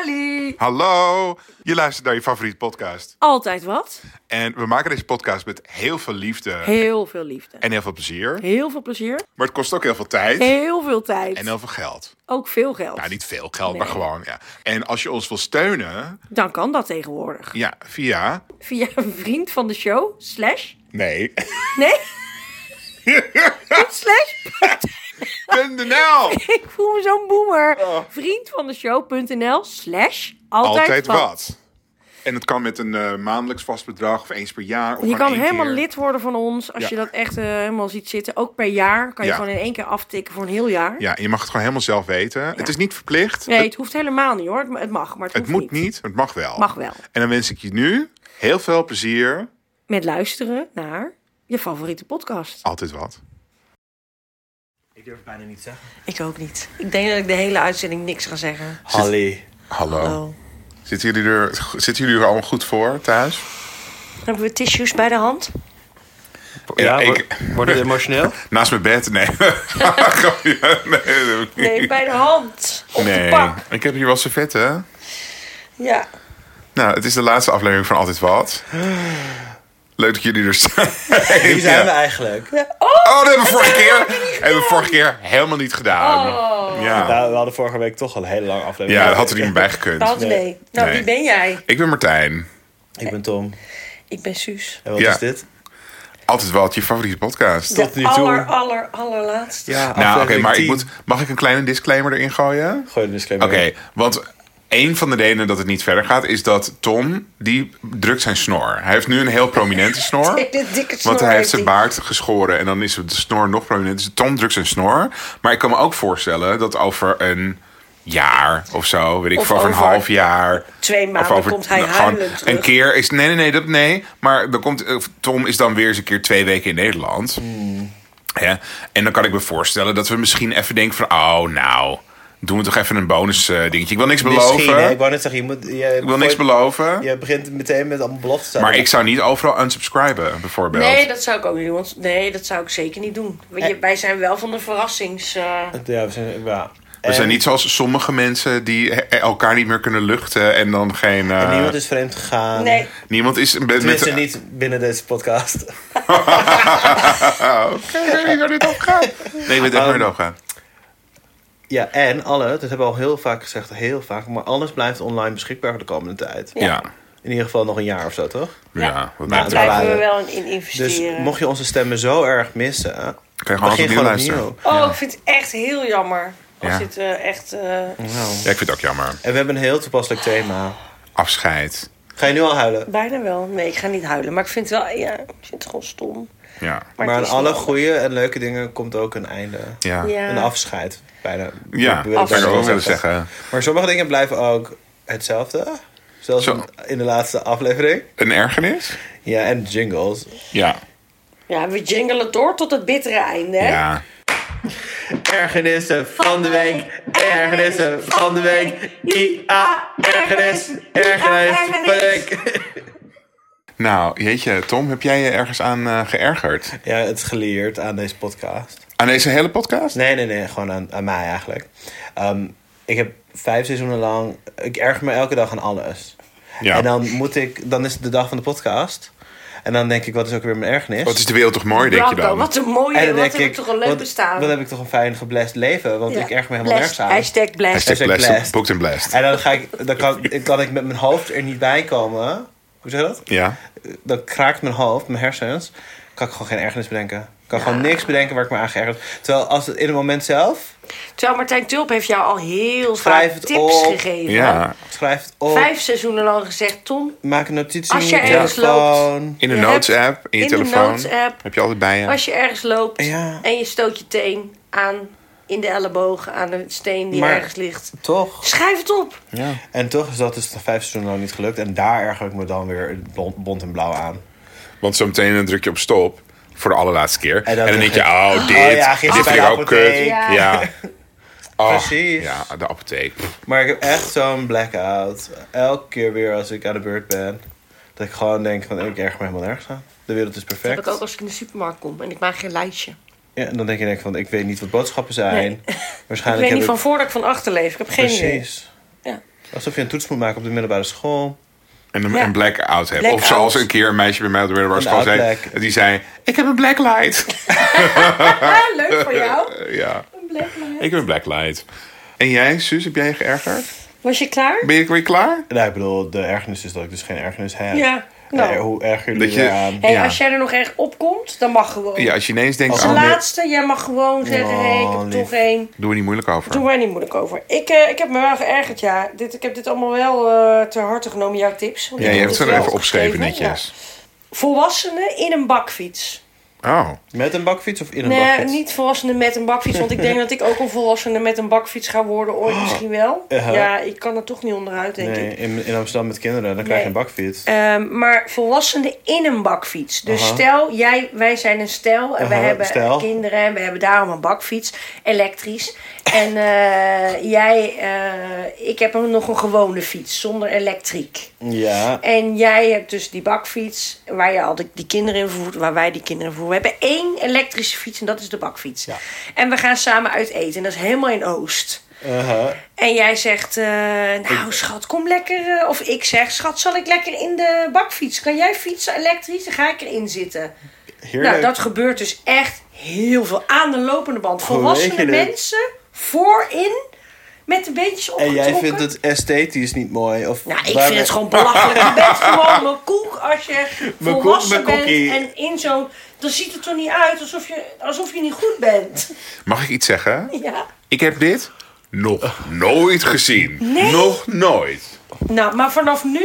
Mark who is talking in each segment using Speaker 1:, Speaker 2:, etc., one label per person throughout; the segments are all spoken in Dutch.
Speaker 1: Halli!
Speaker 2: Hallo, je luistert naar je favoriete podcast.
Speaker 1: Altijd wat.
Speaker 2: En we maken deze podcast met heel veel liefde
Speaker 1: Heel veel liefde.
Speaker 2: en heel veel plezier.
Speaker 1: Heel veel plezier.
Speaker 2: Maar het kost ook heel veel tijd
Speaker 1: Heel veel tijd.
Speaker 2: en heel veel geld.
Speaker 1: Ook veel geld.
Speaker 2: Nou, niet veel geld, maar
Speaker 1: Nee.
Speaker 2: gewoon. Ja. En als je ons wil steunen,
Speaker 1: Dan kan dat tegenwoordig.
Speaker 2: ja, via.
Speaker 1: Via een vriend van de show. Slash.
Speaker 2: Nee.
Speaker 1: Nee. Niet slash.
Speaker 2: .nl.
Speaker 1: Ik voel me zo'n boomer.
Speaker 2: Oh.
Speaker 1: Vriend van de show.nl. Slash. Altijd,
Speaker 2: Altijd
Speaker 1: wat.
Speaker 2: wat. En het kan met een eh, maandelijks vast bedrag of eens per jaar. Of
Speaker 1: Je
Speaker 2: gewoon
Speaker 1: kan
Speaker 2: één
Speaker 1: helemaal
Speaker 2: keer.
Speaker 1: lid worden van ons. Als
Speaker 2: Ja.
Speaker 1: je dat echt eh, helemaal ziet zitten. Ook per jaar. Kan je
Speaker 2: Ja.
Speaker 1: gewoon in één keer aftikken voor een heel jaar.
Speaker 2: Ja, en je mag het gewoon helemaal zelf weten. Het is niet verplicht.
Speaker 1: Nee,
Speaker 2: het,
Speaker 1: het hoeft helemaal niet hoor. Het, het mag, maar het,
Speaker 2: het
Speaker 1: hoeft
Speaker 2: moet niet, maar het mag wel.
Speaker 1: Mag wel.
Speaker 2: En dan wens ik je nu heel veel plezier.
Speaker 1: Met luisteren naar je favoriete podcast.
Speaker 2: Altijd wat.
Speaker 3: Ik durf het bijna niet te zeggen.
Speaker 4: Ik ook niet. Ik denk dat ik de hele uitzending niks ga zeggen.
Speaker 3: Halli.
Speaker 2: Hallo.
Speaker 4: Oh.
Speaker 2: Zitten jullie, er, zitten jullie er allemaal goed voor thuis?
Speaker 4: Hebben we tissues bij de hand?
Speaker 3: Ja,
Speaker 2: ik-
Speaker 3: wor- word je emotioneel?
Speaker 2: naast mijn bed? Nee. Grapje. nee, dat heb ik niet.
Speaker 4: Nee, bij de hand. Op de
Speaker 2: Nee.
Speaker 4: pak.
Speaker 2: Ik heb hier wel servetten.
Speaker 4: Ja.
Speaker 2: Nou, het is de laatste aflevering van Altijd Wat. Leuk dat jullie er zijn.
Speaker 3: Wie zijn
Speaker 2: Ja.
Speaker 3: we eigenlijk?
Speaker 2: Oh, dat hebben we vorige keer, hebben we vorige keer helemaal niet gedaan. Ja.
Speaker 3: Nou, we hadden vorige week toch al een hele lange aflevering.
Speaker 2: ja, daar had er niet meer bij gekund.
Speaker 4: Dat nee. Nou,
Speaker 2: Nee.
Speaker 4: wie ben jij?
Speaker 2: Ik ben Martijn.
Speaker 3: Ik ben Tom.
Speaker 4: Ik ben Suus.
Speaker 3: En wat
Speaker 2: Ja.
Speaker 3: is dit?
Speaker 2: Altijd Wat, je favoriete podcast.
Speaker 3: Tot nu
Speaker 4: de
Speaker 3: toe.
Speaker 4: aller, aller, allerlaatste.
Speaker 3: Ja,
Speaker 2: nou, oké,
Speaker 3: aflevering
Speaker 2: maar ik
Speaker 3: 10.
Speaker 2: moet, mag ik een kleine disclaimer erin gooien?
Speaker 3: Gooi een disclaimer
Speaker 2: Oké,
Speaker 3: in.
Speaker 2: want een van de redenen dat het niet verder gaat is dat Tom, die drukt zijn snor. Hij heeft nu een heel prominente snor.
Speaker 4: Hele dikke snor
Speaker 2: Want hij heeft
Speaker 4: heeft
Speaker 2: zijn
Speaker 4: hij.
Speaker 2: baard geschoren en dan is de snor nog prominent. Dus Tom drukt zijn snor. Maar ik kan me ook voorstellen dat over een jaar of zo, weet ik,
Speaker 4: Of
Speaker 2: of over een
Speaker 4: over
Speaker 2: half jaar.
Speaker 4: twee maanden komt hij
Speaker 2: nou, gewoon
Speaker 4: huilend terug.
Speaker 2: Een keer is. Nee, nee, nee, dat nee. Maar dan komt, eh, Tom is dan weer eens een keer twee weken in Nederland. Hè? En dan kan ik me voorstellen dat we misschien even denken van... oh, nou, doen we toch even een bonus eh, dingetje. Ik wil niks
Speaker 3: Misschien,
Speaker 2: beloven.
Speaker 3: hè? ik
Speaker 2: ik
Speaker 3: wou net zeggen, je moet... Je,
Speaker 2: wil niks beloven.
Speaker 3: Je begint meteen met allemaal beloftes aan.
Speaker 2: Maar ik zou niet overal unsubscriben, bijvoorbeeld.
Speaker 4: Nee, dat zou ik ook niet doen. want- nee, dat zou ik zeker niet doen. Want je- wij zijn wel van de verrassings... eh,
Speaker 3: Ja, we zijn... Ja.
Speaker 2: we zijn niet zoals sommige mensen die eh, elkaar niet meer kunnen luchten... en dan geen... eh,
Speaker 3: En niemand is vreemd gegaan.
Speaker 4: nee,
Speaker 2: niemand is... Met, met,
Speaker 3: Tenminste niet binnen deze podcast.
Speaker 2: ik ben dit opgaan. Nee, ik ben
Speaker 3: Ehm,
Speaker 2: echt nooit opgaan.
Speaker 3: Ja, en alle, dat hebben we al heel vaak gezegd, heel vaak, maar alles blijft online beschikbaar voor de komende tijd.
Speaker 2: Ja. Ja.
Speaker 3: In ieder geval nog een jaar of zo, toch?
Speaker 2: wat
Speaker 4: daar
Speaker 2: mij betreft.
Speaker 4: blijven we
Speaker 3: waren-
Speaker 4: wel in- in
Speaker 3: Dus
Speaker 4: investeren.
Speaker 3: mocht je onze stemmen zo erg missen, hè,
Speaker 2: gewoon altijd
Speaker 3: begin
Speaker 2: opnieuw
Speaker 3: gewoon
Speaker 2: luisteren.
Speaker 3: opnieuw.
Speaker 4: Oh, ik vind het echt heel jammer. Als
Speaker 2: Ja.
Speaker 4: dit eh, echt... eh,
Speaker 2: Ja, ik vind het ook jammer.
Speaker 3: En we hebben een heel toepasselijk thema.
Speaker 2: Afscheid.
Speaker 3: Ga je nu al huilen?
Speaker 4: Bijna wel. Nee, ik ga niet huilen. Maar ik vind het wel... Ja, ik vind het gewoon stom.
Speaker 2: Ja.
Speaker 4: Maar
Speaker 3: Maar,
Speaker 4: het
Speaker 3: aan
Speaker 4: is
Speaker 3: alle
Speaker 4: wel-
Speaker 3: goede en leuke dingen komt ook een einde.
Speaker 2: Ja. Ja,
Speaker 4: Ja.
Speaker 3: Een afscheid, bijna.
Speaker 2: ja.
Speaker 3: wil ik
Speaker 2: zou ik
Speaker 3: bijna
Speaker 2: ook willen zeggen.
Speaker 3: Maar sommige dingen blijven ook hetzelfde. Zoals
Speaker 2: Zo.
Speaker 3: in de laatste aflevering.
Speaker 2: Een ergernis?
Speaker 3: Ja, en jingles.
Speaker 2: Ja.
Speaker 4: Ja, we jingelen door tot het bittere einde. hè?
Speaker 2: Ja.
Speaker 3: Ergernissen van de week. Ergernissen van de week. I-A. Ergernis. Ergernis van de week.
Speaker 2: Nou, jeetje, Tom, heb jij je ergens aan eh, geërgerd?
Speaker 3: Ja, het is geleerd aan deze podcast.
Speaker 2: Aan deze hele podcast?
Speaker 3: Nee, nee, nee. Gewoon aan, aan mij eigenlijk. Ehm, ik heb vijf seizoenen lang... Ik erger me elke dag aan alles.
Speaker 2: Ja.
Speaker 3: En dan moet ik... Dan is het de dag van de podcast. En dan denk ik, wat is ook weer mijn ergernis?
Speaker 2: Wat is de wereld toch mooi, denk je
Speaker 4: Branko,
Speaker 2: dan?
Speaker 4: wat een mooie,
Speaker 3: en
Speaker 4: wat
Speaker 3: dan
Speaker 4: heb
Speaker 3: denk
Speaker 4: ik toch een leuk
Speaker 3: wat-
Speaker 4: bestaan.
Speaker 3: Wat heb ik toch een fijn geblest leven? Want
Speaker 4: Ja.
Speaker 3: ik erg me
Speaker 4: Blast.
Speaker 3: helemaal nergens aan.
Speaker 4: Hashtag blast.
Speaker 2: Hashtag
Speaker 3: Hashtag
Speaker 2: blessed.
Speaker 3: blessed.
Speaker 2: Booked and blessed.
Speaker 3: En dan, ga ik, dan kan, ik- kan ik met mijn hoofd er niet bij komen. Hoe zeg je dat?
Speaker 2: Ja.
Speaker 3: Dan kraakt mijn hoofd, mijn hersens. Kan ik gewoon geen ergernis bedenken. Ik kan gewoon niks bedenken waar ik me aan geërgerd heb. Terwijl als het in het moment zelf...
Speaker 4: Terwijl Martijn Tulp heeft jou al heel
Speaker 3: Schrijf
Speaker 4: vaak
Speaker 3: het
Speaker 4: tips
Speaker 3: op.
Speaker 4: gegeven.
Speaker 2: Ja.
Speaker 3: Schrijf het op.
Speaker 4: Vijf seizoenen lang gezegd, Tom,
Speaker 3: Maak een notitie
Speaker 4: Als
Speaker 3: in
Speaker 4: je
Speaker 3: je
Speaker 4: ergens
Speaker 3: telefoon.
Speaker 2: In de
Speaker 4: Je
Speaker 2: notes
Speaker 4: hebt-
Speaker 2: app, in je
Speaker 4: in de
Speaker 2: telefoon.
Speaker 4: notes app.
Speaker 2: Heb je altijd bij je.
Speaker 4: als je ergens loopt
Speaker 3: Ja.
Speaker 4: en je stoot je teen aan in de elleboog, aan een steen die
Speaker 3: Maar-
Speaker 4: ergens ligt.
Speaker 3: Toch?
Speaker 4: Schrijf het op.
Speaker 2: Ja.
Speaker 3: En toch is dat dus de vijf seizoenen lang niet gelukt. En daar erger ik me dan weer bont, bont en blauw aan.
Speaker 2: Want zometeen dan druk je op stop. Voor de allerlaatste keer. En
Speaker 3: En
Speaker 2: dan,
Speaker 3: dan
Speaker 2: denk je,
Speaker 3: zeg
Speaker 2: oh, dit.
Speaker 3: ja, gisteren
Speaker 2: dit
Speaker 3: bij
Speaker 2: vind ik
Speaker 3: de
Speaker 2: ook kut.
Speaker 3: apotheek.
Speaker 2: Ja.
Speaker 4: Ja.
Speaker 2: Oh,
Speaker 3: Precies.
Speaker 2: Ja, de apotheek. Pff,
Speaker 3: Maar ik heb echt zo'n blackout. Elke keer weer als ik aan de beurt ben. Dat ik gewoon denk van ik erger me helemaal nergens aan. De wereld is
Speaker 4: Dat heb
Speaker 3: perfect.
Speaker 4: ik ook als ik in de supermarkt kom en ik maak geen lijstje.
Speaker 3: Ja, en dan denk je denk ik van ik weet niet wat boodschappen zijn.
Speaker 4: Nee.
Speaker 3: Waarschijnlijk
Speaker 4: ik weet niet van
Speaker 3: heb
Speaker 4: voor dat ik van achter leef. Ik heb geen idee.
Speaker 3: Precies.
Speaker 4: Ja.
Speaker 5: Alsof je een toets moet maken op de middelbare school.
Speaker 2: En een,
Speaker 4: Ja.
Speaker 2: een blackout hebben.
Speaker 4: Blackout.
Speaker 2: Of zoals een keer een meisje bij mij op de middelbare
Speaker 5: Een
Speaker 2: school zei.
Speaker 5: outblack.
Speaker 2: Die zei, ik heb een blacklight.
Speaker 4: Ah, leuk voor jou.
Speaker 2: Eh, ja, ik heb een blacklight. En jij, Suus, heb jij je geërgerd?
Speaker 4: Was je klaar?
Speaker 2: Ben je weer klaar?
Speaker 5: Nou, ik bedoel, de ergernis is dat ik dus geen ergernis heb.
Speaker 4: Ja, nou.
Speaker 3: Eh,
Speaker 5: Nee, hoe erger jullie
Speaker 2: Dat je-
Speaker 5: je... aan.
Speaker 4: Hey,
Speaker 2: Ja.
Speaker 4: als jij er nog erg op komt, dan mag gewoon.
Speaker 2: Ja, als je ineens denkt,
Speaker 5: Als
Speaker 2: oh,
Speaker 4: De
Speaker 5: een
Speaker 2: nee,
Speaker 4: laatste, jij mag gewoon zeggen,
Speaker 5: Oh,
Speaker 4: hé, ik heb er
Speaker 5: lief.
Speaker 4: toch één.
Speaker 2: doe er niet moeilijk over.
Speaker 4: Doe mij niet moeilijk over. Ik, eh, ik heb me wel geërgerd, ja. Dit, ik heb dit allemaal wel eh ter harte genomen, jouw tips. Want
Speaker 2: ja,
Speaker 4: ik
Speaker 2: je
Speaker 4: heb dit
Speaker 2: hebt het er
Speaker 4: wel
Speaker 2: even opgeschreven
Speaker 4: opgeschreven,
Speaker 2: netjes.
Speaker 4: ja. Volwassenen in een bakfiets.
Speaker 2: Oh,
Speaker 5: Met een bakfiets of in een
Speaker 4: Nee,
Speaker 5: bakfiets?
Speaker 4: niet volwassenen met een bakfiets. Want ik denk dat ik ook een volwassene met een bakfiets ga worden
Speaker 2: Oh.
Speaker 4: ooit misschien wel.
Speaker 5: Uh-huh.
Speaker 4: Ja, ik kan er toch niet onderuit, denk ik.
Speaker 5: Nee, in, in Amsterdam met kinderen, dan krijg je een bakfiets.
Speaker 4: Ehm, maar volwassenen in een bakfiets. Dus
Speaker 5: Aha.
Speaker 4: stel, jij, wij zijn een stel en we
Speaker 5: Aha,
Speaker 4: hebben
Speaker 5: stel.
Speaker 4: kinderen en we hebben daarom een bakfiets, elektrisch. En eh, jij, eh, ik heb een- nog een gewone fiets zonder elektriek.
Speaker 5: Ja.
Speaker 4: En jij hebt dus die bakfiets waar je al die, die kinderen in vervoert, waar wij die kinderen in vervoeren. We hebben één elektrische fiets en dat is de bakfiets.
Speaker 5: Ja.
Speaker 4: En we gaan samen uit eten en dat is helemaal in Oost.
Speaker 5: Uh-huh.
Speaker 4: En jij zegt, eh, nou schat, kom lekker. eh, of ik zeg, schat, zal ik lekker in de bakfiets? Kan jij fietsen elektrisch? Dan ga ik erin zitten.
Speaker 5: Heerlijk.
Speaker 4: Nou, dat gebeurt dus echt heel veel aan de lopende band.
Speaker 5: Hoe weet
Speaker 4: Volwassene
Speaker 5: je dit?
Speaker 4: mensen voorin met de beentjes
Speaker 5: En
Speaker 4: opgetrokken.
Speaker 5: jij vindt het esthetisch niet mooi? Of
Speaker 4: Nou, ik
Speaker 5: waar-
Speaker 4: vind het gewoon belachelijk. Je bent gewoon mijn koek als je
Speaker 5: Mijn
Speaker 4: volwassen
Speaker 5: koek, mijn kokkie.
Speaker 4: bent. En in zo'n... Dan ziet het er niet uit alsof je, alsof je niet goed bent.
Speaker 2: mag ik iets zeggen?
Speaker 4: Ja.
Speaker 2: Ik heb dit nog nooit gezien. Nog nooit.
Speaker 4: Nou, maar vanaf nu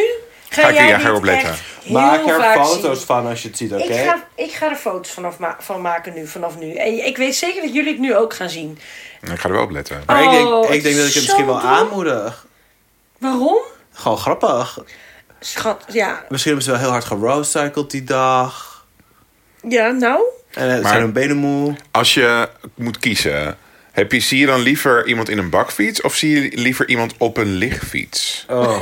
Speaker 4: ga,
Speaker 2: Ga ik-
Speaker 4: jij
Speaker 2: ja,
Speaker 4: dit
Speaker 2: ga ik opletten.
Speaker 4: echt heel
Speaker 5: Maak er
Speaker 4: vaak
Speaker 5: foto's
Speaker 4: zien.
Speaker 5: van als je het ziet, oké?
Speaker 4: Ik, ga, ik ga er foto's vanaf ma- van maken nu, vanaf nu. En ik weet zeker dat jullie het nu ook gaan zien.
Speaker 2: Ik ga er wel op letten.
Speaker 5: Maar ik
Speaker 4: Oh,
Speaker 5: denk,
Speaker 4: het
Speaker 5: ik denk dat
Speaker 4: is
Speaker 5: ik het
Speaker 4: zo
Speaker 5: misschien wel
Speaker 4: dom.
Speaker 5: aanmoedig.
Speaker 4: Waarom?
Speaker 5: Gewoon grappig.
Speaker 4: Schat, ja.
Speaker 5: Misschien hebben ze wel heel hard geroadcycled die dag.
Speaker 4: Ja, nou?
Speaker 5: En eh,
Speaker 2: Maar-
Speaker 5: zijn hun benen moe.
Speaker 2: Als je moet kiezen, heb je, zie je dan liever iemand in een bakfiets of zie je liever iemand op een lichtfiets?
Speaker 5: Oh,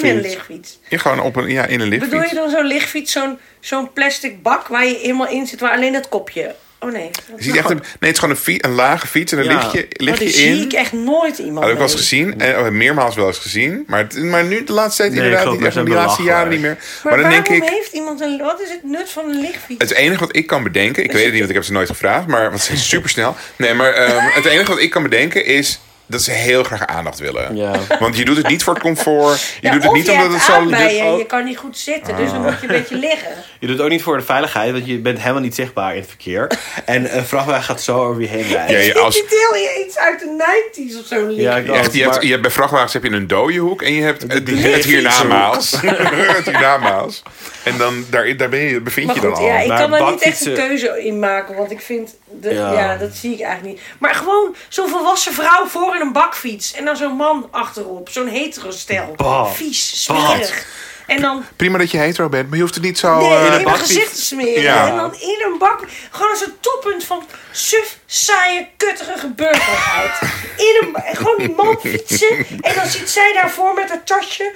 Speaker 4: In een lichtfiets.
Speaker 2: Ja, gewoon op een, ja, in een
Speaker 4: Bedoel je
Speaker 2: lichtfiets.
Speaker 4: dan zo'n lichtfiets, zo'n zo'n plastic bak waar je helemaal in zit, waar alleen dat kopje... Oh nee.
Speaker 2: Je ziet echt een, nee, het is gewoon een, fie- een lage fiets en dan
Speaker 5: Ja.
Speaker 2: ligt je,
Speaker 4: Maar
Speaker 2: ligt
Speaker 4: Oh, die
Speaker 2: je in.
Speaker 4: zie ik echt nooit iemand
Speaker 2: Had ik wel eens
Speaker 4: mee.
Speaker 2: gezien, eh, oh, meermaals wel eens gezien. Maar, het- maar nu de laatste tijd
Speaker 5: Nee,
Speaker 2: inderdaad
Speaker 5: klopt,
Speaker 2: niet. Echt,
Speaker 5: maar
Speaker 2: de
Speaker 5: ze
Speaker 2: laatste
Speaker 5: hebben
Speaker 2: jaren niet
Speaker 5: lachen,
Speaker 2: meer.
Speaker 4: Maar,
Speaker 2: Maar dan denk
Speaker 4: waarom
Speaker 2: ik,
Speaker 4: heeft iemand een... Wat is het nut van een lichtfiets?
Speaker 2: het enige wat ik kan bedenken... Ik weet het niet, want ik heb ze nooit gevraagd. Maar want ze zijn supersnel. Nee, maar ehm, het enige wat ik kan bedenken is... Dat ze heel graag aandacht willen.
Speaker 5: Ja.
Speaker 2: Want je doet het niet voor het comfort. Je
Speaker 4: Ja,
Speaker 2: doet het
Speaker 4: of
Speaker 2: niet
Speaker 4: je
Speaker 2: omdat het
Speaker 4: hebt
Speaker 2: zo...
Speaker 4: aardbeien,
Speaker 2: dit- oh, Ah.
Speaker 4: je kan niet goed zitten, dus dan moet je een beetje liggen.
Speaker 5: Je doet het ook niet voor de veiligheid, want je bent helemaal niet zichtbaar in het verkeer. En een vrachtwagen gaat zo over je heen rijden.
Speaker 2: Ja, ja.
Speaker 4: Ik
Speaker 2: als-
Speaker 4: zit heel je iets uit de 90s of zo liggen.
Speaker 5: ik
Speaker 2: Echt, je, hebt,
Speaker 5: maar-
Speaker 2: je hebt bij vrachtwagens heb je een dode hoek en je hebt het,
Speaker 5: die-
Speaker 2: het
Speaker 5: die-
Speaker 2: hiernamaals. het hiernamaals. En dan daar, daar ben je, bevind
Speaker 4: Maar
Speaker 2: je dan
Speaker 4: goed,
Speaker 2: al.
Speaker 4: ja, ik
Speaker 5: Maar
Speaker 4: kan daar niet echt een
Speaker 5: bakfietsen-
Speaker 4: keuze in maken, want ik vind... De, ja.
Speaker 5: Ja.
Speaker 4: dat zie ik eigenlijk niet. Maar gewoon zo'n volwassen vrouw voor in een bakfiets en dan zo'n man achterop. Zo'n hetero stel.
Speaker 5: Bah.
Speaker 4: Vies, smerig. En dan
Speaker 2: Prima dat je hetero bent, maar je hoeft het niet zo...
Speaker 4: nee,
Speaker 2: eh,
Speaker 4: in mijn
Speaker 5: bakfiets.
Speaker 4: gezicht te smeren.
Speaker 2: Ja.
Speaker 4: En dan in een bak. Gewoon als een toppunt van suf, saaie, kutterige burgerheid. In een, ba- gewoon die man fietsen. En dan zit zij daarvoor met haar tasje.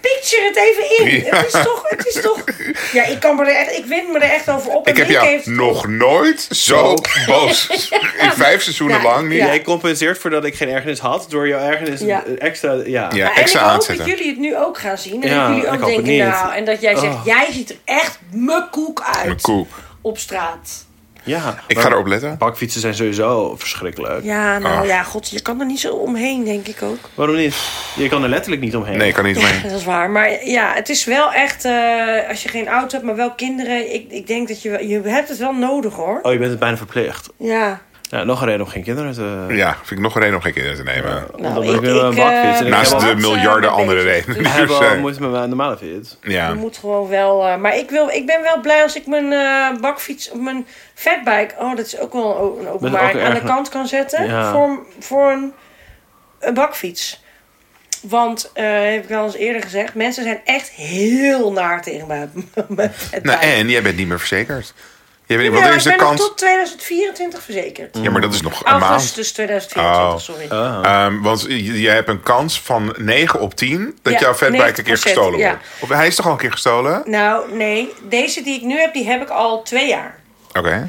Speaker 4: Picture het even in.
Speaker 2: Ja.
Speaker 4: Het is toch, het is toch. Ja, ik kan me er echt, ik win me er echt over op.
Speaker 2: Ik
Speaker 4: En
Speaker 2: heb
Speaker 4: Nick
Speaker 2: jou
Speaker 4: heeft-
Speaker 2: nog nooit zo boos. In vijf seizoenen
Speaker 4: Ja,
Speaker 2: lang niet.
Speaker 4: ja.
Speaker 2: Ja.
Speaker 5: Jij compenseert voordat ik geen ergernis had door jouw ergernis
Speaker 4: Ja.
Speaker 5: extra... Ja.
Speaker 2: Ja.
Speaker 4: en ik
Speaker 2: extra
Speaker 4: hoop
Speaker 2: aanzetten.
Speaker 4: dat jullie het nu ook gaan zien. En
Speaker 5: Ja,
Speaker 4: dat jullie
Speaker 5: ik
Speaker 4: ook
Speaker 5: hoop het
Speaker 4: denken,
Speaker 5: niet.
Speaker 4: nou, en dat jij zegt,
Speaker 5: Oh.
Speaker 4: jij ziet er echt me koek uit.
Speaker 2: Mijn koe.
Speaker 4: Op straat.
Speaker 5: Ja.
Speaker 2: Ik ga erop letten.
Speaker 5: Bakfietsen zijn sowieso verschrikkelijk.
Speaker 4: Ja, nou
Speaker 2: Ah.
Speaker 4: ja, god, je kan er niet zo omheen, denk ik ook.
Speaker 5: Waarom niet? Je kan er letterlijk niet omheen.
Speaker 2: Nee, ik kan niet mee.
Speaker 4: Ja, dat is waar. Maar ja, het is wel echt... eh, als je geen auto hebt, maar wel kinderen... Ik, ik denk dat je... wel- Je hebt het wel nodig, hoor.
Speaker 5: Oh, je bent het bijna verplicht.
Speaker 4: Ja.
Speaker 5: Ja, nog een reden om geen kinderen te...
Speaker 2: Ja, vind ik nog een reden om geen kinderen te nemen.
Speaker 4: Nou,
Speaker 5: Dan moet ik wel een
Speaker 4: eh,
Speaker 5: bakfiets. En ik
Speaker 2: Naast
Speaker 5: heb
Speaker 2: de
Speaker 4: had, eh,
Speaker 2: miljarden
Speaker 4: een
Speaker 2: andere
Speaker 4: beetje-
Speaker 2: redenen.
Speaker 5: Ik
Speaker 2: die
Speaker 5: heb
Speaker 2: er
Speaker 5: wel
Speaker 2: zijn.
Speaker 5: moeite met mijn normale fit.
Speaker 4: Je
Speaker 2: Ja.
Speaker 4: moet gewoon wel... eh, maar ik, wil, ik ben wel blij als ik mijn eh, bakfiets... of Mijn fatbike... Oh, dat is ook wel een o- een
Speaker 5: ook
Speaker 4: openbaar...
Speaker 5: erg-
Speaker 4: aan de kant kan zetten.
Speaker 5: Ja.
Speaker 4: Voor, voor een, een bakfiets. Want, eh, heb ik al eens eerder gezegd... Mensen zijn echt heel naar tegen mij. mijn fatbike.
Speaker 2: Nou, en jij bent niet meer verzekerd. Jij bent, want
Speaker 4: Ja,
Speaker 2: er
Speaker 4: ik
Speaker 2: is de
Speaker 4: ben nog
Speaker 2: kans.
Speaker 4: tot 2024 verzekerd.
Speaker 2: Ja, maar dat is nog een maand.
Speaker 4: Augustus 2024,
Speaker 2: Oh.
Speaker 4: sorry.
Speaker 2: Ehm, want je je hebt een kans van 9 op 10 dat
Speaker 4: Ja,
Speaker 2: jouw fatbike een keer
Speaker 4: 90%,
Speaker 2: gestolen
Speaker 4: ja.
Speaker 2: wordt. Of hij is toch al een keer gestolen?
Speaker 4: Nou, nee. Deze die ik nu heb, die heb ik al twee jaar.
Speaker 2: Oké.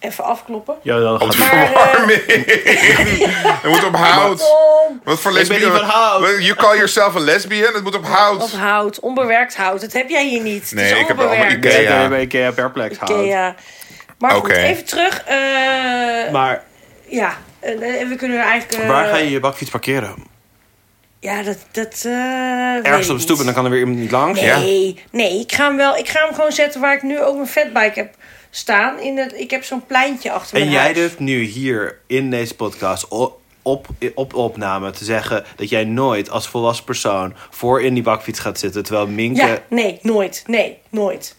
Speaker 4: even afkloppen.
Speaker 6: Ja, dan
Speaker 2: Op
Speaker 6: gaat
Speaker 2: de
Speaker 6: hij-
Speaker 4: Maar, eh,
Speaker 2: verwarming. Het moet op hout.
Speaker 4: Tom,
Speaker 2: Wat voor
Speaker 3: Ik ben
Speaker 2: lesbian?
Speaker 3: niet van hout.
Speaker 2: You call yourself a lesbian? Het moet op
Speaker 4: Of
Speaker 2: hout.
Speaker 4: hout, onbewerkt hout. Dat heb jij hier niet.
Speaker 2: Nee,
Speaker 4: het is
Speaker 2: ik heb
Speaker 4: allemaal
Speaker 2: allemaal
Speaker 6: Ja,
Speaker 2: Ikea.
Speaker 4: bewerkt.
Speaker 6: ik ben een beetje perplex houden.
Speaker 4: Ikea. Maar
Speaker 2: Oké.
Speaker 4: goed, even terug. eh,
Speaker 6: Maar
Speaker 4: ja, eh, eh, we kunnen er eigenlijk... eh,
Speaker 3: Waar ga je je bakfiets parkeren?
Speaker 4: Ja, dat... dat eh, weet
Speaker 3: Ergens
Speaker 4: ik
Speaker 3: op de stoep
Speaker 4: niet.
Speaker 3: en dan kan er weer iemand niet langs.
Speaker 4: Nee, nee ik, ga hem wel, ik ga hem gewoon zetten waar ik nu ook mijn fatbike heb staan. In het, ik heb zo'n pleintje achter
Speaker 3: En
Speaker 4: mijn
Speaker 3: jij dus?
Speaker 4: huis.
Speaker 3: durft nu hier in deze podcast o- op, op opname te zeggen dat jij nooit als volwassen persoon voor in die bakfiets gaat zitten. Terwijl Minke.
Speaker 4: Ja, nee, nooit. Nee, nooit.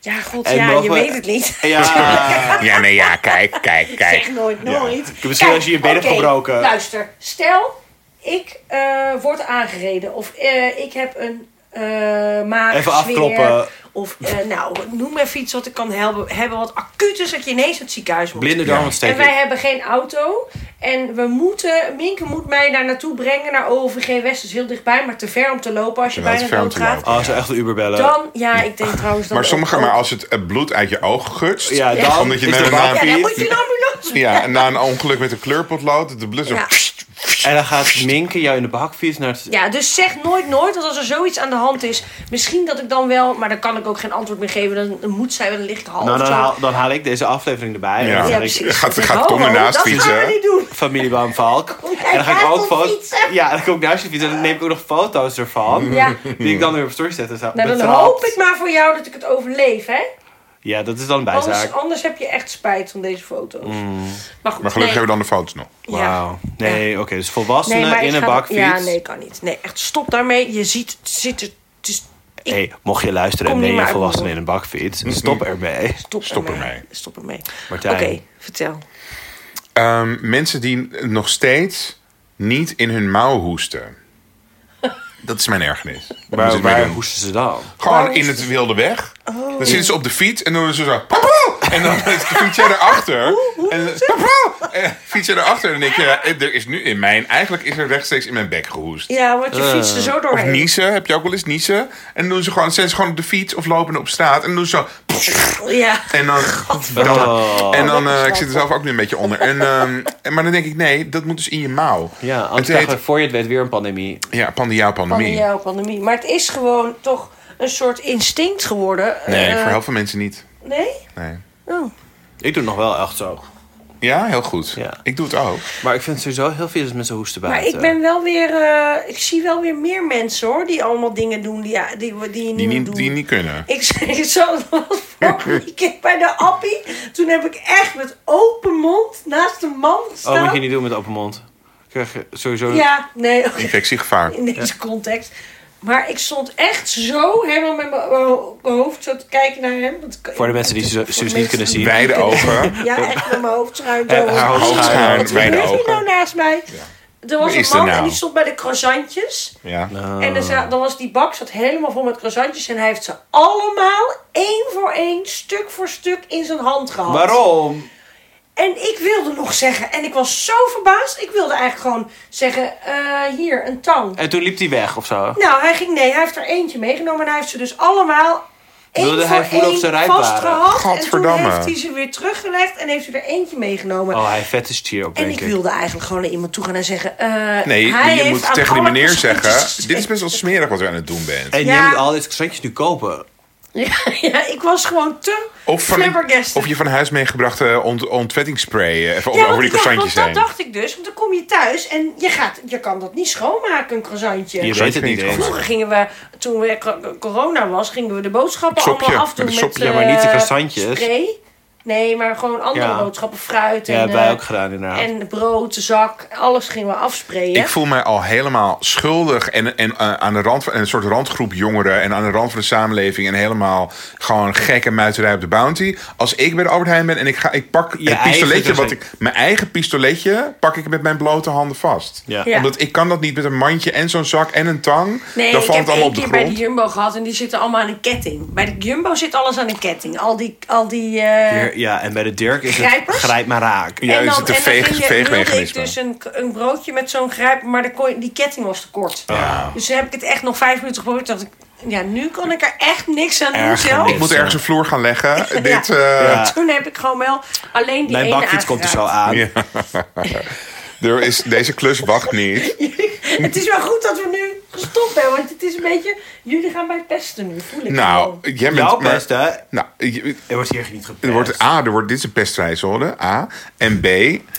Speaker 4: Ja, god,
Speaker 3: En
Speaker 4: ja,
Speaker 3: mogen
Speaker 4: je
Speaker 3: we-
Speaker 4: weet het niet.
Speaker 3: Ja.
Speaker 2: Ja, nee, ja, kijk, kijk, kijk.
Speaker 4: Zeg nooit, nooit.
Speaker 3: heb misschien als je je been hebt
Speaker 4: oké,
Speaker 3: gebroken.
Speaker 4: Luister, stel ik eh, word aangereden of eh, ik heb een eh maag,
Speaker 3: Even
Speaker 4: zweer,
Speaker 3: afkloppen.
Speaker 4: Of eh, nou, noem even iets wat ik kan helpen, hebben wat acuut is dat je ineens naar het ziekenhuis moet.
Speaker 3: Blinde
Speaker 2: Ja.
Speaker 3: darmontsteking.
Speaker 4: En wij hebben geen auto. En we moeten, Minke moet mij daar naartoe brengen naar OVG West. Dat is heel dichtbij, maar te ver om te lopen als je
Speaker 2: Ja, het
Speaker 4: bijna
Speaker 2: is ver om te
Speaker 4: doodgaat.
Speaker 2: lopen.
Speaker 3: Oh, ze echt een Uber bellen.
Speaker 4: Dan, ja, ik denk trouwens dat
Speaker 2: Maar, sommige, maar als het eh, bloed uit je oog gutst...
Speaker 3: ja,
Speaker 4: Ja.
Speaker 3: dan
Speaker 2: Omdat je
Speaker 3: is
Speaker 2: naar
Speaker 3: de
Speaker 2: de
Speaker 4: Ja,
Speaker 3: bakfiets.
Speaker 4: dan moet je een ambulance
Speaker 2: Ja, en na een ongeluk met een kleurpotlood, de blut zo...
Speaker 4: Ja.
Speaker 3: En dan gaat Minke jou in de bakfiets naar het.
Speaker 4: Ja, dus zeg nooit nooit, want als er zoiets aan de hand is, misschien dat ik dan wel, maar dan kan ik ook geen antwoord meer geven, dan- dan moet zij wel een lichte half.
Speaker 3: Nou, dan
Speaker 4: zo.
Speaker 3: haal, dan haal ik deze aflevering erbij.
Speaker 2: Ja.
Speaker 3: En dan
Speaker 4: ja,
Speaker 3: zeg ik,
Speaker 4: precies.
Speaker 2: Gaat-
Speaker 4: Dan
Speaker 2: gaat
Speaker 4: denk ik,
Speaker 2: Tom
Speaker 4: ho, ho,
Speaker 2: ernaast
Speaker 4: Dat gaan
Speaker 2: fietsen,
Speaker 4: we
Speaker 2: hè?
Speaker 4: niet doen.
Speaker 3: familiebaan Valk.
Speaker 4: jij
Speaker 3: En dan ga ik
Speaker 4: gaat
Speaker 3: ook
Speaker 4: op
Speaker 3: foto's.
Speaker 4: fietsen?
Speaker 3: Ja, dan kom ik naar je fietsen en dan neem ik ook nog foto's ervan.
Speaker 4: Ja.
Speaker 3: Die ik dan weer op story zet. en zo.
Speaker 4: Nou, dan
Speaker 3: Betrapt.
Speaker 4: hoop ik maar voor jou dat ik het overleef, hè?
Speaker 3: Ja, dat is dan een bijzaak.
Speaker 4: Anders, anders heb je echt spijt van deze foto's. Maar goed,
Speaker 2: Maar gelukkig
Speaker 4: nee.
Speaker 2: hebben we dan de foto's nog.
Speaker 4: Ja.
Speaker 3: Wauw. Nee, oké. dus volwassenen
Speaker 4: Nee, maar ik
Speaker 3: in een
Speaker 4: ga dat-
Speaker 3: bakfiets.
Speaker 4: Ja, nee, kan niet. Nee, echt stop daarmee. Je ziet, het zit er, het is, ik
Speaker 3: Hey, mocht je luisteren en
Speaker 4: Kom
Speaker 3: ben
Speaker 4: niet maar
Speaker 3: je
Speaker 4: uit
Speaker 3: volwassenen in
Speaker 4: mijn
Speaker 3: een bakfiets, stop ermee.
Speaker 4: stop,
Speaker 2: Stop
Speaker 4: ermee.
Speaker 2: ermee.
Speaker 4: Stop ermee. Oké,
Speaker 3: Martijn.
Speaker 4: vertel.
Speaker 2: Ehm, mensen die nog steeds niet in hun mouw hoesten. Dat is mijn ergernis. Daar moet
Speaker 3: Waar,
Speaker 2: ik mee
Speaker 3: waar
Speaker 2: doen.
Speaker 3: hoesten ze Dus dan?
Speaker 2: Gewoon in het wilde weg.
Speaker 3: Oh.
Speaker 2: Dan zitten ze op de fiets en doen ze zo... "Poepoe!" En dan fiets jij erachter. En, dan- "Poepoe!" en fiets jij erachter. En dan denk je, ja, er is nu in mijn... Eigenlijk is er rechtstreeks in mijn bek gehoest.
Speaker 4: Ja, want je fietst er zo
Speaker 2: Of
Speaker 4: doorheen.
Speaker 2: niezen, heb je ook wel eens niezen. En dan doen ze gewoon, zijn ze gewoon op de fiets of lopen op straat. En doen ze zo...
Speaker 4: Ja.
Speaker 2: En dan,
Speaker 3: Oh.
Speaker 2: en dan eh, ik zit er zelf ook nu een beetje onder. En, ehm, en- maar dan denk ik, nee, dat moet dus in je mouw.
Speaker 3: Ja,
Speaker 2: het
Speaker 3: anders krijgen
Speaker 2: heet,
Speaker 3: we voor je het weet weer een pandemie.
Speaker 2: ja, pandia pandemie.
Speaker 4: Pandemie, ja, pandemie. Maar het is gewoon toch een soort instinct geworden.
Speaker 2: Nee,
Speaker 4: Eh,
Speaker 2: voor heel veel mensen niet.
Speaker 4: Nee?
Speaker 2: Nee.
Speaker 4: Oh.
Speaker 3: Ik doe het nog wel echt zo.
Speaker 2: Ja, heel goed.
Speaker 3: Ja.
Speaker 2: Ik doe het ook.
Speaker 3: Maar ik vind het sowieso heel veel dat mensen hoesten eh,
Speaker 4: Maar
Speaker 3: buiten.
Speaker 4: ik ben wel weer... eh, ik zie wel weer meer mensen, hoor. Die allemaal dingen doen die, ja, die, we- die je niet
Speaker 2: Die
Speaker 4: moet
Speaker 2: niet,
Speaker 4: doen.
Speaker 2: die niet kunnen.
Speaker 4: Ik zeg zo, dat was vorig weekend bij de appie. Toen heb ik echt met open mond naast een man gestaan.
Speaker 3: Oh, moet je niet doen met open mond. Krijg je sowieso...
Speaker 4: Ja, nee, oké.
Speaker 2: Infectiegevaar.
Speaker 4: in deze context. Maar ik stond echt zo helemaal met mijn ho- hoofd zo te kijken naar hem. Want ik-
Speaker 3: Voor de mensen die Su-
Speaker 4: Voor de
Speaker 3: Suus niet
Speaker 4: mensen
Speaker 3: kunnen
Speaker 4: die-
Speaker 3: zien.
Speaker 2: Wijde ogen.
Speaker 4: Ja, echt met mijn hoofd schuin
Speaker 3: En
Speaker 4: door.
Speaker 3: haar hoofd
Speaker 4: Wat
Speaker 3: schuin,
Speaker 4: gebeurt
Speaker 2: wijde
Speaker 4: hier
Speaker 2: ogen.
Speaker 4: nou naast mij? Er was
Speaker 2: Wie is
Speaker 4: een man
Speaker 2: er nou?
Speaker 4: en die stond bij de croissantjes.
Speaker 2: Ja.
Speaker 3: Eh,
Speaker 4: En er
Speaker 3: Oh.
Speaker 4: za- dan was die bak zat helemaal vol met croissantjes. En hij heeft ze allemaal, één voor één, stuk voor stuk in zijn hand gehad.
Speaker 3: Waarom?
Speaker 4: En ik wilde nog zeggen, en ik was zo verbaasd. Ik wilde eigenlijk gewoon zeggen, eh, hier, een tang.
Speaker 3: En toen liep hij weg of zo.
Speaker 4: Nou, hij ging, nee, hij heeft er eentje meegenomen. En hij heeft ze dus allemaal één
Speaker 3: Wilde
Speaker 4: voor
Speaker 3: hij voelen of
Speaker 4: één
Speaker 3: ze rijp waren?
Speaker 4: vastgehad. En toen
Speaker 2: Gadverdamme.
Speaker 4: heeft hij ze weer teruggelegd en heeft ze er eentje meegenomen.
Speaker 3: Oh, hij vet is hier ook,
Speaker 4: En
Speaker 3: denk
Speaker 4: ik
Speaker 3: ik.
Speaker 4: wilde eigenlijk gewoon naar iemand toe gaan en zeggen... eh,
Speaker 2: Nee,
Speaker 4: hij
Speaker 2: je
Speaker 4: heeft
Speaker 2: moet
Speaker 4: aan
Speaker 2: tegen die
Speaker 4: alle
Speaker 2: meneer
Speaker 4: croissantjes-
Speaker 2: zeggen... Dit is best wel smerig wat we aan het doen bent.
Speaker 3: En
Speaker 4: Ja.
Speaker 3: jij moet al deze croissantjes nu kopen.
Speaker 4: Ja, ja, ik was gewoon te
Speaker 2: Of, van,
Speaker 4: flabbergasted.
Speaker 2: of je van huis meegebrachte ont, ontwettingsspray eh, even
Speaker 4: Ja,
Speaker 2: over
Speaker 4: want
Speaker 2: die
Speaker 4: ik dacht,
Speaker 2: croissantjes
Speaker 4: want dat
Speaker 2: heen.
Speaker 4: dacht ik dus. Want dan kom je thuis en je, gaat, je kan dat niet schoonmaken, een croissantje.
Speaker 3: Je
Speaker 2: weet
Speaker 3: weet het
Speaker 2: ik
Speaker 3: niet
Speaker 2: niet.
Speaker 3: eens.
Speaker 4: Vroeger gingen we, toen we cor- corona was, gingen we de boodschappen
Speaker 2: Met sopje,
Speaker 4: allemaal afdoen
Speaker 2: met
Speaker 4: met,
Speaker 2: een sopje.
Speaker 4: eh,
Speaker 3: Ja, maar niet de croissantjes.
Speaker 4: Spray. Nee, maar gewoon andere
Speaker 3: Ja.
Speaker 4: boodschappen, fruit en,
Speaker 3: Ja, hebben wij
Speaker 4: eh,
Speaker 3: ook gedaan inderdaad.
Speaker 4: en brood, zak, alles gingen we afsprayen.
Speaker 2: Ik voel mij al helemaal schuldig en, en eh, aan de rand van en een soort randgroep jongeren en aan de rand van de samenleving en helemaal gewoon gekke muiterij op de bounty. Als ik bij de Albert Heijn ben en ik ga, ik pak
Speaker 3: Je
Speaker 2: het pistoletje
Speaker 3: eigen
Speaker 2: wat ik, mijn eigen pistoletje, pak ik met mijn blote handen vast.
Speaker 3: Ja.
Speaker 4: Ja.
Speaker 2: Omdat ik kan dat niet met een mandje en zo'n zak en een tang.
Speaker 4: Nee,
Speaker 2: dan
Speaker 4: ik
Speaker 2: valt
Speaker 4: heb
Speaker 2: het allemaal
Speaker 4: één
Speaker 2: op de
Speaker 4: keer bij de
Speaker 2: grond.
Speaker 4: Jumbo gehad en die zitten allemaal aan een ketting. Bij de Jumbo zit alles aan een ketting. Al die, al die eh,
Speaker 3: Hier- Ja, en bij de Dirk is het
Speaker 4: Grijpers?
Speaker 3: grijp maar raak.
Speaker 2: Ja, er zit een veeg-
Speaker 4: ging je- wilde ik
Speaker 2: veegmechanisme.
Speaker 4: dus een, een broodje met zo'n grijp, maar de, die ketting was te kort. Dus toen heb ik het echt nog vijf minuten geprobeerd. Dacht ik, Ja, nu kan ik er echt niks aan doen
Speaker 2: Ergernis.
Speaker 4: zelf.
Speaker 2: Ik moet ergens een vloer gaan leggen. Dit, eh,
Speaker 3: Ja.
Speaker 4: Toen heb ik gewoon wel alleen die
Speaker 3: Mijn
Speaker 4: ene
Speaker 3: bakfiets komt er zo
Speaker 4: aangeraakt.
Speaker 3: aan.
Speaker 2: er is, deze klus wacht niet.
Speaker 4: Het is wel goed dat we nu gestopt hebben, want het is een beetje... Jullie gaan mij pesten nu, voel ik
Speaker 2: Nou,
Speaker 4: gewoon.
Speaker 2: jij bent...
Speaker 3: Jouw
Speaker 2: maar-
Speaker 3: best, hè? Er
Speaker 2: Nou, je-
Speaker 3: wordt hier niet gepest.
Speaker 2: er wordt, A, er wordt, dit is een pestrijzone, A. En B,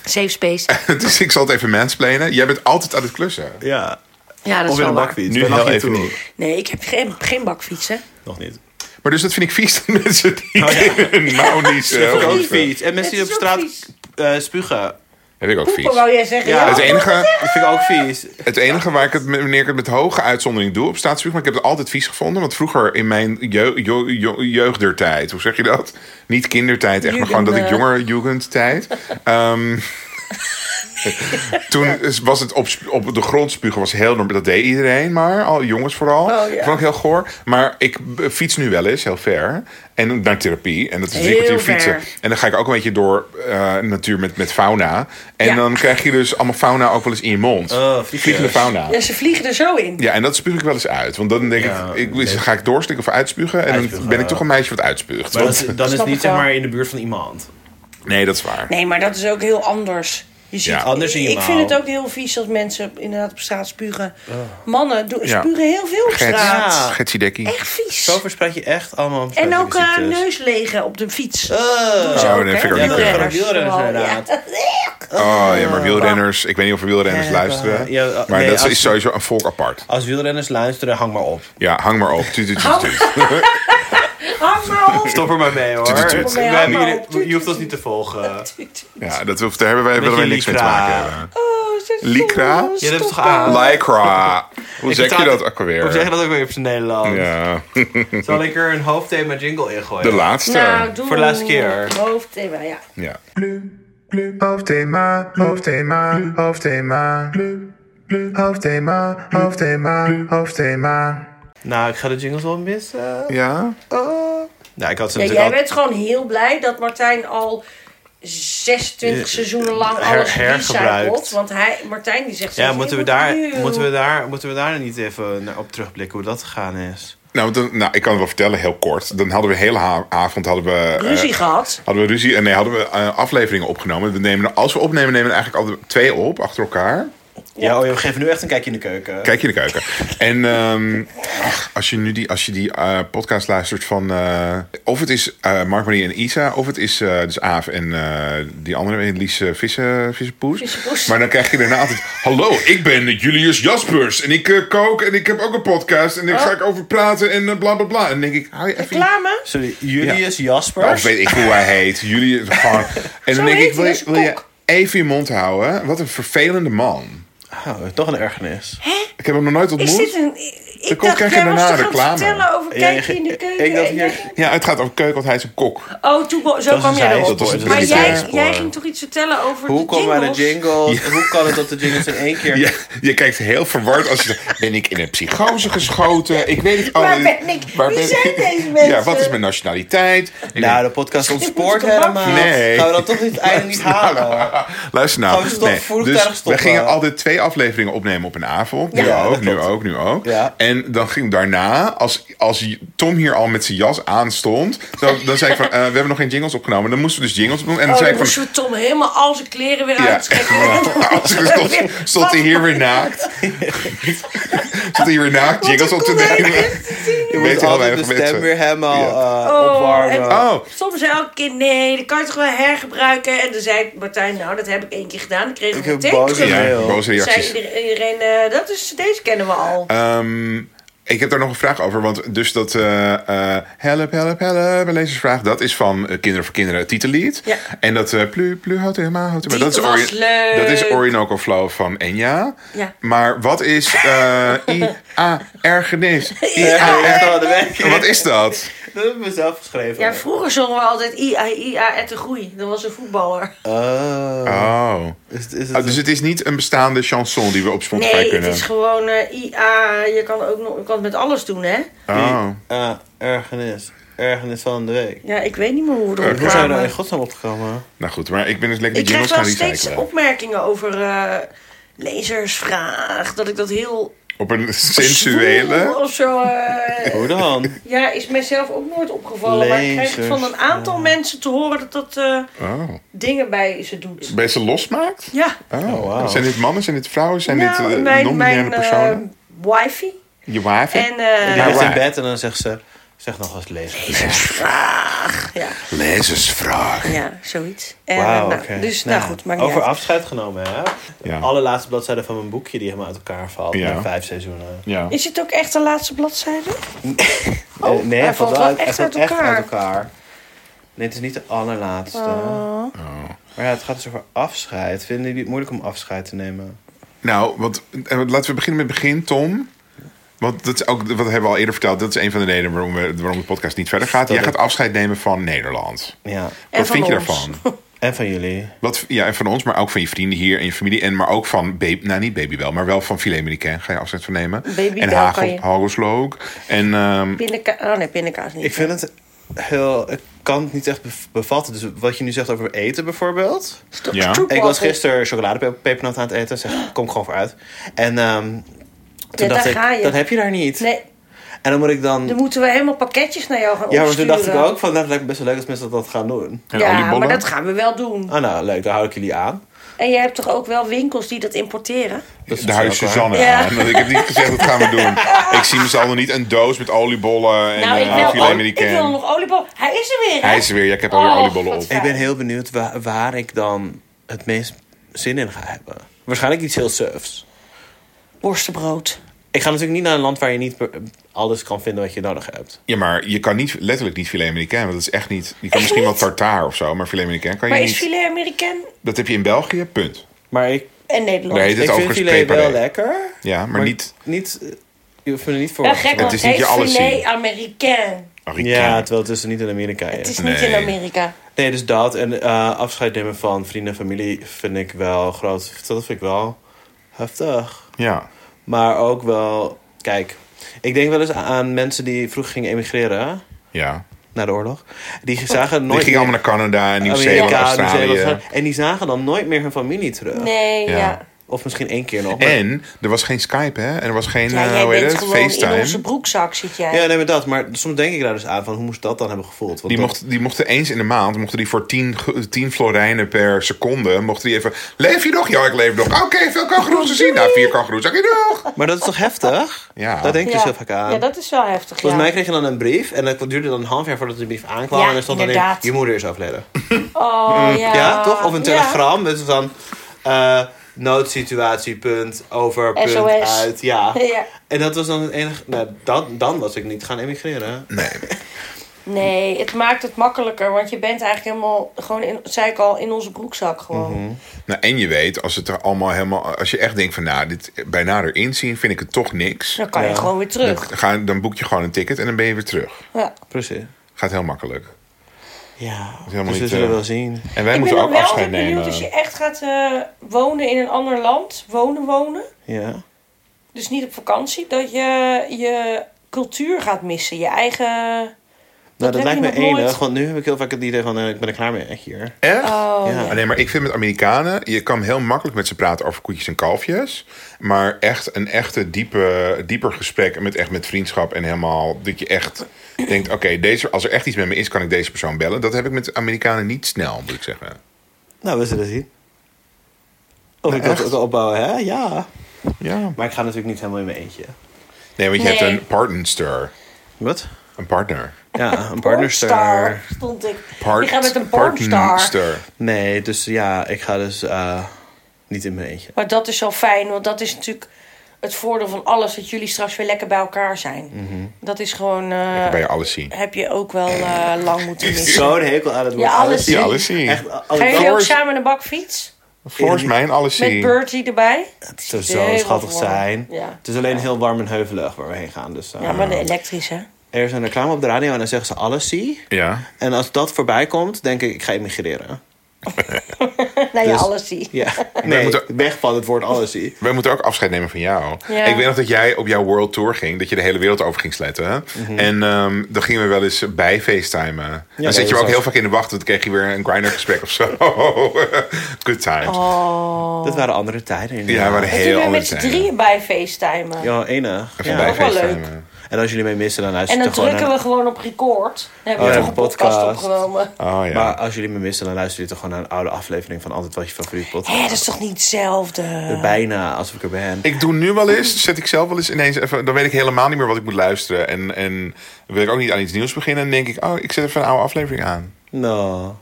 Speaker 7: Safe space.
Speaker 2: dus ik zal het even mansplainen. Jij bent altijd aan het klussen.
Speaker 3: Ja.
Speaker 7: Ja, dat is
Speaker 3: Of in
Speaker 7: wel
Speaker 3: een
Speaker 7: waar.
Speaker 3: bakfiets.
Speaker 2: Nu
Speaker 3: Ben nog
Speaker 2: heel
Speaker 3: niet
Speaker 2: even
Speaker 3: toe.
Speaker 2: niet.
Speaker 7: Nee, ik heb geen, geen bakfietsen.
Speaker 3: Nog niet.
Speaker 2: Maar dus dat vind ik vies, dat mensen die
Speaker 4: Oh,
Speaker 2: hun mouw niet eh,
Speaker 3: Ik heb
Speaker 2: zelf
Speaker 3: ook fiets. En mensen die
Speaker 4: Het
Speaker 3: op
Speaker 4: is ook
Speaker 3: straat
Speaker 4: vies.
Speaker 3: eh, spugen.
Speaker 2: Heb ik ook
Speaker 4: Poepen wou
Speaker 2: vies.
Speaker 4: jij zeggen?
Speaker 3: Ja,
Speaker 4: Ja,
Speaker 2: Het enige,
Speaker 3: Dat vind ik ook vies.
Speaker 2: het enige waar ik het, met- wanneer ik het met hoge uitzondering doe op staatsvuur, maar ik heb het altijd vies gevonden. Want vroeger in mijn jeugdertijd, jeugdertijd, hoe zeg je dat? Niet kindertijd, echt, maar gewoon dat ik
Speaker 7: Jugend, eh.
Speaker 2: jonger jugendtijd. Ehm toen is- was het op, sp- op de grond spugen was heel normaal. Dat deed iedereen maar, al jongens vooral.
Speaker 4: Oh, ja.
Speaker 2: Dat vond ik heel goor. Maar ik b- fiets nu wel eens heel ver. En naar therapie. En dat is drie
Speaker 4: Heel
Speaker 2: kwartier
Speaker 4: ver.
Speaker 2: fietsen. En dan ga ik ook een beetje door eh, natuur met, met fauna. En
Speaker 7: Ja.
Speaker 2: dan krijg je dus allemaal fauna ook wel eens in je mond.
Speaker 3: Oh, vliegers.
Speaker 2: Vliegende fauna.
Speaker 4: Ja, ze vliegen er zo in.
Speaker 2: Ja, en dat spuug ik wel eens uit. Want dan denk
Speaker 3: Ja,
Speaker 2: ik, ik ga ik doorstikken of uitspugen? En dan
Speaker 3: Uitspugen,
Speaker 2: ben ik
Speaker 3: ja.
Speaker 2: toch een meisje wat uitspuugt.
Speaker 3: Maar
Speaker 2: Want-
Speaker 3: dat, dan is
Speaker 4: Snap
Speaker 3: het niet
Speaker 4: ik
Speaker 3: zeg
Speaker 4: wel.
Speaker 3: maar in de buurt van iemand.
Speaker 2: nee, dat is waar.
Speaker 4: Nee, maar dat is ook heel anders. Je ziet,
Speaker 2: Ja.
Speaker 3: Anders in je
Speaker 4: ik vind
Speaker 3: mouw.
Speaker 4: het ook heel vies als mensen inderdaad op straat spugen.
Speaker 3: Oh.
Speaker 4: Mannen doen,
Speaker 2: Ja.
Speaker 4: spugen heel veel op
Speaker 2: Gert,
Speaker 4: straat.
Speaker 3: Ja.
Speaker 2: Gertsie Dekkie.
Speaker 4: Echt vies.
Speaker 3: Zo verspreid je echt allemaal
Speaker 4: En ook eh
Speaker 3: neuzen.
Speaker 4: neus legen op de fiets.
Speaker 3: Oh,
Speaker 2: Oh, nee, vind ik ook niet kunnen.
Speaker 3: Wielrenners, inderdaad.
Speaker 2: Oh ja, maar wielrenners. Ik weet niet of er wielrenners
Speaker 3: Ja,
Speaker 2: luisteren.
Speaker 3: ja, ja,
Speaker 2: maar
Speaker 3: nee,
Speaker 2: dat
Speaker 3: als-
Speaker 2: is sowieso een volk apart.
Speaker 3: Als wielrenners luisteren, hang maar op.
Speaker 2: Ja, hang maar op. Tuut, tuut, tuut,
Speaker 4: Hang-
Speaker 2: tuut.
Speaker 4: Hang maar op.
Speaker 3: Stop er maar mee hoor.
Speaker 2: Tuut, tuut,
Speaker 4: tuut.
Speaker 3: We hebben jullie- Je hoeft ons niet te volgen.
Speaker 2: Ja, dat, hoeft- daar hebben wij,
Speaker 3: Beetje
Speaker 2: willen wij niks mee te
Speaker 3: lycra.
Speaker 2: maken hebben.
Speaker 4: Oh, ze zijn
Speaker 2: Lycra?
Speaker 4: zo
Speaker 3: Je hebt het toch
Speaker 4: stoppen.
Speaker 3: aan?
Speaker 2: Lycra. Hoe
Speaker 3: Ik
Speaker 2: zeg je
Speaker 3: vertaal-
Speaker 2: dat ook alweer?
Speaker 3: Hoe zeg je dat ook weer op zijn Nederlands?
Speaker 2: Ja,
Speaker 3: Zal ik er een hoofdthema jingle in gooien?
Speaker 2: de laatste.
Speaker 4: Nou, doe.
Speaker 3: Voor de laatste keer.
Speaker 4: Hoofdthema, ja.
Speaker 2: Ja.
Speaker 8: Hoofdthema, hoofdthema, hoofdthema. Hoofdthema, hoofdthema, hoofdthema.
Speaker 3: Nou, ik ga de jingles wel missen.
Speaker 2: Ja?
Speaker 3: Nou, ik had ze
Speaker 4: Nee, jij
Speaker 3: natuurlijk al
Speaker 4: bent gewoon heel blij dat Martijn al 26 seizoenen lang
Speaker 3: her-
Speaker 4: alles recycelt.
Speaker 3: hergebruikt.
Speaker 4: Want hij, Martijn die zegt...
Speaker 3: Ja,
Speaker 4: zelfs,
Speaker 3: moeten
Speaker 4: je
Speaker 3: we, daar,
Speaker 4: moet nu-
Speaker 3: moeten, we daar, moeten we daar niet even naar op terugblikken hoe dat gegaan is?
Speaker 2: Nou, dan, nou, ik kan het wel vertellen, heel kort. Dan hadden we de hele ha- avond hadden we, eh,
Speaker 4: Ruzie gehad.
Speaker 2: hadden we ruzie. En nee, hadden we eh, afleveringen opgenomen. We nemen, als we opnemen, nemen we eigenlijk altijd twee op achter elkaar.
Speaker 3: Ja, oh, we geven nu echt een kijkje in de keuken.
Speaker 2: Kijk je in de keuken. En ehm, ach, als je nu die, als je die eh, podcast luistert van. eh, of het is eh, Mark Marie en Isa. Of het is eh, dus Aaf en eh, die andere, Lies eh, Vissen, Vissenpoes.
Speaker 4: Vissenpoes.
Speaker 2: Maar dan krijg je daarna altijd. Hallo, ik ben Julius Jaspers. En ik eh, kook en ik heb ook een podcast. En daar ga ik over praten en eh, bla bla bla. En dan denk ik, hou je even.
Speaker 4: Reclame?
Speaker 3: Sorry, Julius Jasper.
Speaker 2: Nou, Of weet ik hoe hij heet. Jullie gewoon. En dan denk ik,
Speaker 4: heet hij,
Speaker 2: wil,
Speaker 4: dat
Speaker 2: je-
Speaker 4: is een
Speaker 2: wil je
Speaker 4: kok.
Speaker 2: even je mond houden? Wat een vervelende man.
Speaker 3: Oh, toch een ergernis.
Speaker 2: Ik heb hem nog nooit ontmoet.
Speaker 4: Is dit een... Ik
Speaker 2: komt-
Speaker 4: dacht,
Speaker 2: krijg je
Speaker 4: jij was
Speaker 2: daarna
Speaker 4: toch aan het
Speaker 2: reclame.
Speaker 4: vertellen over
Speaker 3: Ja,
Speaker 4: kijkje in de
Speaker 3: ik-
Speaker 4: keuken.
Speaker 3: ik dacht
Speaker 4: en
Speaker 3: hier-
Speaker 4: jij-
Speaker 2: Ja, het gaat over keuken, want hij is een kok.
Speaker 4: Oh, toen, zo
Speaker 3: Dat
Speaker 4: kwam
Speaker 3: is
Speaker 4: jij
Speaker 3: een
Speaker 4: erop.
Speaker 3: zijspoor, dat is
Speaker 4: Maar
Speaker 3: een
Speaker 4: jij,
Speaker 3: zijspoor.
Speaker 4: jij ging toch iets vertellen over
Speaker 3: Hoe
Speaker 4: de
Speaker 3: komen wij de
Speaker 4: jingles?
Speaker 3: jingles? Hoe kan het dat de jingles in één keer...
Speaker 2: Ja, je kijkt heel verward als je zegt, ben ik in een psychose geschoten? Ik weet het al.
Speaker 4: Waar ben ik? Wie zijn deze mensen?
Speaker 2: Ja, wat is mijn nationaliteit? Ik
Speaker 3: Nou, de podcast ontspoort
Speaker 4: Moet ik een
Speaker 3: helemaal.
Speaker 2: bakfiets? Nee. Nou,
Speaker 3: Gaan we dat toch niet, het einde niet halen?
Speaker 2: denk, Luister nou.
Speaker 3: Gaan we ze toch vroegtijdig
Speaker 2: dus we
Speaker 3: stoppen?
Speaker 2: gingen altijd twee afleveringen opnemen op een avond. Nu
Speaker 3: Ja,
Speaker 2: ook,
Speaker 3: dat
Speaker 2: nu
Speaker 3: klopt.
Speaker 2: ook, nu ook.
Speaker 3: Ja.
Speaker 2: En dan ging daarna, als, als Tom hier al met zijn jas aan stond, dan, dan zei ik van, eh, we hebben nog geen jingles opgenomen. Dan moesten we dus jingles opnemen. En dan
Speaker 4: Oh,
Speaker 2: zei
Speaker 4: dan
Speaker 2: ik van,
Speaker 4: moesten we Tom helemaal al zijn kleren weer
Speaker 2: Ja.
Speaker 4: uittrekken.
Speaker 2: Als ik stond, stond hij hier weer naakt. stond hij hier weer naakt, jingles op te nemen.
Speaker 3: Je
Speaker 2: weet
Speaker 3: moet
Speaker 2: heel
Speaker 3: altijd de
Speaker 2: weinig
Speaker 3: stem
Speaker 2: mensen.
Speaker 3: weer helemaal eh,
Speaker 4: Oh,
Speaker 3: opwarmen.
Speaker 4: en-
Speaker 2: Oh,
Speaker 4: Soms zei elke keer, nee, dat kan je toch wel hergebruiken. En dan zei Martijn, nou, dat heb ik één keer gedaan. Ik kreeg
Speaker 3: Ik
Speaker 4: ik een
Speaker 3: heb
Speaker 4: tank
Speaker 3: boze
Speaker 4: terug.
Speaker 2: ja,
Speaker 3: Heel.
Speaker 2: boze
Speaker 4: Toen Zei
Speaker 2: reacties.
Speaker 4: iedereen, iedereen, eh, dat is, deze kennen we al.
Speaker 2: Ehm, ik heb daar nog een vraag over. Want dus dat eh, eh, help, help, help, een lezersvraag. Dat is van eh, Kinderen voor Kinderen het titellied.
Speaker 4: Ja.
Speaker 2: En dat eh plu, plu, houd helemaal, houd helemaal. Dat
Speaker 4: Die
Speaker 2: is,
Speaker 4: was leuk.
Speaker 2: dat is Orinoco Flow van Enya.
Speaker 4: Ja.
Speaker 2: Maar wat is eh I-A ergernis?
Speaker 3: Ja, echt wel de weg.
Speaker 2: Wat is dat?
Speaker 3: Dat heb ik mezelf geschreven.
Speaker 4: ja, vroeger zongen we altijd IA, IA, et de groei. Dat was een voetballer.
Speaker 3: Oh.
Speaker 2: Oh.
Speaker 3: Is, het- is het
Speaker 2: Oh, dus het is niet een bestaande chanson die we op Spotify
Speaker 4: Nee, het
Speaker 2: kunnen.
Speaker 4: is gewoon eh, IA. Je kan, ook nog, je kan het met alles doen, hè?
Speaker 2: Oh.
Speaker 3: Ah, ergernis. Ergernis van de week.
Speaker 4: Ja, ik weet niet meer hoe we erop
Speaker 3: Hoe zijn we daar in
Speaker 4: kwamen.
Speaker 3: godsnaam opgekomen?
Speaker 2: Nou goed, maar ik ben dus lekker
Speaker 4: Ik
Speaker 2: de
Speaker 4: krijg
Speaker 2: jingles
Speaker 4: wel
Speaker 2: gaan
Speaker 4: steeds
Speaker 2: recyclen.
Speaker 4: opmerkingen over eh lezersvraag. Dat ik dat heel
Speaker 2: Op een sensuele.
Speaker 4: Zwoel Of zo. eh,
Speaker 3: Hoe dan?
Speaker 4: ja, is mijzelf ook nooit opgevallen. Maar ik krijg
Speaker 3: Lezers,
Speaker 4: van een aantal mensen te horen dat dat eh,
Speaker 2: Oh.
Speaker 4: dingen bij ze doet.
Speaker 2: Ben je ze losmaakt?
Speaker 4: Ja,
Speaker 2: Oh,
Speaker 3: wauw.
Speaker 2: Zijn dit mannen, zijn dit vrouwen, zijn
Speaker 4: nou,
Speaker 2: dit eh,
Speaker 4: mijn,
Speaker 2: non-binaire
Speaker 4: mijn
Speaker 2: personen?
Speaker 4: eh, wifey.
Speaker 2: je wife?
Speaker 4: En eh,
Speaker 3: Die ligt in
Speaker 2: waar?
Speaker 3: bed en dan zegt ze... Zeg nog eens lezen.
Speaker 4: ja,
Speaker 2: Lezersvraag.
Speaker 4: ja, zoiets. En,
Speaker 3: Wauw,
Speaker 4: eh, nou,
Speaker 3: oké.
Speaker 4: Dus nou, goed, maakt niet
Speaker 3: Over
Speaker 4: uit.
Speaker 3: afscheid genomen, hè?
Speaker 2: Ja.
Speaker 3: Alle laatste bladzijden van mijn boekje die helemaal uit elkaar valt.
Speaker 2: Ja.
Speaker 3: Na vijf seizoenen.
Speaker 2: Ja.
Speaker 4: Is het ook echt de laatste bladzijde?
Speaker 3: Eh, nee,
Speaker 4: Oh, hij
Speaker 3: het
Speaker 4: valt
Speaker 3: valt
Speaker 4: wel
Speaker 3: uit-
Speaker 4: echt
Speaker 3: hij valt
Speaker 4: uit elkaar.
Speaker 3: elkaar. Nee, het is niet de allerlaatste.
Speaker 4: Oh.
Speaker 3: Maar ja, het gaat dus over afscheid. Vinden jullie het moeilijk om afscheid te nemen?
Speaker 2: Nou, want, eh, laten we beginnen met het begin, Tom. Want dat is ook, wat hebben we al eerder verteld, dat is een van de redenen waarom, we, waarom de podcast niet verder gaat. Jij
Speaker 3: Dat ik-
Speaker 2: gaat afscheid nemen van Nederland.
Speaker 3: Ja.
Speaker 4: En
Speaker 2: Wat
Speaker 4: van
Speaker 2: vind je
Speaker 4: ons.
Speaker 2: daarvan?
Speaker 3: En van jullie?
Speaker 2: Wat, ja, en van ons, maar ook van je vrienden hier en je familie. En maar ook van, baby, nou niet baby wel, maar wel van filet Americain. Ga je afscheid van nemen.
Speaker 4: Babybel
Speaker 2: en
Speaker 4: kan
Speaker 2: hagel,
Speaker 4: je.
Speaker 2: hagelslook. En ehm,
Speaker 4: Pindaka oh nee, pindakaas niet.
Speaker 3: Ik vind het heel... Ik kan het niet echt bev- bevatten. Dus wat je nu zegt over eten bijvoorbeeld.
Speaker 4: Sto-
Speaker 2: Ja.
Speaker 4: stroopwafel.
Speaker 3: Ik was gisteren chocoladepepernoot aan het eten. Zeg, kom gewoon vooruit. En ehm, toen
Speaker 4: Ja,
Speaker 3: dacht
Speaker 4: daar
Speaker 3: ik,
Speaker 4: ga je.
Speaker 3: dat heb je daar niet.
Speaker 4: Nee,
Speaker 3: En dan moet ik dan...
Speaker 4: dan moeten we helemaal pakketjes naar jou gaan
Speaker 3: Ja, maar toen
Speaker 4: opsturen.
Speaker 3: dacht ik ook van, nou, dat lijkt me best wel leuk als mensen dat gaan doen.
Speaker 2: en
Speaker 4: Ja,
Speaker 2: oliebollen.
Speaker 4: maar dat gaan we wel doen.
Speaker 3: Ah nou, leuk, daar hou ik jullie aan.
Speaker 4: En jij hebt toch ook wel winkels die dat importeren?
Speaker 3: Dat is
Speaker 2: Daar hou je
Speaker 3: natuurlijk ook
Speaker 2: Suzanne
Speaker 4: Ja.
Speaker 2: aan. Want Ik heb niet gezegd dat gaan we doen. Ik zie mezelf nog niet een doos met oliebollen en
Speaker 4: nou,
Speaker 2: eh,
Speaker 4: ik wil,
Speaker 2: filet
Speaker 4: ook- ik
Speaker 2: Americain.
Speaker 4: wil nog oliebol. Hij is er weer, hè?
Speaker 2: Hij is er weer. Ja, ik heb alweer
Speaker 4: Oh,
Speaker 2: oliebollen
Speaker 4: wat
Speaker 2: op.
Speaker 3: waar. Ik ben
Speaker 4: Ja.
Speaker 3: heel benieuwd waar, waar ik dan het meest zin in ga hebben. Waarschijnlijk iets heel surfs.
Speaker 4: Worstenbrood.
Speaker 3: Ik ga natuurlijk niet naar een land waar je niet per- alles kan vinden wat je nodig hebt.
Speaker 2: Ja, maar je kan niet, letterlijk niet filet Amerikaan. Want dat is echt niet... Je kan misschien wel
Speaker 4: niet?
Speaker 2: tartaar of zo, maar filet Amerikaan kan je
Speaker 4: Maar
Speaker 2: niet.
Speaker 4: is filet Amerikaan Eh,
Speaker 2: Dat heb je in België, punt.
Speaker 3: Maar ik,
Speaker 4: en Nederland?
Speaker 2: Nee, dit
Speaker 3: ik vind
Speaker 2: overigens
Speaker 3: filet wel
Speaker 2: peperlee.
Speaker 3: lekker.
Speaker 2: Ja, maar, niet...
Speaker 3: Niet, eh, je hoeft me er niet voor
Speaker 4: ja, Eh, gek,
Speaker 2: Het
Speaker 4: want
Speaker 2: is
Speaker 4: het
Speaker 2: niet je alles
Speaker 4: filet
Speaker 2: zien.
Speaker 4: Amerikaan.
Speaker 3: Ja,
Speaker 2: Amerikaan.
Speaker 3: terwijl het dus niet in Amerika
Speaker 4: Het
Speaker 3: is.
Speaker 4: is
Speaker 2: Nee.
Speaker 4: niet in Amerika.
Speaker 3: Nee, dus dat. En eh, afscheid nemen van vrienden en familie vind ik wel groot. Dat vind ik wel heftig.
Speaker 2: ja.
Speaker 3: Maar ook wel... Kijk, ik denk wel eens aan mensen die vroeger gingen emigreren...
Speaker 2: ja.
Speaker 3: na de oorlog. Die zagen
Speaker 2: Die
Speaker 3: nooit
Speaker 2: gingen
Speaker 3: meer- Oh,
Speaker 2: allemaal naar Canada en Nieuw-Zeeland,
Speaker 3: Amerika,
Speaker 2: Australië.
Speaker 3: Nieuw-Zeeland, Australië. En die zagen dan nooit meer hun familie terug.
Speaker 4: Nee, ja.
Speaker 2: Ja.
Speaker 4: ja.
Speaker 3: Of misschien één keer nog. maar-
Speaker 2: En er was geen Skype, hè? En er was geen, eh,
Speaker 4: jij
Speaker 2: hoe heet
Speaker 4: bent
Speaker 2: het?
Speaker 4: gewoon in onze
Speaker 2: FaceTime.
Speaker 4: broekzak, zit jij.
Speaker 3: Ja, nee, maar dat. Maar soms denk ik daar dus aan van hoe moest dat dan hebben gevoeld? Want
Speaker 2: Die,
Speaker 3: dat-
Speaker 2: mocht, die mochten eens in de maand, mochten die voor 10, ge- 10 florijnen per seconde, mochten die even... Leef je nog? Ja, ik leef nog. Oké, veel kangoeroes te zien. Nou, vier kangoeroes. Oké, nog.
Speaker 3: Maar dat is toch heftig?
Speaker 2: Ja.
Speaker 3: Daar denk ik
Speaker 4: Ja.
Speaker 3: dus heel vaak aan.
Speaker 4: Ja, dat is wel heftig,
Speaker 3: Volgens
Speaker 4: ja.
Speaker 3: mij kreeg je dan een brief en dat duurde dan een half jaar voordat de brief aankwam.
Speaker 4: Ja,
Speaker 3: en er stond dan in,
Speaker 4: inderdaad.
Speaker 3: je moeder is overleden.
Speaker 4: Oh, ja.
Speaker 3: Mm, Ja, toch? Of een
Speaker 4: Ja.
Speaker 3: telegram. Dus dan eh, noodsituatie, punt, over, punt,
Speaker 4: SOS.
Speaker 3: uit. Ja.
Speaker 4: Ja.
Speaker 3: En dat was dan het enige... Nou, dan, dan was ik niet gaan emigreren.
Speaker 4: Nee, het maakt het makkelijker, want je bent eigenlijk helemaal, gewoon in, zei ik al, in onze broekzak gewoon.
Speaker 2: Nou, en je weet, als het er allemaal helemaal... Als je echt denkt van, nou, dit bij nader inzien vind ik het toch niks.
Speaker 4: Dan kan je
Speaker 3: Ja.
Speaker 4: gewoon weer
Speaker 2: Dan,
Speaker 4: terug.
Speaker 2: ga, dan boek je gewoon een ticket en dan ben je weer terug.
Speaker 4: Ja.
Speaker 3: Precies.
Speaker 2: Gaat heel makkelijk.
Speaker 3: Ja,
Speaker 2: helemaal
Speaker 3: dus we
Speaker 2: niet,
Speaker 3: zullen
Speaker 2: eh,
Speaker 3: wel zien.
Speaker 4: Ik
Speaker 2: En wij
Speaker 4: ben
Speaker 2: moeten
Speaker 4: dan
Speaker 2: ook
Speaker 4: wel
Speaker 2: afscheid
Speaker 4: weer
Speaker 2: nemen.
Speaker 4: benieuwd als je echt gaat eh, wonen in een ander land. Wonen, wonen.
Speaker 3: Ja. Nou,
Speaker 4: Dus niet op vakantie. Dat je je cultuur gaat missen. Je eigen...
Speaker 3: Nou, dat
Speaker 4: heb
Speaker 3: lijkt
Speaker 4: je
Speaker 3: me
Speaker 4: nog nooit.
Speaker 3: enig, want nu heb ik heel vaak het idee van, eh, ik ben er klaar mee hier.
Speaker 2: Echt?
Speaker 4: Oh,
Speaker 3: ja.
Speaker 2: Nee, maar ik vind met Amerikanen, je kan heel makkelijk met ze praten over koetjes en kalfjes. Maar echt een echte diepe, dieper gesprek met, echt met vriendschap en helemaal dat je echt denkt, oké, deze als er echt iets met me is, kan ik deze persoon bellen. Dat heb ik met Amerikanen niet snel, moet ik zeggen.
Speaker 3: Nou, we zullen zien. Of ik dat ook opbouwen, hè? Ja.
Speaker 2: Ja.
Speaker 3: Maar ik ga natuurlijk niet helemaal in mijn eentje.
Speaker 2: Nee, want je
Speaker 4: Nee.
Speaker 2: hebt een partnerster.
Speaker 3: Wat?
Speaker 2: Een partner.
Speaker 3: Ja, een
Speaker 4: Pornstar,
Speaker 3: partnerster.
Speaker 4: stond ik.
Speaker 2: Part-
Speaker 4: ik ga met een pornstar.
Speaker 2: partnerster.
Speaker 3: Nee, dus ja, ik ga dus eh, niet in mijn eentje.
Speaker 4: Maar dat is zo fijn, want dat is natuurlijk het voordeel van alles. Dat jullie straks weer lekker bij elkaar zijn.
Speaker 3: Mhm.
Speaker 4: Dat is gewoon... eh,
Speaker 2: Dan kan je alles zien.
Speaker 4: heb je ook wel eh, lang moeten missen.
Speaker 3: Zo'n hekel aan het woord.
Speaker 4: Ja, alles
Speaker 2: Ja, alles zien.
Speaker 3: Echt, alles
Speaker 4: Ga je ook
Speaker 2: Doors.
Speaker 4: samen een bak fiets?
Speaker 2: Volgens mij een alles
Speaker 4: Met
Speaker 2: zien.
Speaker 4: Bertie erbij?
Speaker 3: Het zou zo
Speaker 4: Heel
Speaker 3: schattig
Speaker 4: warm.
Speaker 3: zijn.
Speaker 4: Ja.
Speaker 3: Het is alleen heel warm en heuvelig waar we heen gaan. Dus, eh,
Speaker 4: Ja, maar de elektrische.
Speaker 3: Er is een reclame op de radio en dan zeggen ze alles zie.
Speaker 2: Ja.
Speaker 3: En als dat voorbij komt, denk ik, ik ga emigreren.
Speaker 4: Nou ja,
Speaker 3: Dus-
Speaker 4: allesie.
Speaker 3: Ja, nee,
Speaker 2: moeten-
Speaker 3: weg van het woord allesie.
Speaker 2: Wij moeten ook afscheid nemen van jou.
Speaker 4: Ja.
Speaker 2: Ik weet nog dat jij op jouw world tour ging. Dat je de hele wereld over ging sletten. hè?
Speaker 3: Mhm.
Speaker 2: En ehm, dan gingen we wel eens bij facetimen.
Speaker 3: nee,
Speaker 2: dan zit
Speaker 3: dat
Speaker 2: je me ook
Speaker 3: was-
Speaker 2: heel vaak in de wacht. Want dan kreeg je weer een grinder gesprek of zo. Good times.
Speaker 4: Oh,
Speaker 3: Dat waren andere tijden. inderdaad.
Speaker 2: Ja, maar een
Speaker 4: En toen
Speaker 2: heel
Speaker 4: ben je
Speaker 2: andere
Speaker 4: met z'n drieën bij facetimen.
Speaker 3: Ja, enig.
Speaker 2: Even
Speaker 3: Ja.
Speaker 2: bij
Speaker 4: Ook wel leuk.
Speaker 2: facetimen.
Speaker 3: En als jullie mee missen, dan
Speaker 4: En
Speaker 3: luister
Speaker 4: dan
Speaker 3: je gewoon
Speaker 4: drukken
Speaker 3: naar-
Speaker 4: we gewoon op record. Dan hebben we
Speaker 3: ja,
Speaker 4: toch een podcast,
Speaker 3: podcast.
Speaker 4: opgenomen.
Speaker 2: Oh ja.
Speaker 3: Maar als jullie me missen, dan luister je toch gewoon naar een oude aflevering van Altijd Was Je Favoriet Podcast.
Speaker 4: Hé, dat is toch niet hetzelfde?
Speaker 3: Bijna, als ik er ben.
Speaker 2: Ik doe nu wel eens, zet ik zelf wel eens ineens even... Dan weet ik helemaal niet meer wat ik moet luisteren. En, en wil ik ook niet aan iets nieuws beginnen. En denk ik, oh, ik zet even een oude aflevering aan.
Speaker 3: No.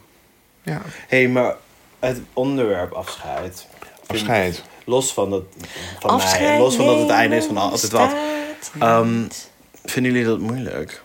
Speaker 2: Ja,
Speaker 3: Hé, hey, maar het onderwerp afscheid.
Speaker 2: afscheid.
Speaker 3: Los van, dat, van mij. en Los van dat het einde is van altijd wat. Ehm, vinden jullie dat moeilijk?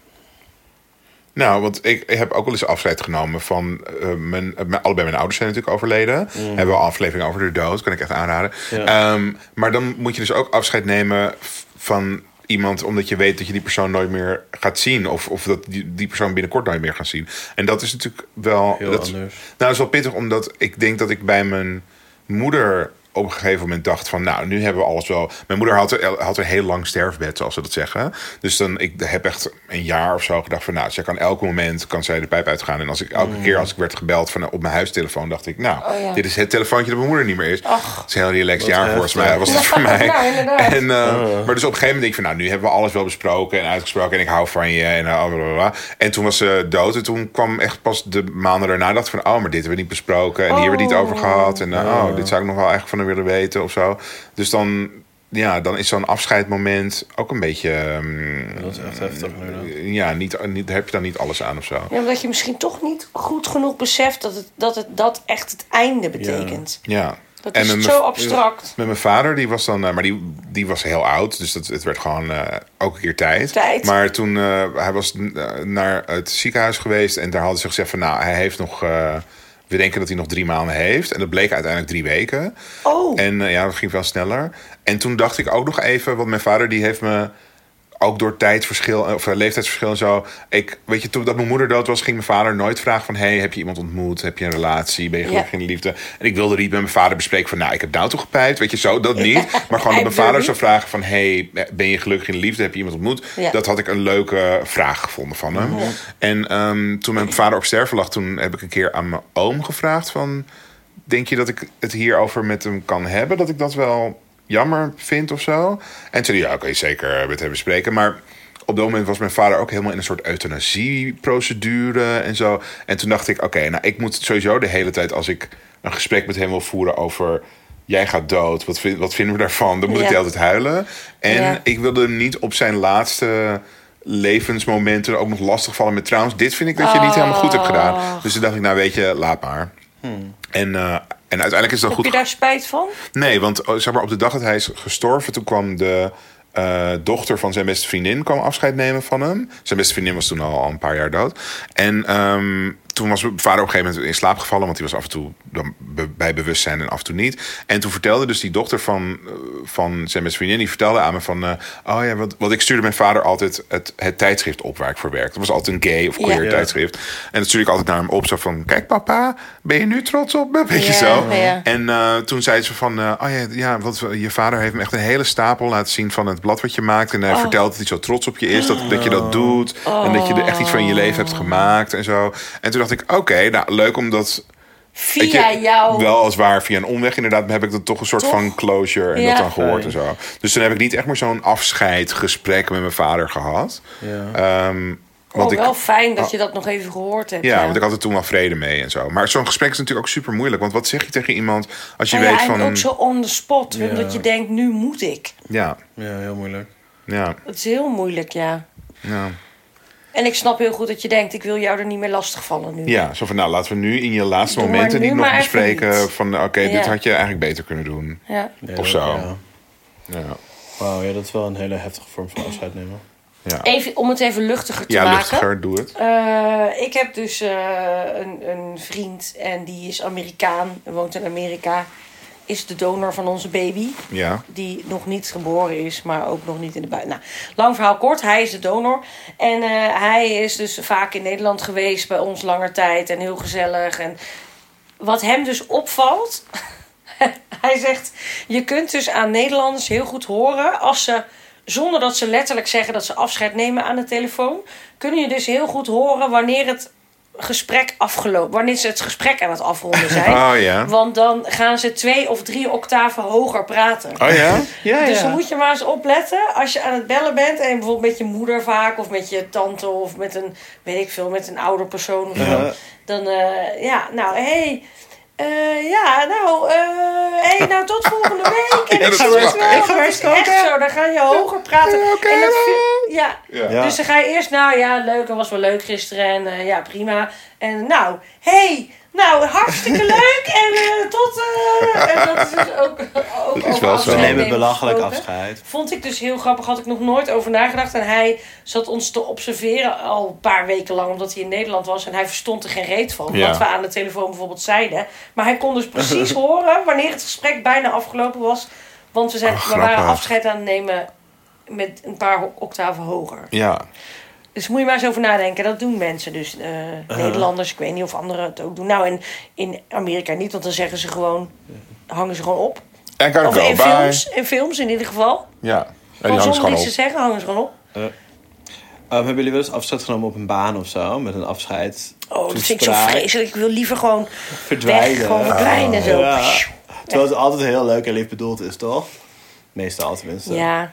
Speaker 2: Nou, want ik, ik heb ook wel eens afscheid genomen van eh, mijn, eh, mijn- Allebei mijn ouders zijn natuurlijk overleden. Hebben we een aflevering over de dood, kan ik echt aanraden.
Speaker 3: Mm. Ja.
Speaker 2: Ehm, maar dan moet je dus ook afscheid nemen v- van iemand... omdat je weet dat je die persoon nooit meer gaat zien. Of, of dat die, die persoon binnenkort nooit meer gaat zien. En dat is natuurlijk wel...
Speaker 3: Heel
Speaker 2: dat,
Speaker 3: anders.
Speaker 2: Nou, dat is wel pittig, omdat ik denk dat ik bij mijn moeder op een gegeven moment dacht van... nou, nu hebben we alles wel... Mijn moeder had, een- had een heel lang sterfbed, zoals ze dat zeggen. Dus dan, ik heb echt een jaar of zo gedacht van... nou, zij kan elk moment kan zij de pijp uitgaan. En als ik elke keer als ik werd gebeld van, op mijn huistelefoon... dacht ik, nou,
Speaker 4: Mm. Oh ja.
Speaker 2: dit is het telefoontje dat mijn moeder niet meer is. Het is een heel relaxed jaar volgens
Speaker 3: heftig.
Speaker 2: mij, was dat voor mij.
Speaker 4: Nou, inderdaad.
Speaker 2: En, eh, Maar dus op een gegeven moment denk ik van... nou, nu hebben we alles wel besproken en uitgesproken... en ik hou van je en eh, blablabla. En toen was ze dood en toen kwam echt pas de maanden daarna... dacht ik van, oh, maar dit hebben we niet besproken... en hier hebben we het niet over gehad. En eh, oh, dit zou ik nog wel echt van haar willen weten of zo. Dus dan... Ja, dan is zo'n afscheidmoment ook een beetje... ehm,
Speaker 3: Dat is echt heftig nu dan.
Speaker 2: ja, niet, niet, daar heb je dan niet alles aan of zo.
Speaker 4: Ja, omdat je misschien toch niet goed genoeg beseft dat het, dat, het, dat echt het einde betekent.
Speaker 2: Ja.
Speaker 4: Dat
Speaker 2: En
Speaker 4: is
Speaker 2: een-
Speaker 4: zo abstract.
Speaker 2: Met mijn vader, die was dan, eh, maar die, die was heel oud. Dus dat, het werd gewoon eh ook een keer tijd.
Speaker 4: Tijd.
Speaker 2: Maar toen, eh, hij was eh, naar het ziekenhuis geweest. En daar hadden ze gezegd van, nou, hij heeft nog... eh, we denken dat hij nog drie maanden heeft. En dat bleek uiteindelijk drie weken.
Speaker 4: Oh.
Speaker 2: En eh, ja, dat ging wel sneller. En toen dacht ik ook nog even, want mijn vader die heeft me... Ook door tijdverschil of eh, leeftijdsverschil en zo. Ik, weet je, toen dat mijn moeder dood was, ging mijn vader nooit vragen van... hey, heb je iemand ontmoet? Heb je een relatie? Ben je gelukkig
Speaker 4: Ja.
Speaker 2: in de liefde? En ik wilde niet met mijn vader bespreken van... nou, ik heb nou toch gepijpt, weet je, zo, dat niet. Maar gewoon
Speaker 4: Hij
Speaker 2: dat mijn vader
Speaker 4: wil
Speaker 2: zou vragen van... hey, ben je gelukkig in de liefde? Heb je iemand ontmoet?
Speaker 4: Ja.
Speaker 2: Dat had ik een leuke vraag gevonden van hem. En ehm, toen mijn vader op sterven lag, toen heb ik een keer aan mijn oom gevraagd van... Denk je dat ik het hierover met hem kan hebben? Dat ik dat wel jammer vind of zo? En toen zei hij, ja, oké, zeker eh, met hem bespreken. Maar op dat moment was mijn vader ook helemaal in een soort euthanasieprocedure en zo. En toen dacht ik, oké, nou, ik moet sowieso de hele tijd... als ik een gesprek met hem wil voeren over... jij gaat dood, wat, vind, wat vinden we daarvan? Dan moet
Speaker 4: Ja.
Speaker 2: ik de hele tijd huilen. En
Speaker 4: Ja.
Speaker 2: ik wilde hem niet op zijn laatste levensmomenten ook nog lastig vallen met trouwens. Dit vind ik dat je niet helemaal goed hebt
Speaker 4: Oh.
Speaker 2: gedaan. Dus toen dacht ik, nou weet je, laat maar. En, eh, en uiteindelijk is dat
Speaker 4: Heb
Speaker 2: goed.
Speaker 4: je daar spijt van?
Speaker 2: Nee, want oh, zeg maar, op de dag dat hij is gestorven, toen kwam de eh, dochter van zijn beste vriendin kwam afscheid nemen van hem. Zijn beste vriendin was toen al, al een paar jaar dood. En ehm, toen was mijn vader op een gegeven moment in slaap gevallen, want die was af en toe dan be- bij bewustzijn en af en toe niet. En toen vertelde dus die dochter van, eh, van zijn beste vriendin, die vertelde aan me van, eh, oh ja, want, want ik stuurde mijn vader altijd het, het tijdschrift op waar ik voor werkte. Dat was altijd een gay of queer
Speaker 4: Ja. Ja.
Speaker 2: tijdschrift. En dat stuurde ik altijd naar hem op, zo van, kijk papa, ben je nu trots op me? Weet je
Speaker 4: Ja,
Speaker 2: zo?
Speaker 4: ja.
Speaker 2: En eh, toen zei ze van, eh, oh ja, ja want je vader heeft me echt een hele stapel laten zien van het blad wat je maakt. En hij
Speaker 4: Oh.
Speaker 2: vertelt dat hij zo trots op je is, dat, dat je dat doet. En dat je er echt iets van in je
Speaker 4: Oh.
Speaker 2: leven hebt gemaakt en zo. En toen dacht ik, oké, nou leuk omdat... weet
Speaker 4: Via
Speaker 2: je,
Speaker 4: jou.
Speaker 2: Wel als waar, via een omweg inderdaad, heb ik dat toch een soort van closure en
Speaker 4: Ja.
Speaker 2: dat dan gehoord en zo. Dus toen heb ik niet echt meer zo'n afscheidgesprek met mijn vader gehad.
Speaker 3: Ja.
Speaker 2: Ehm,
Speaker 4: Oh,
Speaker 2: want ik, Ah.
Speaker 4: wel fijn dat je dat nog even gehoord hebt.
Speaker 2: ja, want ik had er toen wel vrede mee en zo. Maar zo'n gesprek is natuurlijk ook super moeilijk. Want wat zeg je tegen iemand als je
Speaker 4: Nou ja,
Speaker 2: weet
Speaker 4: en
Speaker 2: van...
Speaker 4: ook zo on the spot. Omdat je denkt, nu moet ik.
Speaker 2: Ja,
Speaker 3: Ja, heel moeilijk.
Speaker 2: ja,
Speaker 4: Dat is heel moeilijk, ja.
Speaker 2: ja.
Speaker 4: En ik snap heel goed dat je denkt, ik wil jou er niet meer lastigvallen nu.
Speaker 2: Ja, zo van nou laten we nu in je laatste
Speaker 4: Doe maar
Speaker 2: momenten
Speaker 4: nu
Speaker 2: niet nog
Speaker 4: maar even
Speaker 2: bespreken.
Speaker 4: niet.
Speaker 2: Van oké, dit
Speaker 4: Ja.
Speaker 2: had je eigenlijk beter kunnen doen.
Speaker 4: Ja.
Speaker 2: Of zo.
Speaker 3: Ja.
Speaker 2: Ja,
Speaker 3: Wauw, ja, dat is wel een hele heftige vorm van afscheid nemen.
Speaker 2: ja.
Speaker 4: Even, om het even luchtiger te
Speaker 2: ja
Speaker 4: maken.
Speaker 2: luchtiger, doe het.
Speaker 4: Eh, ik heb dus eh, een, een vriend en die is Amerikaan, woont in Amerika. Is de donor van onze baby.
Speaker 2: Ja.
Speaker 4: Die nog niet geboren is, maar ook nog niet in de buiten. Nou, lang verhaal kort, hij is de donor. En eh, hij is dus vaak in Nederland geweest bij ons langer tijd en heel gezellig. En wat hem dus opvalt. hij zegt: Je kunt dus aan Nederlanders heel goed horen als ze. Zonder dat ze letterlijk zeggen dat ze afscheid nemen aan de telefoon, kun je dus heel goed horen wanneer het gesprek afgelopen, wanneer ze het gesprek aan het afronden zijn.
Speaker 2: Oh ja.
Speaker 4: Want dan gaan ze twee of drie octaven hoger praten.
Speaker 2: Oh ja?
Speaker 3: Ja,
Speaker 4: Dus dan
Speaker 3: ja.
Speaker 4: moet je maar eens opletten als je aan het bellen bent. En bijvoorbeeld met je moeder vaak, of met je tante, of met een, weet ik veel, met een ouder persoon. Of zo. Dan, eh, ja, nou, hey, eh, ja, nou, eh, hey, nou, tot volgende week. En
Speaker 2: Ja,
Speaker 4: ik
Speaker 2: dat
Speaker 4: zie
Speaker 2: is
Speaker 4: het
Speaker 2: waar.
Speaker 4: wel.
Speaker 3: Ik ga
Speaker 4: Dat
Speaker 3: maar
Speaker 4: is
Speaker 3: eens
Speaker 4: echt
Speaker 3: koken.
Speaker 4: zo, dan ga je hoger praten.
Speaker 2: Ja, oké
Speaker 4: en dat
Speaker 2: dan.
Speaker 4: vind- ja.
Speaker 2: Ja.
Speaker 4: dus dan ga je eerst, nou ja, leuk, dat was wel leuk gisteren. En eh, ja, prima. En nou, hey, nou, hartstikke leuk. En eh, tot, eh, en dat is dus ook, ook over
Speaker 2: is wel zo.
Speaker 3: Ze
Speaker 4: afscheid
Speaker 3: nemen
Speaker 4: nemen
Speaker 3: belachelijk
Speaker 4: gesproken.
Speaker 3: afscheid.
Speaker 4: Vond ik dus heel grappig, had ik nog nooit over nagedacht. En hij zat ons te observeren al een paar weken lang, omdat hij in Nederland was. En hij verstond er geen reet van,
Speaker 2: Ja.
Speaker 4: wat we aan de telefoon bijvoorbeeld zeiden. Maar hij kon dus precies horen wanneer het gesprek bijna afgelopen was. Want we, zijn,
Speaker 2: Ach,
Speaker 4: we waren
Speaker 2: Oh, grappig.
Speaker 4: afscheid aan het nemen met een paar ho- octaven hoger.
Speaker 2: Ja.
Speaker 4: Dus moet je maar eens over nadenken. Dat doen mensen dus. eh,
Speaker 2: Uh-huh.
Speaker 4: Nederlanders, ik weet niet of anderen het ook doen. Nou, en in Amerika niet, want dan zeggen ze gewoon... hangen ze gewoon op.
Speaker 2: En kan ik
Speaker 4: Of
Speaker 2: wel
Speaker 4: in
Speaker 2: bij.
Speaker 4: films, in films in ieder geval.
Speaker 2: Ja. En die
Speaker 4: Gewoon
Speaker 2: hangt
Speaker 4: zonder
Speaker 2: gewoon
Speaker 4: iets
Speaker 2: op.
Speaker 4: te zeggen, hangen ze gewoon op.
Speaker 3: Ehm, hebben jullie wel eens afscheid genomen op een baan of zo? Met een afscheid?
Speaker 4: Oh, dat vind ik zo vreselijk. Ik wil liever gewoon
Speaker 3: Verdwijnen.
Speaker 4: weg,
Speaker 2: Ah.
Speaker 4: gewoon verdwijnen zo.
Speaker 3: Ja. Terwijl het altijd heel leuk en lief bedoeld is, toch? Meestal tenminste.
Speaker 4: Ja.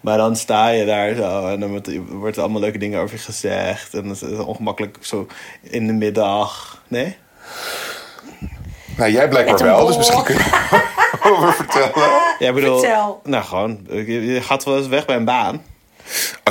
Speaker 3: Maar dan sta je daar zo en dan wordt, wordt er allemaal leuke dingen over je gezegd. En het is ongemakkelijk zo in de middag. Nee?
Speaker 2: Nou, jij blijkbaar
Speaker 4: Met een
Speaker 2: wel,
Speaker 4: bol.
Speaker 2: dus misschien kun je over vertellen. Oké,
Speaker 3: Ja, ik bedoel,
Speaker 4: Vertel.
Speaker 3: nou gewoon, je, je gaat wel eens weg bij een baan.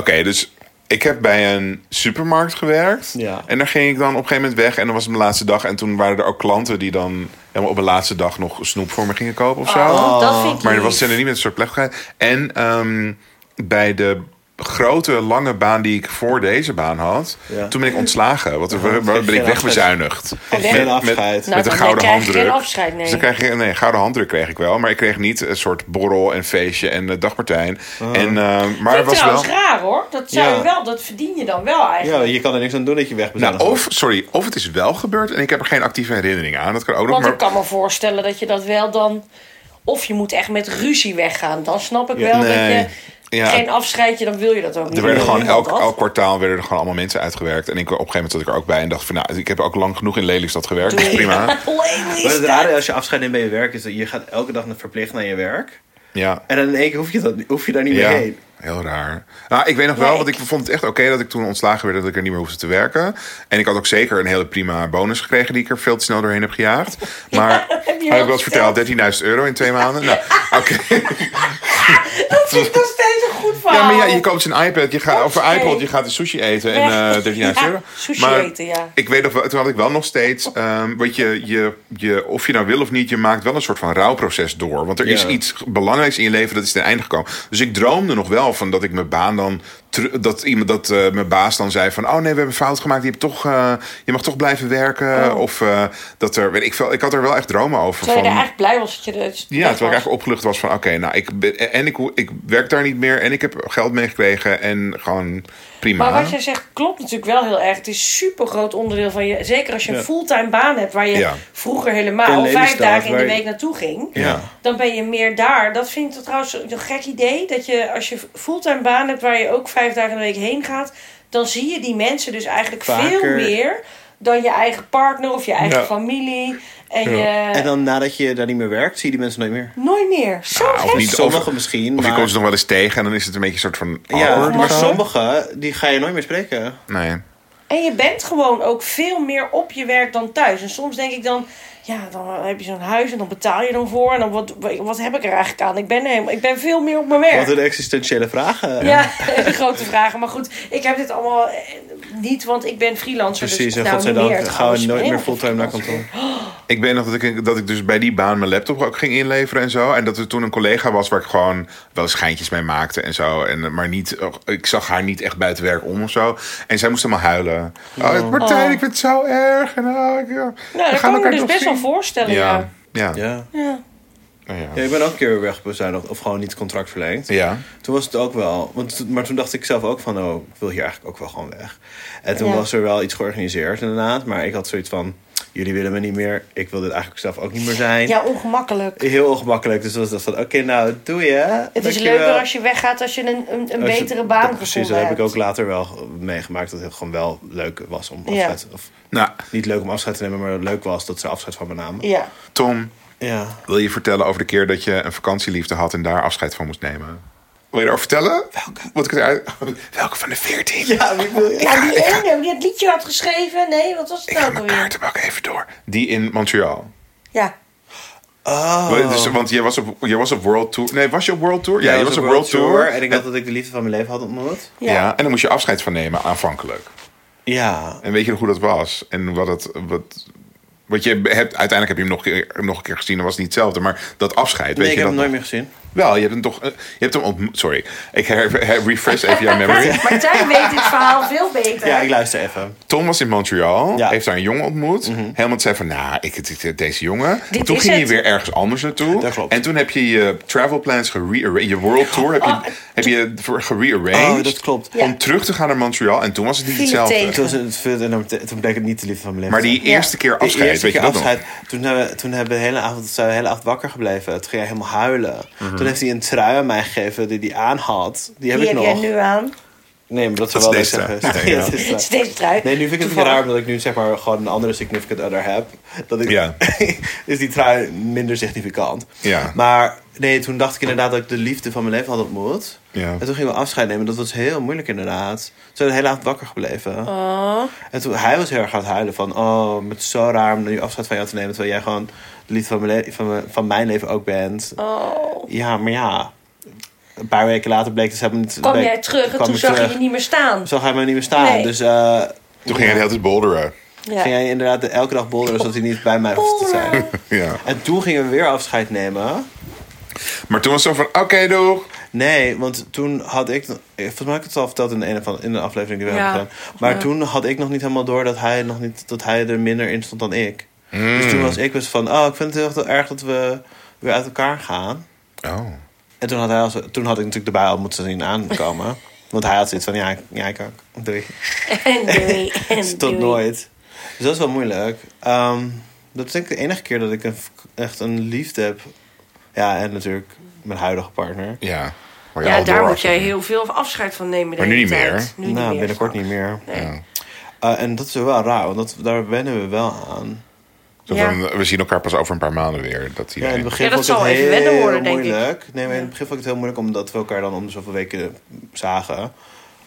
Speaker 2: dus ik heb bij een supermarkt gewerkt.
Speaker 3: Ja.
Speaker 2: En daar ging ik dan op een gegeven moment weg. En dan was het mijn laatste dag. En toen waren er ook klanten die dan helemaal op de laatste dag nog snoep voor me gingen kopen of zo.
Speaker 4: Oh, dat vind ik
Speaker 2: Ah. Maar er
Speaker 4: lief.
Speaker 2: was er niet met een soort plechtigheid. En ehm, bij de grote lange baan die ik voor deze baan had,
Speaker 3: Ja.
Speaker 2: toen ben ik ontslagen. Want toen ben ik
Speaker 3: geen
Speaker 2: wegbezuinigd.
Speaker 4: Geen
Speaker 2: Met- Met,
Speaker 3: afscheid.
Speaker 2: met
Speaker 3: Nou,
Speaker 2: een
Speaker 4: dan
Speaker 2: gouden
Speaker 4: krijg je
Speaker 2: handdruk.
Speaker 4: geen afscheid, nee.
Speaker 2: Dus dan krijg je, nee, gouden handdruk kreeg ik wel. Maar ik kreeg niet een soort borrel en feestje en eh, dagpartijen.
Speaker 3: Ah.
Speaker 2: En, ehm, maar
Speaker 4: Maar
Speaker 2: het
Speaker 4: vind ik
Speaker 2: was wel...
Speaker 4: trouwens raar hoor. Dat zou
Speaker 3: Ja.
Speaker 4: je wel, dat verdien je dan wel
Speaker 3: Ja,
Speaker 4: eigenlijk.
Speaker 3: je kan er niks aan doen dat je weg bent.
Speaker 2: Nou, of, sorry, of het is wel gebeurd en ik heb er geen actieve herinnering aan. Dat kan ook nog.
Speaker 4: Want
Speaker 2: Maar
Speaker 4: ik kan me voorstellen dat je dat wel dan... Of je moet echt met ruzie weggaan. Dan snap ik wel
Speaker 2: nee.
Speaker 4: dat je
Speaker 2: Ja.
Speaker 4: geen afscheidje, dan wil je dat ook niet.
Speaker 2: Er werden
Speaker 4: Dan
Speaker 2: gewoon
Speaker 4: wil
Speaker 2: elk,
Speaker 4: dat.
Speaker 2: elk kwartaal werden er gewoon allemaal mensen uitgewerkt. En ik, op een gegeven moment zat ik er ook bij en dacht van... nou, ik heb ook lang genoeg in Lelystad gewerkt, dus prima.
Speaker 4: Alleen
Speaker 3: Wat
Speaker 4: is
Speaker 3: het
Speaker 4: dat-
Speaker 3: rare als je afscheid neemt bij je werk is dat je gaat elke dag naar- verplicht naar je werk.
Speaker 2: Ja.
Speaker 3: En dan in één keer hoef je, dat, hoef je daar niet
Speaker 2: Ja,
Speaker 3: meer heen.
Speaker 2: heel raar. Nou, ik weet nog wel,
Speaker 4: Nee,
Speaker 2: want ik
Speaker 4: ik-
Speaker 2: vond het echt oké dat ik toen ontslagen werd... dat ik er niet meer hoefde te werken. En ik had ook zeker een hele prima bonus gekregen... die ik er veel te snel doorheen heb gejaagd. Maar
Speaker 4: heb je
Speaker 2: heb ik
Speaker 4: wel
Speaker 2: wel eens verteld, 13.000 euro in twee maanden. Nou, oké.
Speaker 4: Dat vind ik nog steeds een goed verhaal.
Speaker 2: Ja, maar ja, je koopt een iPad, je gaat, of een
Speaker 4: Oké.
Speaker 2: iPod, je gaat een sushi eten en
Speaker 4: Ja.
Speaker 2: eh 13.000
Speaker 4: Ja,
Speaker 2: euro.
Speaker 4: sushi
Speaker 2: maar
Speaker 4: eten, ja. Oh.
Speaker 2: Ik weet nog wel, toen had ik wel nog steeds, ehm, wat je, je, je, of je nou wil of niet, je maakt wel een soort van rouwproces door. Want er is
Speaker 3: Ja.
Speaker 2: iets belangrijks in je leven dat is ten einde gekomen. Dus ik droomde nog wel van dat ik mijn baan dan, teru- dat iemand, dat eh, mijn baas dan zei van, oh nee, we hebben fout gemaakt, je, hebt toch, eh, je mag toch blijven werken. Of eh, dat er, weet ik veel, ik had er wel echt dromen over.
Speaker 4: Oh. Terwijl je
Speaker 2: van,
Speaker 4: daar echt blij was dat je er
Speaker 2: ja, terwijl ik eigenlijk opgelucht was van... oké, nou, ik, ben, en ik, ik werk daar niet meer en ik heb geld meegekregen en gewoon prima.
Speaker 4: Maar wat jij zegt klopt natuurlijk wel heel erg. Het is een super groot onderdeel van je. Zeker als je een fulltime baan hebt waar je
Speaker 2: Ja.
Speaker 4: vroeger
Speaker 3: In
Speaker 4: helemaal vijf
Speaker 3: Lelystad,
Speaker 4: dagen in
Speaker 3: waar
Speaker 4: de
Speaker 3: je-
Speaker 4: week naartoe ging.
Speaker 2: Ja.
Speaker 4: Dan ben je meer daar. Dat vind ik trouwens een gek idee. Dat je als je fulltime baan hebt waar je ook vijf dagen in de week heen gaat. Dan zie je die mensen dus eigenlijk veel
Speaker 3: Vaker.
Speaker 4: meer dan je eigen partner of je eigen
Speaker 2: Ja.
Speaker 4: familie. En je...
Speaker 3: En dan nadat je daar niet meer werkt, zie je die mensen nooit meer.
Speaker 4: Nooit meer. Zo
Speaker 2: Ah,
Speaker 4: gek.
Speaker 2: of niet,
Speaker 3: Sommigen
Speaker 2: of,
Speaker 3: misschien,
Speaker 2: Of je
Speaker 3: maar-
Speaker 2: komt ze nog wel eens tegen en dan is het een beetje een soort van...
Speaker 3: Ja,
Speaker 2: awkward
Speaker 3: maar
Speaker 2: of zo.
Speaker 3: sommigen, die ga je nooit meer spreken.
Speaker 2: Nee.
Speaker 4: En je bent gewoon ook veel meer op je werk dan thuis. En soms denk ik dan, ja, dan heb je zo'n huis en dan betaal je dan voor. En dan wat, wat heb ik er eigenlijk aan? Ik ben, helemaal, ik ben veel meer op mijn
Speaker 3: Wat
Speaker 4: werk.
Speaker 3: een existentiële vragen.
Speaker 4: Ja, hele grote vragen. Maar goed, ik heb dit allemaal eh, niet, want ik ben freelancer.
Speaker 3: Precies,
Speaker 4: dus,
Speaker 3: en
Speaker 4: nou,
Speaker 3: godzijdank
Speaker 4: niet meer
Speaker 3: gaan we
Speaker 4: trouwens. Nou,
Speaker 3: nooit
Speaker 4: Nee,
Speaker 3: meer
Speaker 4: want ik
Speaker 3: fulltime naar
Speaker 4: freelancer.
Speaker 3: kantoor.
Speaker 2: Ik weet nog dat ik, dat ik dus bij die baan mijn laptop ook ging inleveren en zo. En dat er toen een collega was waar ik gewoon wel eens schijntjes mee maakte en zo. En, eh, maar niet, eh, ik zag haar niet echt buiten werk om of zo. En zij moest helemaal huilen. Oh, Martijn, ik vind het zo erg. En, oh, ik, nou,
Speaker 4: Nou, dat kan ik me dus best wel voorstellen, ja.
Speaker 2: Ja. Ja. Ja.
Speaker 3: Ja.
Speaker 2: Ja.
Speaker 3: ja, ik ben ook een keer wegbezuinigd of gewoon niet contract verlengd.
Speaker 2: ja.
Speaker 3: Toen was het ook wel, want, t- maar toen dacht ik zelf ook van, oh, ik wil hier eigenlijk ook wel gewoon weg. En toen
Speaker 4: Ja.
Speaker 3: was er wel iets georganiseerd inderdaad, maar ik had zoiets van, jullie willen me niet meer. Ik wil dit eigenlijk zelf ook niet meer zijn.
Speaker 4: Ja, ongemakkelijk.
Speaker 3: Heel ongemakkelijk. Dus was dat van, oké, nou, doe je.
Speaker 4: Het is leuker als je weggaat als je een, een, een betere baan gevonden
Speaker 3: Precies, eh, dat
Speaker 4: hebt.
Speaker 3: heb ik ook later wel meegemaakt. Dat het gewoon wel leuk was om
Speaker 4: Ja.
Speaker 3: afscheid... Of,
Speaker 2: Nou,
Speaker 3: niet leuk om afscheid te nemen, maar leuk was dat ze afscheid van me namen.
Speaker 4: Ja.
Speaker 2: Tom,
Speaker 3: Ja.
Speaker 2: wil je vertellen over de keer dat je een vakantieliefde had en daar afscheid van moest nemen? Wil je daarover vertellen? Welke? Wat ik eruit... Welke van de veertien?
Speaker 3: Ja, wie wil je?
Speaker 4: Ja, die ene die het liedje had geschreven. Nee, wat was het
Speaker 2: Ik ga
Speaker 4: nou ook
Speaker 2: mijn
Speaker 4: alweer?
Speaker 2: kaartenbak even door. Die in Montreal.
Speaker 4: Ja.
Speaker 3: Oh.
Speaker 2: Wel, dus, want jij was, op, jij was op World Tour. Nee, was je op World Tour? Ja,
Speaker 3: Ja,
Speaker 2: je
Speaker 3: dat
Speaker 2: was op World Tour.
Speaker 3: En ik dacht dat ik de liefde van mijn leven had ontmoet.
Speaker 2: Ja. en dan moest je afscheid van nemen aanvankelijk.
Speaker 3: Ja.
Speaker 2: En weet je nog hoe dat was? En wat het... Wat, wat je hebt, uiteindelijk heb je hem nog, een keer- nog een keer gezien. Dat was niet hetzelfde. Maar dat afscheid, weet
Speaker 3: Nee, ik
Speaker 2: je
Speaker 3: heb hem
Speaker 2: dat
Speaker 3: nooit
Speaker 2: nog?
Speaker 3: meer gezien.
Speaker 2: Wel, je hebt hem toch... eh, je hebt hem ontmoet... Sorry, ik her, her- refresh even jouw memory.
Speaker 4: Martijn weet dit verhaal veel beter.
Speaker 3: Ja, ik luister even.
Speaker 2: Tom was in Montreal,
Speaker 3: Ja. Mhm.
Speaker 2: heeft daar een jongen ontmoet. Helemaal zei van, nou, ik, dit- dit- deze jongen.
Speaker 4: Dit
Speaker 2: toen
Speaker 4: is
Speaker 2: ging je
Speaker 4: het.
Speaker 2: weer ergens anders naartoe.
Speaker 3: Dat klopt.
Speaker 2: En toen heb je je travel plans gerearranged. Je world tour heb je, heb je voor- gerearranged.
Speaker 3: Oh, dat klopt.
Speaker 4: Ja.
Speaker 2: Om terug te gaan naar Montreal. En toen was het niet
Speaker 4: Viel het
Speaker 2: hetzelfde.
Speaker 4: tegen.
Speaker 3: Toen, was het, toen bleek het niet de liefde van mijn leven
Speaker 2: Maar
Speaker 3: te
Speaker 2: die
Speaker 3: zijn.
Speaker 2: eerste keer
Speaker 3: De
Speaker 2: afscheid,
Speaker 3: eerste
Speaker 2: weet je
Speaker 3: keer
Speaker 2: dat
Speaker 3: afscheid, toen, hebben, toen hebben we de hele avond, zijn we de hele avond wakker gebleven. Toen ging hij helemaal huilen. Toen heeft hij een trui aan mij gegeven die hij aan had. Die heb
Speaker 4: Die
Speaker 3: ik
Speaker 4: heb
Speaker 3: nog.
Speaker 4: jij nu aan.
Speaker 3: Nee, maar dat,
Speaker 2: Dat
Speaker 3: zou wel
Speaker 2: is
Speaker 3: leuk
Speaker 2: deze
Speaker 3: zijn
Speaker 2: trui.
Speaker 3: geweest.
Speaker 2: Ja, ja.
Speaker 3: Ja, dat is
Speaker 4: Het
Speaker 3: waar.
Speaker 4: is deze trui.
Speaker 3: Nee, nu vind ik het
Speaker 4: Toevallig.
Speaker 3: raar omdat ik nu zeg maar gewoon een andere significant other heb. Dat ik,
Speaker 2: Ja.
Speaker 3: is die trui minder significant.
Speaker 2: Ja.
Speaker 3: Maar nee, toen dacht ik inderdaad dat ik de liefde van mijn leven had ontmoet.
Speaker 2: Ja.
Speaker 3: En toen gingen we afscheid nemen. Dat was heel moeilijk inderdaad. Toen zijn we de hele avond wakker gebleven.
Speaker 4: Oh.
Speaker 3: En toen, hij was heel erg aan het huilen van... Oh, het is zo raar om nu afscheid van jou te nemen. Terwijl jij gewoon de liefde van mijn, le- van mijn, van mijn leven ook bent.
Speaker 4: Oh.
Speaker 3: Ja, maar ja. Een paar weken later bleek dus helemaal niet...
Speaker 4: Kwam
Speaker 3: bleek-
Speaker 4: jij terug en
Speaker 3: kwam
Speaker 4: toen
Speaker 3: ik
Speaker 4: zag je
Speaker 3: terug.
Speaker 4: je niet meer staan.
Speaker 3: Zag hij me niet meer staan.
Speaker 4: Nee.
Speaker 3: Dus eh,
Speaker 2: Toen ging hij de hele tijd boulderen.
Speaker 4: Ja.
Speaker 3: ging hij inderdaad elke dag bolderen... zodat hij niet bij mij hoefde te zijn.
Speaker 2: Ja.
Speaker 3: En toen gingen we weer afscheid nemen.
Speaker 2: Maar toen was het zo van, oké, doeg.
Speaker 3: Nee, want toen had ik... Volgens mij heb ik het al verteld in een, van, in een aflevering die we
Speaker 1: Ja.
Speaker 3: hebben gedaan. Maar toen had ik nog niet helemaal door dat hij, nog niet, dat hij er minder in stond dan ik. Dus toen was ik dus van... Oh, ik vind het heel erg dat we weer uit elkaar gaan.
Speaker 2: Oh.
Speaker 3: En toen had, hij als, toen had ik natuurlijk de bui al moeten zien aankomen. want hij had zoiets van... Ja, ik- ja ik ook. Doei.
Speaker 4: En doei. En
Speaker 3: Tot
Speaker 4: doei.
Speaker 3: nooit. Dus dat is wel moeilijk. Ehm, dat is denk ik de enige keer dat ik een, echt een liefde heb. Ja, en natuurlijk mijn huidige partner.
Speaker 2: Ja. Waar je
Speaker 1: Ja,
Speaker 2: al
Speaker 1: daar
Speaker 2: door
Speaker 1: moet jij
Speaker 2: afging.
Speaker 1: heel veel afscheid van nemen. de
Speaker 2: Maar nu
Speaker 1: hele
Speaker 2: niet meer.
Speaker 1: tijd. Nu
Speaker 3: nou,
Speaker 1: meer.
Speaker 3: binnenkort niet meer.
Speaker 1: Nee.
Speaker 3: Eh, en dat is wel raar, want dat, daar wennen we wel aan.
Speaker 2: Zo van, We zien elkaar pas over een paar maanden weer. Dat
Speaker 3: Ja,
Speaker 2: iedereen...
Speaker 3: in het begin
Speaker 1: Ja, dat
Speaker 3: vond
Speaker 1: zal
Speaker 3: ik het
Speaker 1: even
Speaker 3: heel
Speaker 1: wennen worden, denk ik.
Speaker 3: moeilijk. Nee, maar in het begin vond ik het heel moeilijk omdat we elkaar dan om de zoveel weken zagen.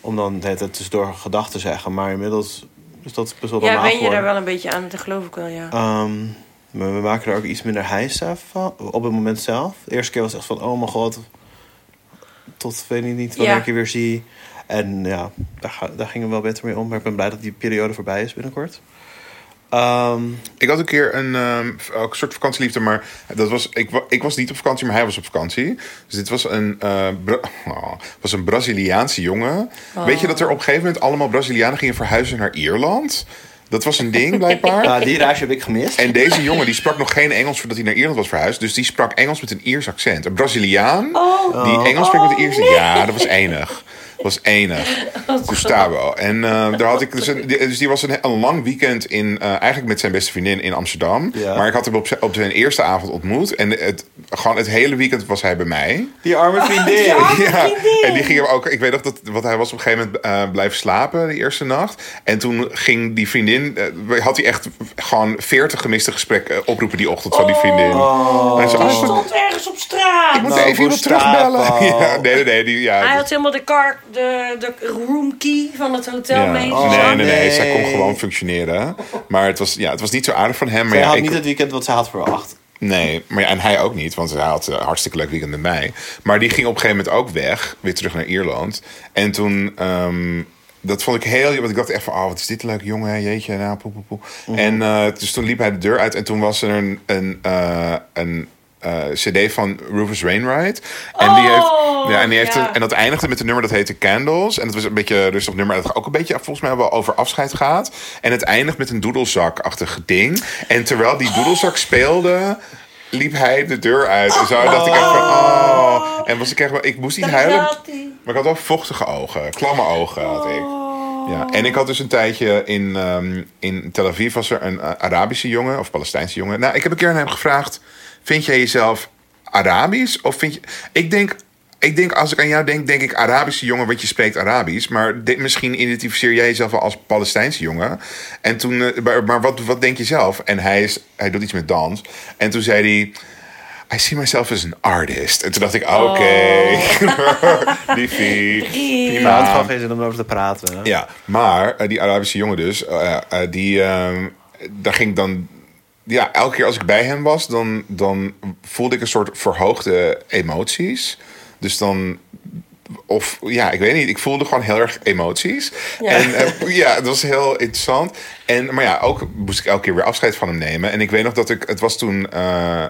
Speaker 3: Om dan het tussendoor gedachten te zeggen. Maar inmiddels is dat best wel
Speaker 1: Ja,
Speaker 3: normaal
Speaker 1: wen je daar
Speaker 3: geworden.
Speaker 1: wel een beetje aan, dat geloof ik wel, ja.
Speaker 3: Ehm, maar we maken er ook iets minder heisa van op het moment zelf. De eerste keer was echt van, oh mijn god, tot weet ik niet wanneer
Speaker 1: Ja.
Speaker 3: ik je weer zie. En ja, daar, ga- daar gingen we wel beter mee om. Maar ik ben blij dat die periode voorbij is binnenkort. Ehm,
Speaker 2: Ik had een keer een ehm, ook een soort vakantieliefde, maar dat was, ik, wa- ik was niet op vakantie, maar hij was op vakantie. Dus dit was een, eh, Bra- oh, was een Braziliaanse jongen. Weet je dat er op een gegeven moment allemaal Brazilianen gingen verhuizen naar Ierland? Dat was een ding, blijkbaar.
Speaker 3: nou, die reis heb ik gemist.
Speaker 2: En deze jongen die sprak nog geen Engels voordat hij naar Ierland was verhuisd. Dus die sprak Engels met een Iers accent. Een Braziliaan die Engels spreekt met een Iers Ja, dat was enig. Dat was enig. Gustavo. En eh, daar had ik dus, een- die- dus die was een, een lang weekend in, eh, eigenlijk met zijn beste vriendin in Amsterdam.
Speaker 3: Ja.
Speaker 2: Maar ik had hem op, zijn- op zijn eerste avond ontmoet. En het, gewoon het hele weekend was hij bij mij.
Speaker 3: Die arme vriendin.
Speaker 2: Ja, en die ging hem ook. Ik weet nog dat, want hij was op een gegeven moment eh, blijven slapen die eerste nacht. En toen ging die vriendin, eh, had hij echt gewoon veertig gemiste gesprekken eh, oproepen die ochtend van die vriendin. Hij zei,
Speaker 4: Die
Speaker 2: oh,
Speaker 4: stond ergens op straat.
Speaker 2: ik moet
Speaker 3: Nou,
Speaker 2: even iemand
Speaker 3: Gustavo.
Speaker 2: terugbellen. Ja, nee, nee, nee. Die, ja,
Speaker 1: Hij
Speaker 2: dat-
Speaker 1: had helemaal de, car, de, de room key van het hotel
Speaker 2: ja.
Speaker 1: mee.
Speaker 2: nee, nee, nee,
Speaker 3: nee.
Speaker 2: Zij kon gewoon functioneren. Maar het was, ja, het was niet zo aardig van hem. Maar
Speaker 3: Zij
Speaker 2: ja,
Speaker 3: had
Speaker 2: ik,
Speaker 3: niet het weekend wat ze had verwacht.
Speaker 2: Nee, maar ja, en hij ook niet, want hij had eh, een hartstikke leuk weekend met mij. Maar die ging op een gegeven moment ook weg, weer terug naar Ierland. En toen, ehm, dat vond ik heel, want ik dacht echt van, oh, wat is dit een leuke jongen, hè? jeetje, nou, poe, poe, poe.
Speaker 4: Mhm.
Speaker 2: En eh, dus toen liep hij de deur uit en toen was er een, een, eh, een eh, cd van Rufus Wainwright. En die heeft,
Speaker 4: Oh,
Speaker 2: ja, en die heeft
Speaker 1: ja.
Speaker 2: een- en dat eindigde met een nummer dat heette Candles. En dat was een beetje een rustig nummer. Dat ook een beetje volgens mij wel over afscheid gaat. En het eindigt met een doedelzakachtig ding. En terwijl die doedelzak speelde, liep hij de deur uit. En zo dacht ik echt van, oh. En was ik echt wel, ik moest niet
Speaker 4: Daar
Speaker 2: huilen.
Speaker 4: zat hij. Oh.
Speaker 2: Maar ik had wel vochtige ogen. Klamme ogen had ik. Ja, en ik had dus een tijdje in, ehm, in Tel Aviv was er een eh, Arabische jongen of Palestijnse jongen. Nou, ik heb een keer aan hem gevraagd: vind jij jezelf Arabisch of vind je? Ik denk, ik denk als ik aan jou denk, denk ik Arabische jongen, want je spreekt Arabisch. Maar dit, misschien identificeer jij jezelf wel als Palestijnse jongen. En toen, eh, maar, maar wat, wat denk je zelf? En hij is, hij doet iets met dans. En toen zei hij. I see myself as an artist. En toen dacht ik, oké, liefie, prima.
Speaker 3: Maar het had gewoon geen zin om over te praten. hè?
Speaker 2: Ja, maar eh, die Arabische jongen dus, eh, eh, die, ehm, daar ging ik dan... Ja, elke keer als ik bij hem was, dan, dan voelde ik een soort verhoogde emoties. Dus dan... Of ja, ik weet niet. Ik voelde gewoon heel erg emoties. En eh, ja, het was heel interessant. En, maar ja, ook moest ik elke keer weer afscheid van hem nemen. En ik weet nog dat ik... Het was toen... eh,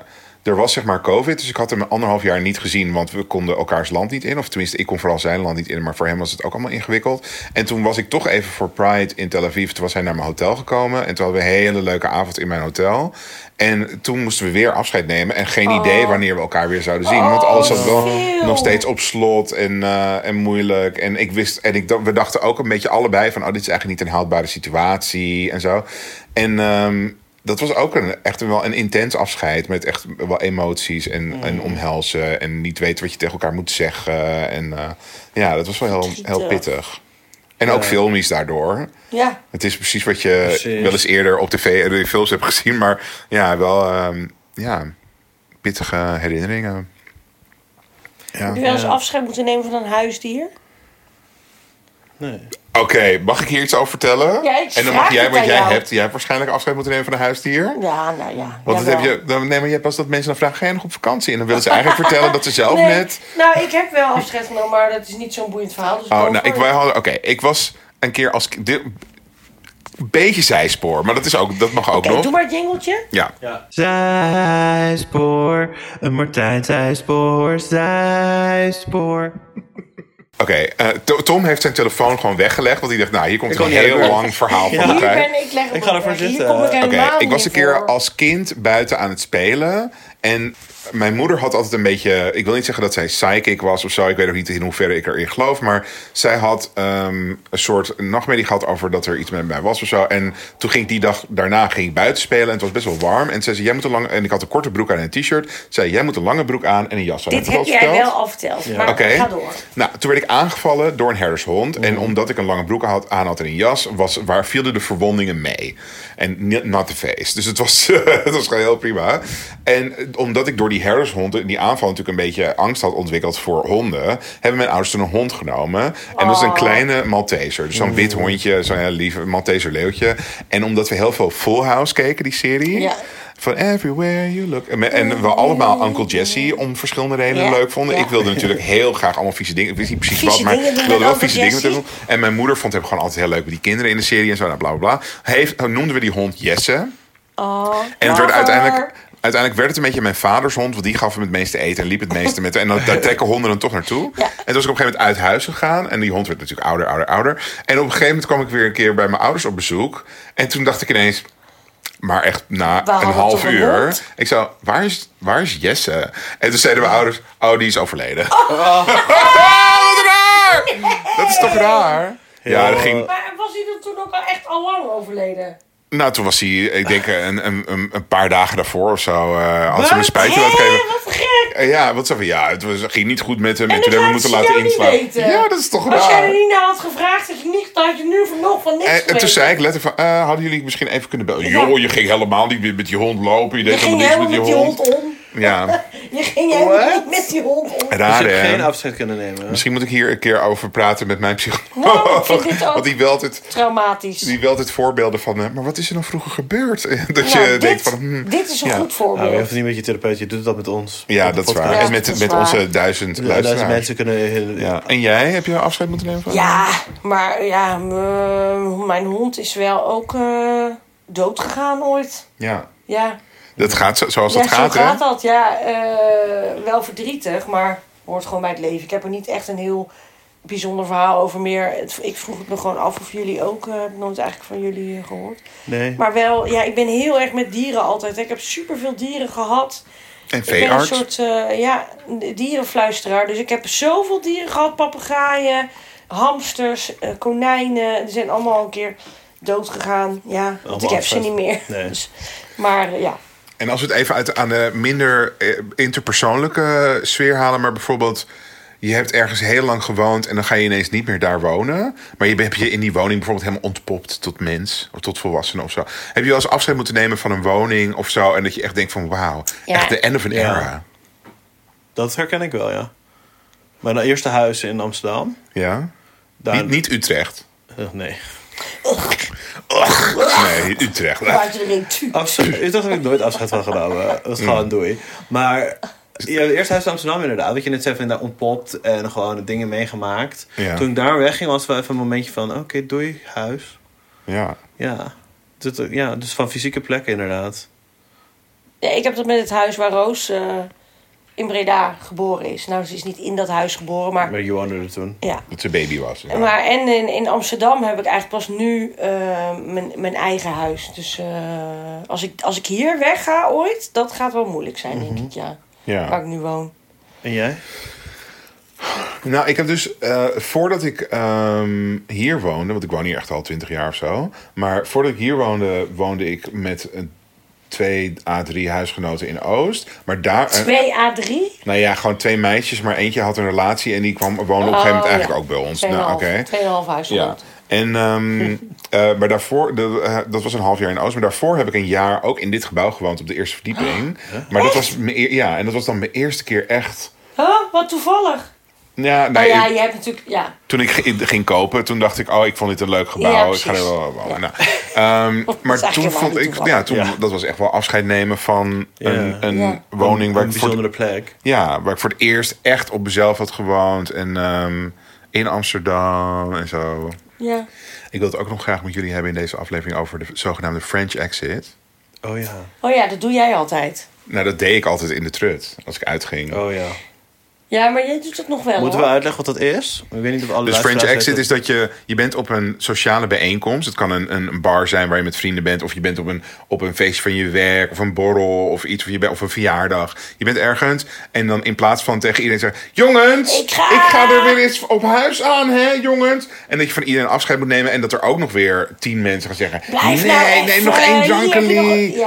Speaker 2: er was zeg maar COVID, dus ik had hem anderhalf jaar niet gezien, want we konden elkaars land niet in. Of tenminste, ik kon vooral zijn land niet in, maar voor hem was het ook allemaal ingewikkeld. En toen was ik toch even voor Pride in Tel Aviv. Toen was hij naar mijn hotel gekomen en toen hadden we een hele leuke avond in mijn hotel. En toen moesten we weer afscheid nemen en geen idee wanneer we elkaar weer zouden zien. want alles zat wel
Speaker 4: veel.
Speaker 2: nog steeds op slot en, eh, en moeilijk. En ik wist, en ik, dacht- we dachten ook een beetje allebei van, oh, dit is eigenlijk niet een haalbare situatie en zo. En ehm, dat was ook een, echt wel een intens afscheid met echt wel emoties en, en omhelzen en niet weten wat je tegen elkaar moet zeggen. En eh, ja, dat was wel heel, heel pittig. En ook filmisch daardoor.
Speaker 4: Ja.
Speaker 2: Het is precies wat je
Speaker 3: Precies.
Speaker 2: wel eens eerder op tv en in films hebt gezien, maar ja, wel ehm, ja, pittige herinneringen. Ja.
Speaker 4: Heb je wel eens afscheid moeten nemen van een huisdier?
Speaker 3: Nee.
Speaker 2: Oké, mag ik hier iets over vertellen?
Speaker 4: Ja, ik
Speaker 2: en
Speaker 4: vraag
Speaker 2: dan mag jij,
Speaker 4: het
Speaker 2: want
Speaker 4: aan
Speaker 2: jij
Speaker 4: jou.
Speaker 2: hebt, jij hebt waarschijnlijk afscheid moeten nemen van een huisdier.
Speaker 4: Ja, nou ja.
Speaker 2: Want dat
Speaker 4: jawel.
Speaker 2: heb je, dan, nee, maar je hebt pas dat mensen dan vragen, ga je nog op vakantie? En dan willen ze eigenlijk vertellen dat ze zelf
Speaker 4: Nee,
Speaker 2: net...
Speaker 4: Nou, ik heb wel afscheid genomen, maar dat is niet zo'n boeiend verhaal. Dus
Speaker 2: Oh,
Speaker 4: go
Speaker 2: nou,
Speaker 4: for
Speaker 2: ik,
Speaker 4: it.
Speaker 2: wij hadden, oké, ik was een keer als... Dit, beetje zijspoor, maar dat, is ook, dat mag ook
Speaker 4: Oké,
Speaker 2: nog.
Speaker 4: doe maar het jingeltje.
Speaker 2: Ja.
Speaker 3: Zijspoor, een Martijn zijspoor, zijspoor.
Speaker 2: Oké, eh, To- Tom heeft zijn telefoon gewoon weggelegd. Want hij dacht, nou, hier komt
Speaker 3: Ik
Speaker 2: een
Speaker 3: kon niet
Speaker 2: heel
Speaker 3: uit.
Speaker 2: lang verhaal van
Speaker 4: Hier
Speaker 2: de tijd.
Speaker 4: ben ik, leg hem
Speaker 3: Ik ga
Speaker 4: op.
Speaker 3: ervoor
Speaker 4: Hier
Speaker 3: zitten.
Speaker 4: kom ik
Speaker 2: Oké,
Speaker 4: helemaal
Speaker 2: ik was een
Speaker 4: niet
Speaker 2: keer
Speaker 4: voor.
Speaker 2: als kind buiten aan het spelen. En mijn moeder had altijd een beetje. Ik wil niet zeggen dat zij psychic was of zo. Ik weet ook niet in hoeverre ik erin geloof. Maar zij had ehm, een soort nachtmerrie gehad over dat er iets met mij was of zo. En toen ging ik die dag daarna ging ik buiten spelen. En het was best wel warm. En zij zei: Jij moet een lange. En ik had een korte broek aan en een t-shirt. Zei: Jij moet een lange broek aan en een jas aan.
Speaker 4: Dit
Speaker 2: ik
Speaker 4: heb
Speaker 2: al
Speaker 4: jij
Speaker 2: verteld?
Speaker 4: wel al verteld, maar
Speaker 2: Oké.
Speaker 4: ga door.
Speaker 2: Nou, toen werd ik aangevallen door een herdershond. En omdat ik een lange broek had, aan had en een jas, was, waar vielen de verwondingen mee. En ni- not the face. Dus het was, het was gewoon heel prima. En eh, omdat ik door die herdershond, en die aanval natuurlijk een beetje angst had ontwikkeld voor honden, hebben mijn ouders toen een hond genomen. En dat
Speaker 4: Oh.
Speaker 2: is een kleine Malteser. Dus zo'n wit hondje, zo'n heel lief Malteser leeuwtje. En omdat we heel veel Full House keken, die serie.
Speaker 4: Ja. Mm.
Speaker 2: Van everywhere you look. En- En we allemaal Uncle Jesse om verschillende redenen
Speaker 4: Ja,
Speaker 2: leuk vonden.
Speaker 4: ja.
Speaker 2: Ik wilde wilde natuurlijk heel graag allemaal vieze dingen. Ik wist niet precies
Speaker 4: Vieze
Speaker 2: wat, maar
Speaker 4: dingen doen
Speaker 2: ik wilde
Speaker 4: met
Speaker 2: wel
Speaker 4: Uncle
Speaker 2: vieze dingen met hem
Speaker 4: Jesse.
Speaker 2: doen. En mijn moeder vond hem gewoon altijd heel leuk met die kinderen in de serie en zo. Nou, bla bla bla. Heeft, noemden we die hond Jesse. En het werd
Speaker 4: Later.
Speaker 2: uiteindelijk, uiteindelijk werd het een beetje mijn vaders hond. Want die gaf hem het meeste eten en liep het meeste met. En dan, daar trekken honden dan toch naartoe.
Speaker 4: Ja.
Speaker 2: En toen was ik op een gegeven moment uit huis gegaan. En die hond werd natuurlijk ouder, ouder, ouder. En op een gegeven moment kwam ik weer een keer bij mijn ouders op bezoek. En toen dacht ik ineens... Maar echt na
Speaker 4: We
Speaker 2: een
Speaker 4: hadden
Speaker 2: half
Speaker 4: toch een
Speaker 2: uur.
Speaker 4: hond?
Speaker 2: Ik zou, waar is, waar is Jesse? En toen zeiden mijn ouders, oh, die is overleden. Oh, Wat raar! Dat is toch raar? Oh. Ja, dat ging,
Speaker 4: Maar was hij dan toen ook al echt al lang overleden?
Speaker 2: nou, toen was hij, ik denk, een, een, een- een paar dagen daarvoor of zo. eh had ze hem een
Speaker 4: Wat?
Speaker 2: spuitje
Speaker 4: Hè,
Speaker 2: laten geven.
Speaker 4: Wat gek!
Speaker 2: Eh, Ja, wat zo van, ja, het was, ging niet goed met hem. En,
Speaker 4: En
Speaker 2: toen
Speaker 4: dat
Speaker 2: hebben we
Speaker 4: laten
Speaker 2: moeten
Speaker 4: ze
Speaker 2: laten
Speaker 4: jou niet
Speaker 2: inslaan.
Speaker 4: weten.
Speaker 2: Ja, dat is toch
Speaker 4: Als jij er
Speaker 2: raar? Eh,
Speaker 4: niet naar had gevraagd, had je, niet, had je nu van nog van niks
Speaker 2: En, en toen
Speaker 4: geweten.
Speaker 2: zei ik letterlijk van, eh, hadden jullie misschien even kunnen bellen?
Speaker 4: Ja.
Speaker 2: Joh, je ging helemaal niet meer met die hond lopen. Je
Speaker 4: Je
Speaker 2: deed
Speaker 4: ging
Speaker 2: helemaal niks
Speaker 4: helemaal
Speaker 2: met
Speaker 4: met
Speaker 2: die hond.
Speaker 4: om.
Speaker 2: Ja,
Speaker 4: Je ging helemaal
Speaker 3: What?
Speaker 4: niet met die hond om.
Speaker 3: Dus
Speaker 2: raar
Speaker 3: je hebt
Speaker 2: hè?
Speaker 3: geen afscheid kunnen nemen.
Speaker 2: Misschien moet ik hier een keer over praten met mijn
Speaker 4: Nou, ik
Speaker 2: psycholoog.
Speaker 4: vind dit ook-
Speaker 2: Want die wil altijd...
Speaker 4: Traumatisch.
Speaker 2: Die wel dit voorbeelden van, eh, maar wat is er dan vroeger gebeurd? dat
Speaker 4: Nou,
Speaker 2: je
Speaker 4: dit,
Speaker 2: denkt van, hmm,
Speaker 4: dit is een
Speaker 2: ja.
Speaker 4: goed
Speaker 3: Nou, je
Speaker 4: voorbeeld.
Speaker 3: hoeft niet met je therapeut, je doet dat met ons.
Speaker 2: ja,
Speaker 3: Met de
Speaker 2: dat is
Speaker 3: podcast.
Speaker 2: waar.
Speaker 4: Ja,
Speaker 2: en met,
Speaker 4: dat is
Speaker 2: met
Speaker 4: waar.
Speaker 2: onze duizend
Speaker 3: Ja, duizend
Speaker 2: luisteraars.
Speaker 3: mensen kunnen... heel-
Speaker 2: Ja. En jij, heb je afscheid moeten nemen van?
Speaker 4: Ja, maar ja, m- mijn hond is wel ook eh, dood gegaan ooit.
Speaker 2: Ja.
Speaker 4: Ja,
Speaker 2: Dat gaat zo- zoals
Speaker 4: ja
Speaker 2: dat gaat,
Speaker 4: zo
Speaker 2: hè?
Speaker 4: gaat dat. Ja, eh, wel verdrietig, maar hoort gewoon bij het leven. Ik heb er niet echt een heel bijzonder verhaal over meer. Het- Ik vroeg het me gewoon af of jullie ook... eh, heb ik nooit eigenlijk van jullie eh, gehoord.
Speaker 3: Nee.
Speaker 4: Maar wel, ja, ik ben heel erg met dieren altijd. Ik heb superveel dieren gehad.
Speaker 2: En
Speaker 4: Ik ben een
Speaker 2: veearts.
Speaker 4: soort eh, ja, dierenfluisteraar. Dus ik heb zoveel dieren gehad. Papegaaien, hamsters, eh, konijnen. Die zijn allemaal een keer dood gegaan. Ja, want ik heb ze
Speaker 3: afzet.
Speaker 4: niet meer.
Speaker 3: Nee.
Speaker 4: Dus, maar eh, ja.
Speaker 2: En als we het even uit, aan de minder eh, interpersoonlijke sfeer halen, maar bijvoorbeeld. Je hebt ergens heel lang gewoond en dan ga je ineens niet meer daar wonen. Maar je hebt je in die woning bijvoorbeeld helemaal ontpopt tot mens of tot volwassene of zo. Heb je wel eens afscheid moeten nemen van een woning of zo? En dat je echt denkt van wauw,
Speaker 4: Ja.
Speaker 2: echt de end of an
Speaker 3: Ja.
Speaker 2: era.
Speaker 3: Dat herken ik wel, ja. Mijn eerste huis in Amsterdam.
Speaker 2: Ja?
Speaker 3: Daar...
Speaker 2: Niet, niet Utrecht.
Speaker 3: Eh, nee.
Speaker 2: Nee, Utrecht.
Speaker 4: Buiten de ring. tu.
Speaker 3: Absoluut. Utrecht heb ik nooit afscheid van genomen. Dat is
Speaker 2: Mm.
Speaker 3: gewoon doei. Maar ja, eerst huis in Amsterdam inderdaad. Wat je net zei, van daar ontpopt en gewoon dingen meegemaakt.
Speaker 2: Ja.
Speaker 3: Toen ik daar wegging was het wel even een momentje van... Oké, doei, huis.
Speaker 2: Ja.
Speaker 3: Ja. Dus, dat- ja, dus van fysieke plekken inderdaad.
Speaker 4: Nee, ik heb dat met het huis waar Roos eh, in Breda geboren is. Nou, ze is niet in dat huis geboren, maar
Speaker 3: Maar je woonde er toen.
Speaker 4: ja.
Speaker 2: Dat ze baby was. ja.
Speaker 4: Maar en in, in Amsterdam heb ik eigenlijk pas nu eh, mijn, mijn eigen huis. Dus eh, als, ik, als ik hier wegga ooit, dat gaat wel moeilijk zijn, denk ik, ja.
Speaker 2: Mhm. Ja.
Speaker 4: Waar ik nu woon.
Speaker 3: En jij?
Speaker 2: Nou, ik heb dus eh, voordat ik ehm, hier woonde, want ik woon hier echt al twintig jaar of zo. Maar voordat ik hier woonde, woonde ik met een twee A3 huisgenoten in Oost. Maar daar. eh,
Speaker 4: 2A3?
Speaker 2: nou ja, gewoon twee meisjes, maar eentje had een relatie en die kwam woonde op een gegeven moment
Speaker 4: Oh, ja.
Speaker 2: eigenlijk ook bij ons.
Speaker 4: Tweeënhalf-
Speaker 2: Nou, oké.
Speaker 4: Tweeënhalf huis.
Speaker 2: Ja. En, ehm, eh, maar daarvoor, de, eh, dat was een half jaar in Oost. Maar daarvoor heb ik een jaar ook in dit gebouw gewoond op de eerste verdieping.
Speaker 4: Oh,
Speaker 2: Maar dat was, mijn eer- ja, en dat was dan mijn eerste keer echt.
Speaker 4: Huh? Wat toevallig.
Speaker 2: Ja,
Speaker 4: Oh
Speaker 2: nee,
Speaker 4: ja,
Speaker 2: ik-
Speaker 4: je hebt natuurlijk... Ja.
Speaker 2: toen ik ge- ging kopen, toen dacht ik, oh, ik vond dit een leuk
Speaker 4: Ja,
Speaker 2: gebouw. ik
Speaker 4: precies.
Speaker 2: ga er wel wonen. Nou, ehm,
Speaker 4: is eigenlijk
Speaker 2: maar toen
Speaker 4: helemaal
Speaker 2: vond
Speaker 4: niet
Speaker 2: ik,
Speaker 4: toevallig.
Speaker 2: ja, toen,
Speaker 3: Ja.
Speaker 2: dat was echt wel afscheid nemen van
Speaker 3: Ja.
Speaker 2: een, een
Speaker 4: Ja.
Speaker 2: woning waar
Speaker 3: een
Speaker 2: ik, voor, het-
Speaker 3: bijzondere plek.
Speaker 2: ja, waar ik voor het eerst echt op mezelf had gewoond. En ehm, in Amsterdam en zo.
Speaker 4: ja.
Speaker 2: Ik wil het ook nog graag met jullie hebben in deze aflevering over de zogenaamde French exit.
Speaker 3: Oh ja.
Speaker 4: Oh ja, dat doe jij altijd.
Speaker 2: Nou, dat deed ik altijd in de trut als ik uitging.
Speaker 3: Oh ja.
Speaker 4: Ja, maar jij doet dat nog wel,
Speaker 3: Moeten we
Speaker 4: hoor.
Speaker 3: uitleggen wat dat is? Ik weet niet of alle
Speaker 2: Dus French
Speaker 3: luisteraars
Speaker 2: exit is
Speaker 3: weten.
Speaker 2: dat je, je bent op een sociale bijeenkomst. Het kan een, een bar zijn waar je met vrienden bent. Of je bent op een, op een feestje van je werk. Of een borrel of iets. Of, je bent, of een verjaardag. Je bent ergens. En dan in plaats van tegen iedereen zeggen... Jongens,
Speaker 4: Ik ga!"
Speaker 2: er weer eens op huis aan, hè jongens. En dat je van iedereen afscheid moet nemen. En dat er ook nog weer tien mensen gaan zeggen...
Speaker 4: Blijf
Speaker 2: nee,
Speaker 4: nou echt,
Speaker 2: nee, nog
Speaker 4: eh,
Speaker 2: één
Speaker 4: hier heb je nog een-
Speaker 2: drankelie.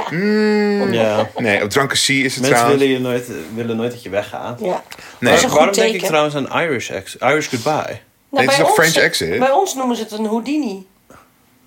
Speaker 4: Ja.
Speaker 3: Ja.
Speaker 2: Nee, op drankelie is het
Speaker 3: Mensen
Speaker 2: trouwens.
Speaker 3: willen, je nooit, willen nooit dat je weggaat.
Speaker 4: ja.
Speaker 2: Nee.
Speaker 4: Dat is een
Speaker 3: Waarom
Speaker 4: goed
Speaker 3: denk ik
Speaker 4: teken.
Speaker 3: trouwens aan Irish, ex Irish Goodbye?
Speaker 4: Nou,
Speaker 2: Nee, het is
Speaker 4: bij
Speaker 2: een
Speaker 4: ons-
Speaker 2: French exit.
Speaker 4: Bij ons noemen ze het een Houdini.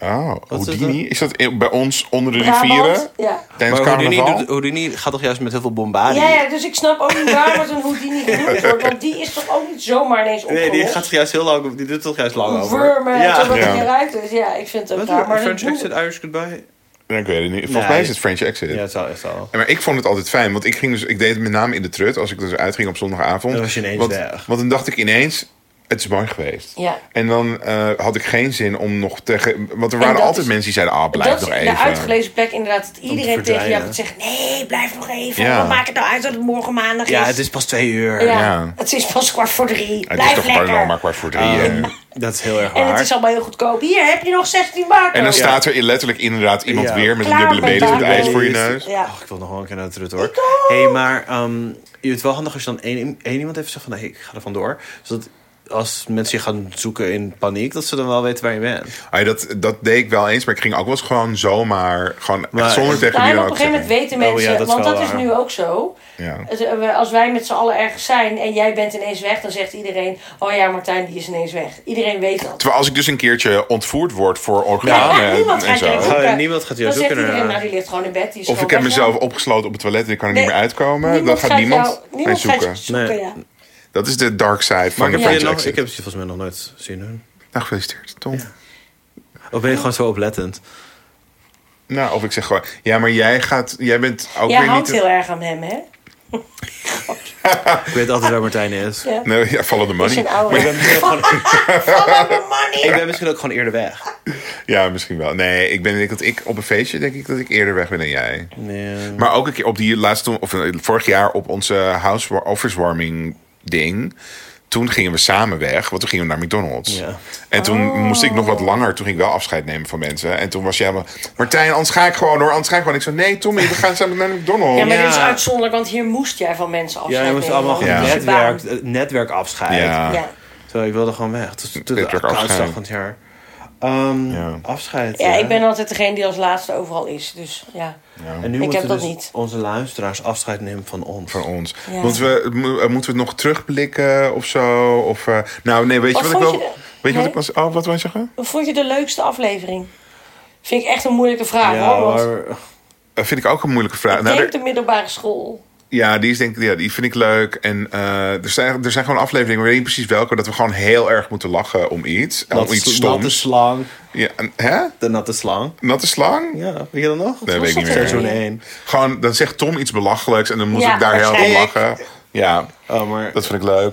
Speaker 2: Oh,
Speaker 3: is dat
Speaker 2: Houdini. Is dat bij ons onder de
Speaker 4: Brabant,
Speaker 2: rivieren?
Speaker 4: ja.
Speaker 2: Tijdens
Speaker 3: Maar Houdini,
Speaker 2: carnaval?
Speaker 3: doet- Houdini gaat toch juist met heel veel bombardie?
Speaker 4: Ja, ja, dus ik snap ook niet waarom het een Houdini genoemd wordt. Want die is toch ook niet zomaar ineens opgelost?
Speaker 3: Nee, die gaat toch juist heel lang, die doet toch juist lang over.
Speaker 4: Wurmen en
Speaker 3: ja.
Speaker 4: zo wat
Speaker 2: Ja.
Speaker 4: ja. eruit is. Ja, ik vind het ook
Speaker 3: Wat
Speaker 4: raar. Maar
Speaker 3: French
Speaker 4: dat
Speaker 3: Exit,
Speaker 4: doen-
Speaker 3: Irish Goodbye?
Speaker 2: Nee, ik weet het niet. Volgens
Speaker 3: Nee.
Speaker 2: mij is het French Exit.
Speaker 3: Ja, het zal, het zal.
Speaker 2: Ja, Maar ik vond het altijd fijn, want ik, ging dus, ik deed het met name in de trut. Als ik dus uitging op zondagavond.
Speaker 3: Dan was je ineens
Speaker 2: want,
Speaker 3: weg.
Speaker 2: Want dan dacht ik ineens, het is mooi geweest.
Speaker 4: Ja.
Speaker 2: En dan eh, had ik geen zin om nog tegen... Want er
Speaker 4: En
Speaker 2: waren
Speaker 4: dat
Speaker 2: altijd
Speaker 4: is-
Speaker 2: mensen die zeiden, ah, blijf
Speaker 4: dat is
Speaker 2: nog
Speaker 4: de
Speaker 2: even.
Speaker 4: uitgelezen plek inderdaad. Dat iedereen tegen jou
Speaker 3: verdwijnen.
Speaker 4: gaat zeggen... Nee, blijf nog even.
Speaker 2: Ja.
Speaker 4: Wat maakt het nou uit dat het morgen maandag is?
Speaker 3: Ja, het is pas twee uur.
Speaker 4: Ja,
Speaker 2: Ja.
Speaker 4: Het is pas kwart voor drie.
Speaker 2: Het is
Speaker 4: blijf
Speaker 2: toch
Speaker 4: lekker. Ah.
Speaker 2: maar, maar kwart voor drie. eh.
Speaker 3: Dat is heel erg
Speaker 4: en het
Speaker 3: waar.
Speaker 4: is allemaal heel goedkoop. Hier heb je nog 16 bakken.
Speaker 2: En dan staat er letterlijk inderdaad iemand
Speaker 3: Ja.
Speaker 2: weer met een
Speaker 4: Klaar
Speaker 2: dubbele
Speaker 4: met
Speaker 2: benen op het
Speaker 4: daar.
Speaker 2: ijs voor je neus.
Speaker 4: Ja.
Speaker 3: Oh, ik wil nog wel een keer naar de trut hoor. Hé, hey, maar ehm, je het wel handig als je dan één, één iemand even zegt van... Hey, ik ga er vandoor. Zodat als mensen je gaan zoeken in paniek... dat ze dan wel weten waar je bent.
Speaker 2: Ah, ja, dat, dat deed ik wel eens, maar ik ging ook wel eens gewoon zomaar... Gewoon echt
Speaker 3: Maar-
Speaker 2: zonder tegen
Speaker 4: Nou,
Speaker 2: wie
Speaker 4: en op
Speaker 2: dan
Speaker 4: een
Speaker 2: ook te
Speaker 4: gegeven moment weten
Speaker 2: zeggen.
Speaker 3: Oh,
Speaker 4: mensen,
Speaker 3: ja, dat is
Speaker 4: want
Speaker 3: wel
Speaker 4: dat is
Speaker 3: waar.
Speaker 4: nu ook zo.
Speaker 2: Ja.
Speaker 4: Het, eh, we- Als wij met z'n allen ergens zijn en jij bent ineens weg, dan zegt iedereen: Oh ja, Martijn, die is ineens weg. Iedereen weet dat.
Speaker 2: Terwijl als ik dus een keertje ontvoerd word voor
Speaker 4: Ja,
Speaker 2: organen
Speaker 4: niemand
Speaker 2: en
Speaker 4: gaat
Speaker 2: zo...
Speaker 4: jou zoeken.
Speaker 3: Ja, niemand gaat jou
Speaker 4: dan
Speaker 3: zoeken, eh,
Speaker 4: Zegt iedereen,
Speaker 3: ja.
Speaker 4: nou, die ligt gewoon in bed. Die is
Speaker 2: Of ik
Speaker 4: gewoon
Speaker 2: heb
Speaker 4: weg, ja.
Speaker 2: mezelf opgesloten op het toilet en ik kan er
Speaker 4: Nee,
Speaker 2: niet meer uitkomen. dan gaat
Speaker 4: jou-
Speaker 2: niemand mij
Speaker 4: niemand
Speaker 2: zoeken.
Speaker 4: Gaat je zoeken
Speaker 3: Nee.
Speaker 4: ja.
Speaker 2: Dat is de dark side van
Speaker 3: Maar
Speaker 2: de
Speaker 3: ik heb,
Speaker 2: French
Speaker 3: je nog,
Speaker 2: exit.
Speaker 3: ik heb ze volgens mij nog nooit zien doen.
Speaker 2: Nou, gefeliciteerd, Tom.
Speaker 3: Of ben je gewoon zo oplettend?
Speaker 2: Nou, of ik zeg gewoon... Ja, maar jij gaat... Jij bent ook
Speaker 4: Jij
Speaker 2: weer niet...
Speaker 4: hangt heel erg aan hem, hè?
Speaker 3: Ik weet altijd waar Martijn is.
Speaker 4: Ja.
Speaker 2: Nee, ja, follow the
Speaker 4: Dat is een
Speaker 2: money.
Speaker 3: Maar
Speaker 4: oude.
Speaker 3: ik ben misschien ook gewoon,
Speaker 4: Follow the money!
Speaker 3: ik ben misschien ook gewoon eerder weg.
Speaker 2: Ja, misschien wel. Nee, ik ben ik denk dat ik op een feestje denk ik dat ik eerder weg ben dan jij.
Speaker 3: Nee.
Speaker 2: Maar ook een keer op die laatste of eh, vorig jaar op onze house officewarming ding. Toen gingen we samen weg, want toen gingen we naar McDonald's.
Speaker 3: Ja.
Speaker 2: En toen
Speaker 4: Oh.
Speaker 2: moest ik nog wat langer. Toen ging ik wel afscheid nemen van mensen. En toen was jij maar... Martijn, anders ga ik gewoon hoor. Anders ga ik gewoon. Ik zei, nee Tommy, we gaan samen naar McDonald's.
Speaker 4: Ja, maar dit is
Speaker 3: Ja.
Speaker 4: uitzonderlijk, want hier moest jij van mensen
Speaker 3: Ja,
Speaker 4: afscheid
Speaker 3: je moest allemaal
Speaker 4: nemen,
Speaker 3: gewoon
Speaker 4: want
Speaker 2: Ja.
Speaker 4: het is je baan.
Speaker 3: netwerk, netwerk afscheiden.
Speaker 2: Ja.
Speaker 4: Ja.
Speaker 3: Zo, ik wilde gewoon weg. Het is de,
Speaker 2: Dit
Speaker 3: de
Speaker 2: werd
Speaker 3: koudste dag
Speaker 2: afscheid.
Speaker 3: van het jaar. Ehm,
Speaker 2: Ja.
Speaker 3: Afscheid.
Speaker 4: Ja, ik ben altijd degene die als laatste overal is. Dus ja.
Speaker 3: En nu
Speaker 4: ik
Speaker 3: moeten
Speaker 4: heb dat
Speaker 3: dus
Speaker 4: niet.
Speaker 3: onze luisteraars afscheid nemen van ons.
Speaker 2: Voor ons.
Speaker 4: Ja.
Speaker 2: Moeten, we, mo- eh, moeten we het nog terugblikken of zo? Of, eh, nou, nee, weet je
Speaker 4: Wat
Speaker 2: wat, ik wel.
Speaker 4: vond je
Speaker 2: Weet je wat
Speaker 4: Nee?
Speaker 2: ik was. Oh, wat wil je zeggen?
Speaker 4: Wat vond je de leukste aflevering? Vind ik echt een moeilijke vraag hoor. Want
Speaker 3: maar-
Speaker 2: Dat Eh, vind ik ook een moeilijke vraag.
Speaker 4: ik
Speaker 2: Nou,
Speaker 4: denk
Speaker 2: er-
Speaker 4: de middelbare school.
Speaker 2: ja, die is denk ik, ja, die vind ik leuk. En eh, er, zijn, er zijn gewoon afleveringen, maar ik weet niet precies welke, dat we gewoon heel erg moeten lachen om iets.
Speaker 3: dat
Speaker 2: om iets
Speaker 3: is natte
Speaker 2: stoms.
Speaker 3: slang.
Speaker 2: Ja, en- hè?
Speaker 3: De natte slang.
Speaker 2: Natte slang?
Speaker 3: Ja, weet je dat nog?
Speaker 2: Nee, weet ik
Speaker 4: was
Speaker 2: niet
Speaker 4: dat
Speaker 2: meer.
Speaker 4: ook
Speaker 3: Seizoen
Speaker 4: Nee.
Speaker 3: 1.
Speaker 2: Gewoon, dan zegt Tom iets belachelijks en dan moet
Speaker 4: Ja,
Speaker 2: ik daar heel erg om
Speaker 4: waarschijnlijk.
Speaker 2: lachen. Ja,
Speaker 3: Oh, maar
Speaker 2: dat vind ik leuk.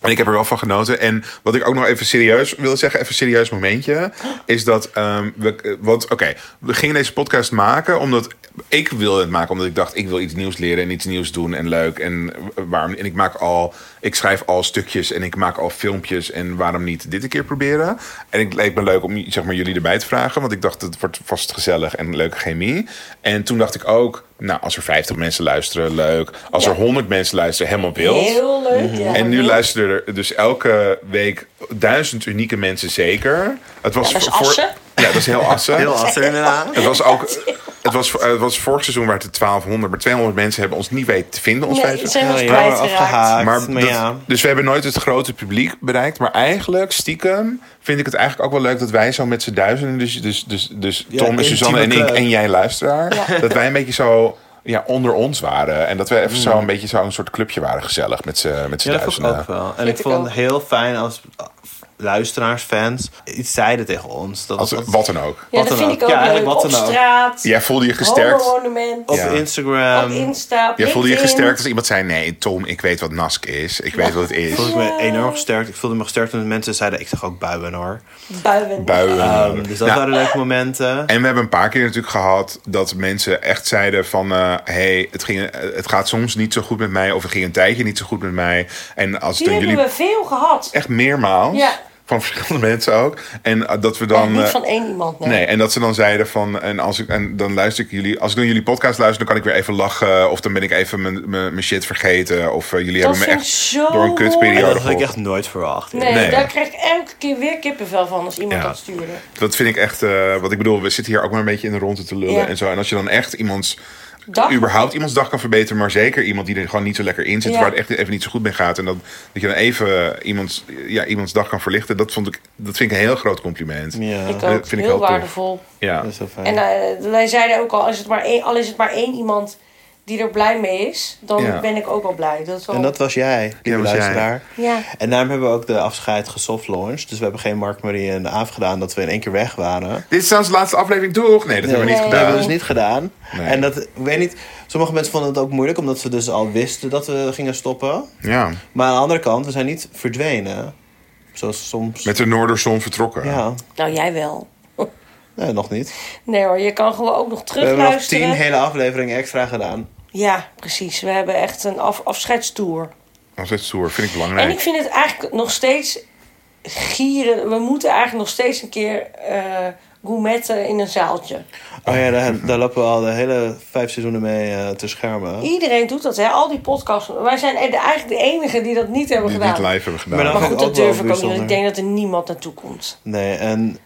Speaker 2: En ik heb er wel van genoten. En wat ik ook nog even serieus wil zeggen, even een serieus momentje, is dat ehm, we, eh, want oké, we gingen deze podcast maken omdat ik wilde het maken, omdat ik dacht ik wil iets nieuws leren en iets nieuws doen en leuk en eh, waarom? En ik maak al, ik schrijf al stukjes en ik maak al filmpjes en waarom niet dit een keer proberen? En ik leek me leuk om zeg maar jullie erbij te vragen, want ik dacht het wordt vast gezellig en leuke chemie. En toen dacht ik ook, nou als er 50 mensen luisteren, leuk. Als er 100 mensen luisteren, helemaal wild.
Speaker 4: Heel leuk. Ja,
Speaker 2: Mhm. En nu
Speaker 4: heel-
Speaker 2: luisteren er dus elke week duizend unieke mensen zeker. Het was
Speaker 4: Ja, dat is
Speaker 2: voor-
Speaker 4: Assen.
Speaker 2: Ja, dat is heel assen.
Speaker 3: heel achter inderdaad.
Speaker 2: Het was ook. Het was, het was vorig seizoen waar het 1200, maar 200 mensen hebben ons niet weten te vinden. Ons
Speaker 4: Nee,
Speaker 2: vijf-
Speaker 4: zijn we
Speaker 3: Oh,
Speaker 4: ons
Speaker 3: ja.
Speaker 4: kwijtgeraakt.
Speaker 3: afgehaakt.
Speaker 2: maar
Speaker 3: Maar,
Speaker 2: dat-
Speaker 3: ja.
Speaker 2: Dus we hebben nooit het grote publiek bereikt. Maar eigenlijk, stiekem, vind ik het eigenlijk ook wel leuk dat wij zo met z'n duizenden... Dus, dus, dus, dus
Speaker 3: Ja,
Speaker 2: Tom en Suzanne en
Speaker 3: intieme
Speaker 2: ik
Speaker 3: club.
Speaker 2: en jij luisteraar... dat wij een beetje zo ja, onder ons waren. En dat wij even zo een beetje zo'n soort clubje waren gezellig met z'n met z'n
Speaker 3: Ja, dat vond ik
Speaker 2: duizenden.
Speaker 3: ook wel. En
Speaker 4: Vind
Speaker 3: ik
Speaker 4: ik
Speaker 3: vond
Speaker 4: ook.
Speaker 3: het heel fijn als luisteraars, fans, iets zeiden tegen ons. Dat
Speaker 2: Als,
Speaker 3: was
Speaker 2: wat dan ook.
Speaker 4: Ja, Oh, dat
Speaker 3: Wat dan
Speaker 4: vind
Speaker 3: ook.
Speaker 4: ik ook
Speaker 3: Ja, eigenlijk
Speaker 4: leuk.
Speaker 3: wat
Speaker 4: Op
Speaker 3: dan ook.
Speaker 4: straat.
Speaker 2: Jij voelde je gesterkt.
Speaker 4: Homo-monument.
Speaker 3: Op
Speaker 4: Op,
Speaker 2: Ja.
Speaker 3: Instagram.
Speaker 4: Insta. op
Speaker 2: Jij voelde je
Speaker 4: LinkedIn.
Speaker 2: gesterkt als iemand zei: Nee, Tom, ik weet wat Nask is. Ik weet wat het is.
Speaker 3: voelde ik me enorm sterk. Ik voelde me gesterkt toen de mensen zeiden, ik zeg ook buien hoor.
Speaker 4: Buien.
Speaker 2: Buien.
Speaker 3: Ehm, dus dat
Speaker 2: Nou,
Speaker 3: waren leuke momenten.
Speaker 2: En we hebben een paar keer natuurlijk gehad dat mensen echt zeiden van... eh, hey, het, ging, eh, het gaat soms niet zo goed met mij of het ging een tijdje niet zo goed met mij. En als het
Speaker 4: Die
Speaker 2: dan
Speaker 4: hebben
Speaker 2: jullie...
Speaker 4: we veel gehad.
Speaker 2: Echt meermaals.
Speaker 4: Ja.
Speaker 2: Van verschillende mensen ook. En eh, dat we
Speaker 4: Echt
Speaker 2: dan...
Speaker 4: niet
Speaker 2: eh,
Speaker 4: van één iemand. Nee.
Speaker 2: Nee, en dat ze dan zeiden van. En, als ik, en dan luister ik jullie. Als ik dan jullie podcast luister, dan kan ik weer even lachen. Of dan ben ik even mijn- mijn mijn shit vergeten. Of eh, jullie
Speaker 4: Dat
Speaker 2: hebben me
Speaker 4: vind ik
Speaker 2: echt
Speaker 4: zo
Speaker 2: door een kutperiode
Speaker 3: En dat had ik
Speaker 2: geholpen.
Speaker 3: echt nooit verwacht.
Speaker 4: Nee,
Speaker 2: Nee.
Speaker 4: daar krijg ik elke keer weer kippenvel van als iemand
Speaker 2: Ja.
Speaker 4: dat stuurde.
Speaker 2: Dat vind ik echt, eh, wat ik bedoel, we zitten hier ook maar een beetje in de ronde te lullen
Speaker 4: Ja.
Speaker 2: en zo. En als je dan echt iemands,
Speaker 4: Dag.
Speaker 2: überhaupt iemands dag kan verbeteren, maar zeker iemand die er gewoon niet zo lekker in zit,
Speaker 4: Ja.
Speaker 2: waar het echt even niet zo goed mee gaat. En dat, dat je dan even eh, iemands, ja, iemands dag kan verlichten, dat, vond ik, dat vind ik een heel groot compliment.
Speaker 3: Ja,
Speaker 4: Ik
Speaker 2: dat
Speaker 4: ook.
Speaker 2: vind
Speaker 4: heel
Speaker 2: ik wel tof.
Speaker 4: waardevol.
Speaker 2: Ja.
Speaker 3: dat is heel fijn.
Speaker 4: En eh, wij zeiden ook al, als het maar één, al is het maar één iemand die er blij mee is, dan
Speaker 2: Ja.
Speaker 4: ben ik ook al blij. Dat is wel...
Speaker 3: En dat was jij, lieve
Speaker 2: was jij.
Speaker 3: luisteraar.
Speaker 4: Ja.
Speaker 3: En daarom hebben we ook de afscheid gesoft launched. Dus we hebben geen Mark, Marie en Aaf gedaan dat we in één keer weg waren.
Speaker 2: Dit is trouwens de laatste aflevering, toch? Nee, dat hebben we niet
Speaker 4: Nee.
Speaker 3: Dat
Speaker 2: gedaan.
Speaker 3: hebben we dus niet gedaan.
Speaker 2: Nee.
Speaker 3: En dat, ik weet niet, sommige mensen vonden het ook moeilijk omdat ze dus al wisten dat we gingen stoppen.
Speaker 2: Ja,
Speaker 3: Maar aan de andere kant, we zijn niet verdwenen. Zoals soms.
Speaker 2: met de Noorderzon vertrokken.
Speaker 3: Ja,
Speaker 4: Nou, jij wel.
Speaker 3: nee, nog niet.
Speaker 4: Nee hoor, je kan gewoon ook nog
Speaker 3: We hebben nog tien
Speaker 4: terugluisteren.
Speaker 3: hele afleveringen extra gedaan.
Speaker 4: Ja, precies. We hebben echt een af, afscheidstour.
Speaker 2: Dat is echt stoer, vind ik
Speaker 4: En
Speaker 2: belangrijk.
Speaker 4: ik vind het eigenlijk nog steeds gieren. We moeten eigenlijk nog steeds een keer eh gourmetten in een zaaltje.
Speaker 3: Oh ja, daar, daar lopen we al de hele vijf seizoenen mee eh, te schermen.
Speaker 4: Iedereen doet dat, hè? Al die podcasts. Wij zijn e- eigenlijk de enigen die dat niet hebben
Speaker 2: Die het
Speaker 4: gedaan.
Speaker 2: niet live hebben gedaan.
Speaker 3: Maar dan-
Speaker 4: Maar goed, dat
Speaker 3: Ook wel
Speaker 4: durf ik ook niet. want
Speaker 3: bijzonder.
Speaker 4: Ik denk dat er niemand naartoe komt.
Speaker 3: Nee, en,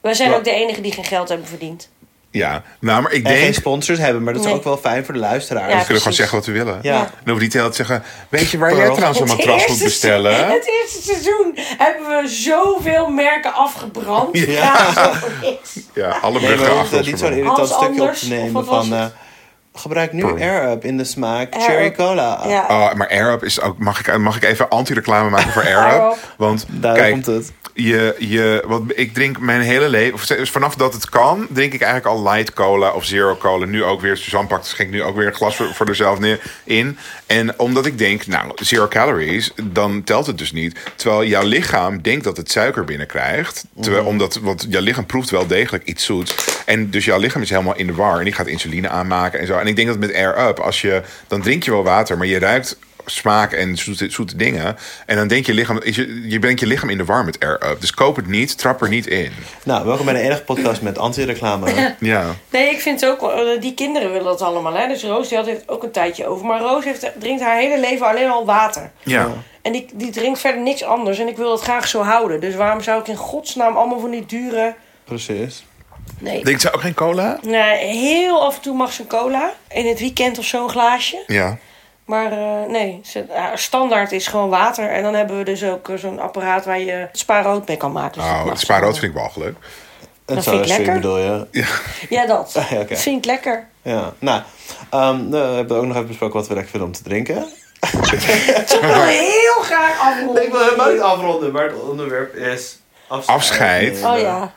Speaker 4: Wij zijn
Speaker 3: Ja.
Speaker 4: ook de enigen die geen geld hebben verdiend.
Speaker 2: Ja, nou, maar ik
Speaker 3: en geen
Speaker 2: denk...
Speaker 3: sponsors hebben, maar dat is
Speaker 4: Nee.
Speaker 3: ook wel fijn voor de luisteraars.
Speaker 4: Ja.
Speaker 2: We kunnen gewoon
Speaker 4: precies.
Speaker 2: zeggen wat we willen.
Speaker 3: Ja.
Speaker 2: Dan hoeven we niet de hele tijd te zeggen... Weet je waar jij
Speaker 3: Pearl.
Speaker 2: trouwens een
Speaker 4: Het
Speaker 2: matras moet
Speaker 4: eerste
Speaker 2: bestellen?
Speaker 4: se- Het eerste seizoen hebben we zoveel merken afgebrand. Ja.
Speaker 2: Ja, alle
Speaker 3: Nee,
Speaker 2: bruggen
Speaker 3: maar we
Speaker 2: achter
Speaker 3: hoefden
Speaker 2: ons
Speaker 3: niet zo'n
Speaker 2: verbrand.
Speaker 3: irritant
Speaker 4: Hans
Speaker 3: stukje op
Speaker 4: Anders,
Speaker 3: te
Speaker 4: of
Speaker 3: nemen
Speaker 4: wat was
Speaker 3: van...
Speaker 4: het?
Speaker 3: eh, gebruik nu
Speaker 2: Pearl.
Speaker 3: Air Up in de smaak
Speaker 4: Air
Speaker 3: Cherry
Speaker 4: Up.
Speaker 3: Cola.
Speaker 4: Ja.
Speaker 2: Oh, maar AirUp is ook... Mag ik, mag ik even anti-reclame maken voor AirUp?
Speaker 4: Airup.
Speaker 2: Want
Speaker 3: Daar
Speaker 2: kijk,
Speaker 3: komt het.
Speaker 2: Je, je, wat, ik drink mijn hele leven... of zelfs Vanaf dat het kan, drink ik eigenlijk al light cola of zero cola. Nu ook weer. Suzanne pakt schenkt nu ook weer een glas voor, voor zichzelf neer in. En omdat ik denk, nou, zero calories, dan telt het dus niet. Terwijl jouw lichaam denkt dat het suiker binnenkrijgt.
Speaker 3: Mhm.
Speaker 2: Terwijl, omdat, want jouw lichaam proeft wel degelijk iets zoets. En dus jouw lichaam is helemaal in de war. En die gaat insuline aanmaken en zo. En ik denk dat met Air Up, als je, dan drink je wel water, maar je ruikt smaak en zoete, zoete dingen. En dan denk je lichaam, is je, je brengt je lichaam in de war met air up. Dus koop het niet, trap er niet in.
Speaker 3: Nou, welkom bij de enige podcast met anti-reclame.
Speaker 2: Ja.
Speaker 4: Nee, ik vind het ook... wel- eh, Die kinderen willen dat allemaal, hè. Dus Roos die had het ook een tijdje over. Maar Roos heeft, drinkt haar hele leven alleen al water.
Speaker 2: Ja.
Speaker 4: En die, die drinkt verder niks anders. En ik wil dat graag zo houden. Dus waarom zou ik in godsnaam allemaal van die dure...
Speaker 3: Precies.
Speaker 4: Nee.
Speaker 2: Drinkt ze ook geen cola?
Speaker 4: Nee, heel af en toe mag ze een cola. In het weekend of zo een glaasje.
Speaker 2: Ja.
Speaker 4: Maar eh, nee, ze- haar standaard is gewoon water. En dan hebben we dus ook eh, zo'n apparaat waar je spaarrood mee kan maken. Dus dat
Speaker 2: Oh,
Speaker 4: mag
Speaker 2: het
Speaker 4: ze
Speaker 2: spaarrood
Speaker 4: gewoon.
Speaker 2: vind ik wel leuk.
Speaker 3: Een
Speaker 4: Dat vind ik
Speaker 3: soda-stream
Speaker 4: lekker.
Speaker 3: bedoel je?
Speaker 4: Ja, dat.
Speaker 2: Ah,
Speaker 3: ja, oké.
Speaker 4: Dat vind ik lekker.
Speaker 3: Ja. Nou, ehm, we hebben ook nog even besproken wat we lekker vinden om te drinken.
Speaker 4: Ik wil heel graag afronden.
Speaker 3: Ik wil helemaal niet afronden, maar het onderwerp is afscheid.
Speaker 2: Afscheid.
Speaker 4: Oh ja.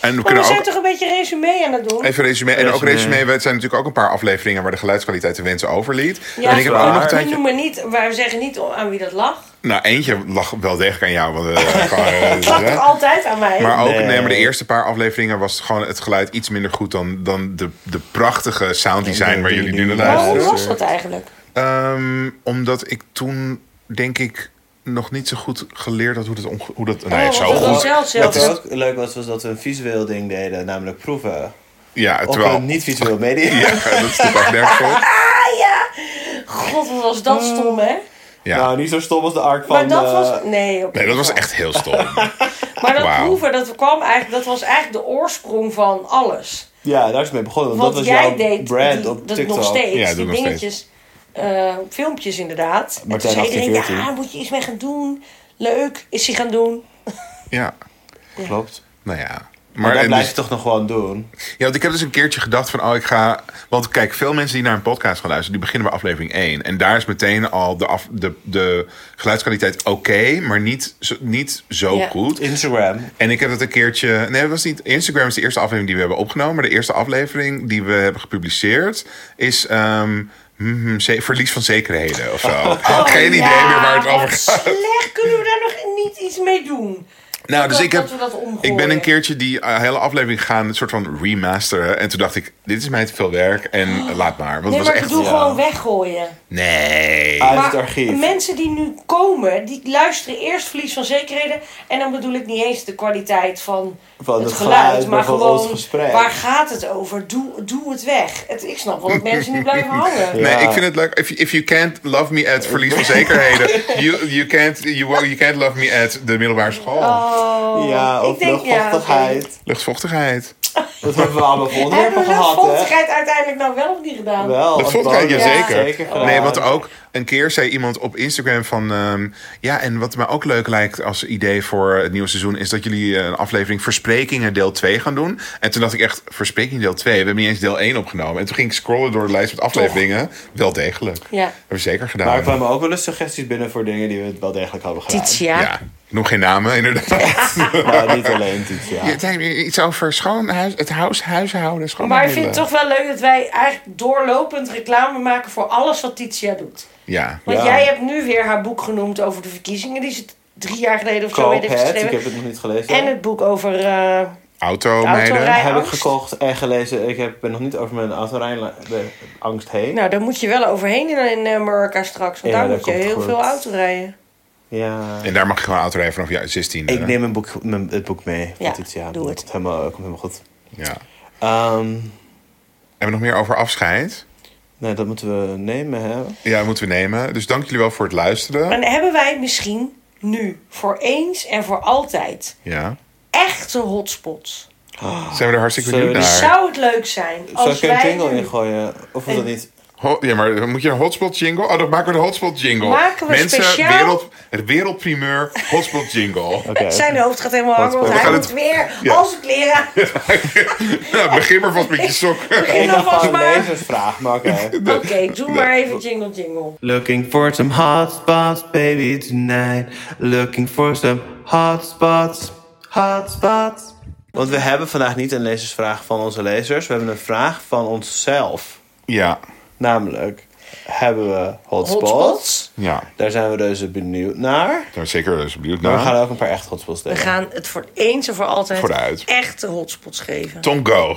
Speaker 2: En
Speaker 4: Maar
Speaker 2: we
Speaker 4: we
Speaker 2: kunnen
Speaker 4: Oh, zijn
Speaker 2: ook
Speaker 4: toch een beetje resume aan het doen?
Speaker 2: even resume. En ook
Speaker 3: Resume.
Speaker 2: resume. Er zijn natuurlijk ook een paar afleveringen waar de geluidskwaliteit de wensen overliet.
Speaker 4: Ja,
Speaker 2: en ik heb ook
Speaker 3: waar.
Speaker 2: nog een
Speaker 4: we
Speaker 2: tijdje.
Speaker 4: noemen niet, wij zeggen niet aan wie dat lag.
Speaker 2: Nou, eentje lag wel degelijk aan jou. Want, eh, gewoon, eh,
Speaker 4: Het lag toch altijd aan mij?
Speaker 2: Maar ook, nee.
Speaker 3: Nee.
Speaker 2: maar de eerste paar afleveringen was gewoon het geluid iets minder goed dan, dan de, de prachtige sounddesign waar jullie nu naar
Speaker 4: Waarom
Speaker 2: luisteren.
Speaker 4: was dat eigenlijk?
Speaker 2: Ehm, omdat ik toen, denk ik, nog niet zo goed geleerd had hoe dat... onge- Hoe dat nou ja,
Speaker 4: Oh,
Speaker 2: zo
Speaker 4: wat een
Speaker 2: goed.
Speaker 4: zelfs,
Speaker 3: Wat
Speaker 4: zelfs.
Speaker 3: ook leuk was, was dat we een visueel ding deden, namelijk proeven.
Speaker 2: Ja,
Speaker 3: Op
Speaker 2: terwijl...
Speaker 3: een niet-visueel medium.
Speaker 2: Ja, dat is natuurlijk ook nergens voor.
Speaker 4: Ah ja! God, wat was dat stom, hè?
Speaker 2: Ja.
Speaker 3: Nou, niet zo stom als de ark van...
Speaker 4: Maar dat
Speaker 3: eh,
Speaker 4: was... Nee, oké.
Speaker 2: Nee, dat was echt heel stom.
Speaker 4: Maar dat
Speaker 2: Wauw.
Speaker 4: proeven, dat, kwam eigenlijk, dat was eigenlijk de oorsprong van alles.
Speaker 3: Ja, daar is het mee begonnen. want
Speaker 4: Wat
Speaker 3: dat was
Speaker 4: jij
Speaker 3: jouw
Speaker 4: deed,
Speaker 3: brand
Speaker 4: die-
Speaker 3: op
Speaker 4: dat
Speaker 3: TikTok.
Speaker 4: nog steeds.
Speaker 2: Ja, doe
Speaker 4: die
Speaker 2: nog steeds.
Speaker 4: dingetjes, eh, filmpjes inderdaad. en toen
Speaker 3: Martijn
Speaker 4: zei iedereen,
Speaker 3: 1814.
Speaker 4: ja, moet je iets mee gaan doen. Leuk, is hij gaan doen.
Speaker 2: Ja,
Speaker 3: Klopt.
Speaker 2: nou ja.
Speaker 3: Maar dat
Speaker 2: en
Speaker 3: blijf
Speaker 2: dus-
Speaker 3: je toch nog gewoon doen.
Speaker 2: Ja, want ik heb dus een keertje gedacht van, oh, ik ga... Want kijk, veel mensen die naar een podcast gaan luisteren, die beginnen bij aflevering 1. En daar is meteen al de, af, de, de geluidskwaliteit oké, maar niet zo, niet zo
Speaker 4: Ja.
Speaker 2: goed.
Speaker 3: Instagram.
Speaker 2: En ik heb dat een keertje... Nee, dat was niet... Instagram is de eerste aflevering die we hebben opgenomen. Maar de eerste aflevering die we hebben gepubliceerd is... ehm, mhm, ze- verlies van zekerheden of zo. Geen idee
Speaker 4: Oh. Ja,
Speaker 2: meer waar het over
Speaker 4: wat
Speaker 2: gaat.
Speaker 4: slecht, kunnen we daar nog niet iets mee doen?
Speaker 2: Nou, dus
Speaker 4: Dat-
Speaker 2: ik, heb,
Speaker 4: dat we dat omgooien.
Speaker 2: ik ben een keertje die eh, hele aflevering gaan een soort van remasteren. En toen dacht ik, dit is mij te veel werk en eh, laat maar. Want
Speaker 4: Nee,
Speaker 2: het was
Speaker 4: maar
Speaker 2: echt...
Speaker 4: ik bedoel Ah, gewoon weggooien.
Speaker 2: Nee.
Speaker 3: Uit
Speaker 4: Maar
Speaker 3: het archief.
Speaker 4: mensen die nu komen, die luisteren eerst verlies van zekerheden. En dan bedoel ik niet eens de kwaliteit van,
Speaker 3: Van
Speaker 4: het
Speaker 3: het
Speaker 4: geluid,
Speaker 3: geluid,
Speaker 4: maar
Speaker 3: maar van
Speaker 4: gewoon
Speaker 3: ons gesprek.
Speaker 4: waar gaat het over? Doe, doe het weg. Het, ik snap wel dat mensen nu blijven hangen.
Speaker 2: Nee,
Speaker 3: Ja.
Speaker 2: ik vind het leuk. If, you- if you can't love me at verlies van zekerheden, you, you, can't, you, you can't love me at de middelbare school.
Speaker 4: Oh,
Speaker 3: ja,
Speaker 4: ik
Speaker 3: of
Speaker 4: denk, ja,
Speaker 3: luchtvochtigheid.
Speaker 4: oké.
Speaker 2: Luchtvochtigheid.
Speaker 3: Dat hebben we allemaal voor onderwerpen
Speaker 4: Hebben we
Speaker 3: gehad, hè?
Speaker 4: luchtvochtigheid uiteindelijk nou wel of niet gedaan?
Speaker 3: Wel,
Speaker 2: Dat vond ik,
Speaker 3: Antoine,
Speaker 2: ja,
Speaker 4: Ja.
Speaker 2: zeker.
Speaker 3: gedaan.
Speaker 2: Nee, want ook een keer zei iemand op Instagram van... ehm, ja, en wat mij ook leuk lijkt als idee voor het nieuwe seizoen... is dat jullie eh, een aflevering Versprekingen deel 2 gaan doen. En toen dacht ik echt, Versprekingen deel 2? We hebben niet eens deel 1 opgenomen. En toen ging ik scrollen door de lijst met afleveringen. Wel degelijk.
Speaker 4: Ja.
Speaker 2: Hebben we zeker gedaan.
Speaker 3: Maar er kwamen ook wel eens suggesties binnen voor dingen die we wel degelijk hadden gedaan.
Speaker 2: ja. ik noem geen namen inderdaad.
Speaker 3: Nou, niet alleen Titia.
Speaker 2: Je denkt Iets over schoon, huis, het huis, huishouden,
Speaker 4: Maar
Speaker 2: schoonmaken.
Speaker 4: ik vind het toch wel leuk dat wij eigenlijk doorlopend reclame maken voor alles wat Titia doet.
Speaker 2: Ja.
Speaker 4: Want
Speaker 3: Ja.
Speaker 4: jij hebt nu weer haar boek genoemd over de verkiezingen die ze t- drie jaar geleden of zo
Speaker 3: Koop
Speaker 4: weet ik
Speaker 3: het, ik
Speaker 4: geschreven.
Speaker 3: heb het nog niet gelezen.
Speaker 4: En het boek over. eh,
Speaker 2: Auto,
Speaker 4: Autorij-
Speaker 2: meiden.
Speaker 3: heb ik
Speaker 4: angst.
Speaker 3: gekocht en gelezen. Ik heb, ben nog niet over mijn autorijangst heen.
Speaker 4: nou, daar moet je wel overheen in, in Amerika straks. Want
Speaker 3: Ja,
Speaker 4: daar
Speaker 3: dat
Speaker 4: moet je
Speaker 3: komt
Speaker 4: heel
Speaker 3: goed.
Speaker 4: veel auto rijden.
Speaker 3: Ja.
Speaker 2: En daar mag je gewoon autorijden vanaf je 16.
Speaker 3: Ik neem een boek, mijn- het boek mee.
Speaker 4: Ja,
Speaker 3: Titia.
Speaker 4: doe
Speaker 3: Dat
Speaker 4: het.
Speaker 3: Komt helemaal, komt helemaal goed.
Speaker 2: Ja.
Speaker 3: Ehm,
Speaker 2: Hebben we nog meer over afscheid?
Speaker 3: nee, dat moeten we nemen, hè?
Speaker 2: Ja, moeten we nemen. Dus dank jullie wel voor het luisteren.
Speaker 3: Eh,
Speaker 4: En hebben wij misschien nu voor eens en voor altijd
Speaker 2: Ja.
Speaker 4: echte hotspots?
Speaker 2: Zijn we er hartstikke
Speaker 3: Zullen
Speaker 2: benieuwd
Speaker 3: we
Speaker 2: naar.
Speaker 4: Zou het leuk zijn
Speaker 3: Zal
Speaker 4: als
Speaker 3: ik er een
Speaker 4: wij
Speaker 3: jingle
Speaker 4: nu- Eh,
Speaker 3: in gooien? Of moet dat niet?
Speaker 2: Ho- ja, maar moet je een hotspot jingle? Oh, dan maken we de hotspot jingle.
Speaker 4: Maken we
Speaker 2: Mensen,
Speaker 4: speciaal-
Speaker 2: wereld, het wereldprimeur hotspot jingle.
Speaker 3: Oké.
Speaker 4: eh, Zijn hoofd gaat helemaal hangen, want
Speaker 3: We
Speaker 4: hij
Speaker 2: gaan
Speaker 4: moet
Speaker 2: het-
Speaker 4: weer
Speaker 2: Ja.
Speaker 4: als kleren.
Speaker 2: Ja, begin maar vast met je sokken.
Speaker 4: Begin
Speaker 3: Ik dacht
Speaker 4: alvast
Speaker 3: gewoon een
Speaker 4: maar.
Speaker 3: lezersvraag, maar oké.
Speaker 4: Oké, doe maar even jingle jingle.
Speaker 3: Looking for some hot spots, baby, tonight. Looking for some hot spots, hot spots. Want we hebben vandaag niet een lezersvraag van onze lezers. We hebben een vraag van onszelf.
Speaker 2: Ja,
Speaker 3: Namelijk, hebben we hotspots?
Speaker 4: Hotspots?
Speaker 2: ja.
Speaker 3: Daar zijn we dus benieuwd naar.
Speaker 2: Daar is zeker eens benieuwd
Speaker 3: Maar we gaan
Speaker 2: naar.
Speaker 3: ook een paar echt hotspots
Speaker 4: We
Speaker 3: delen.
Speaker 4: gaan het voor eens en voor altijd
Speaker 2: Vooruit.
Speaker 4: echte hotspots geven.
Speaker 2: Tongo.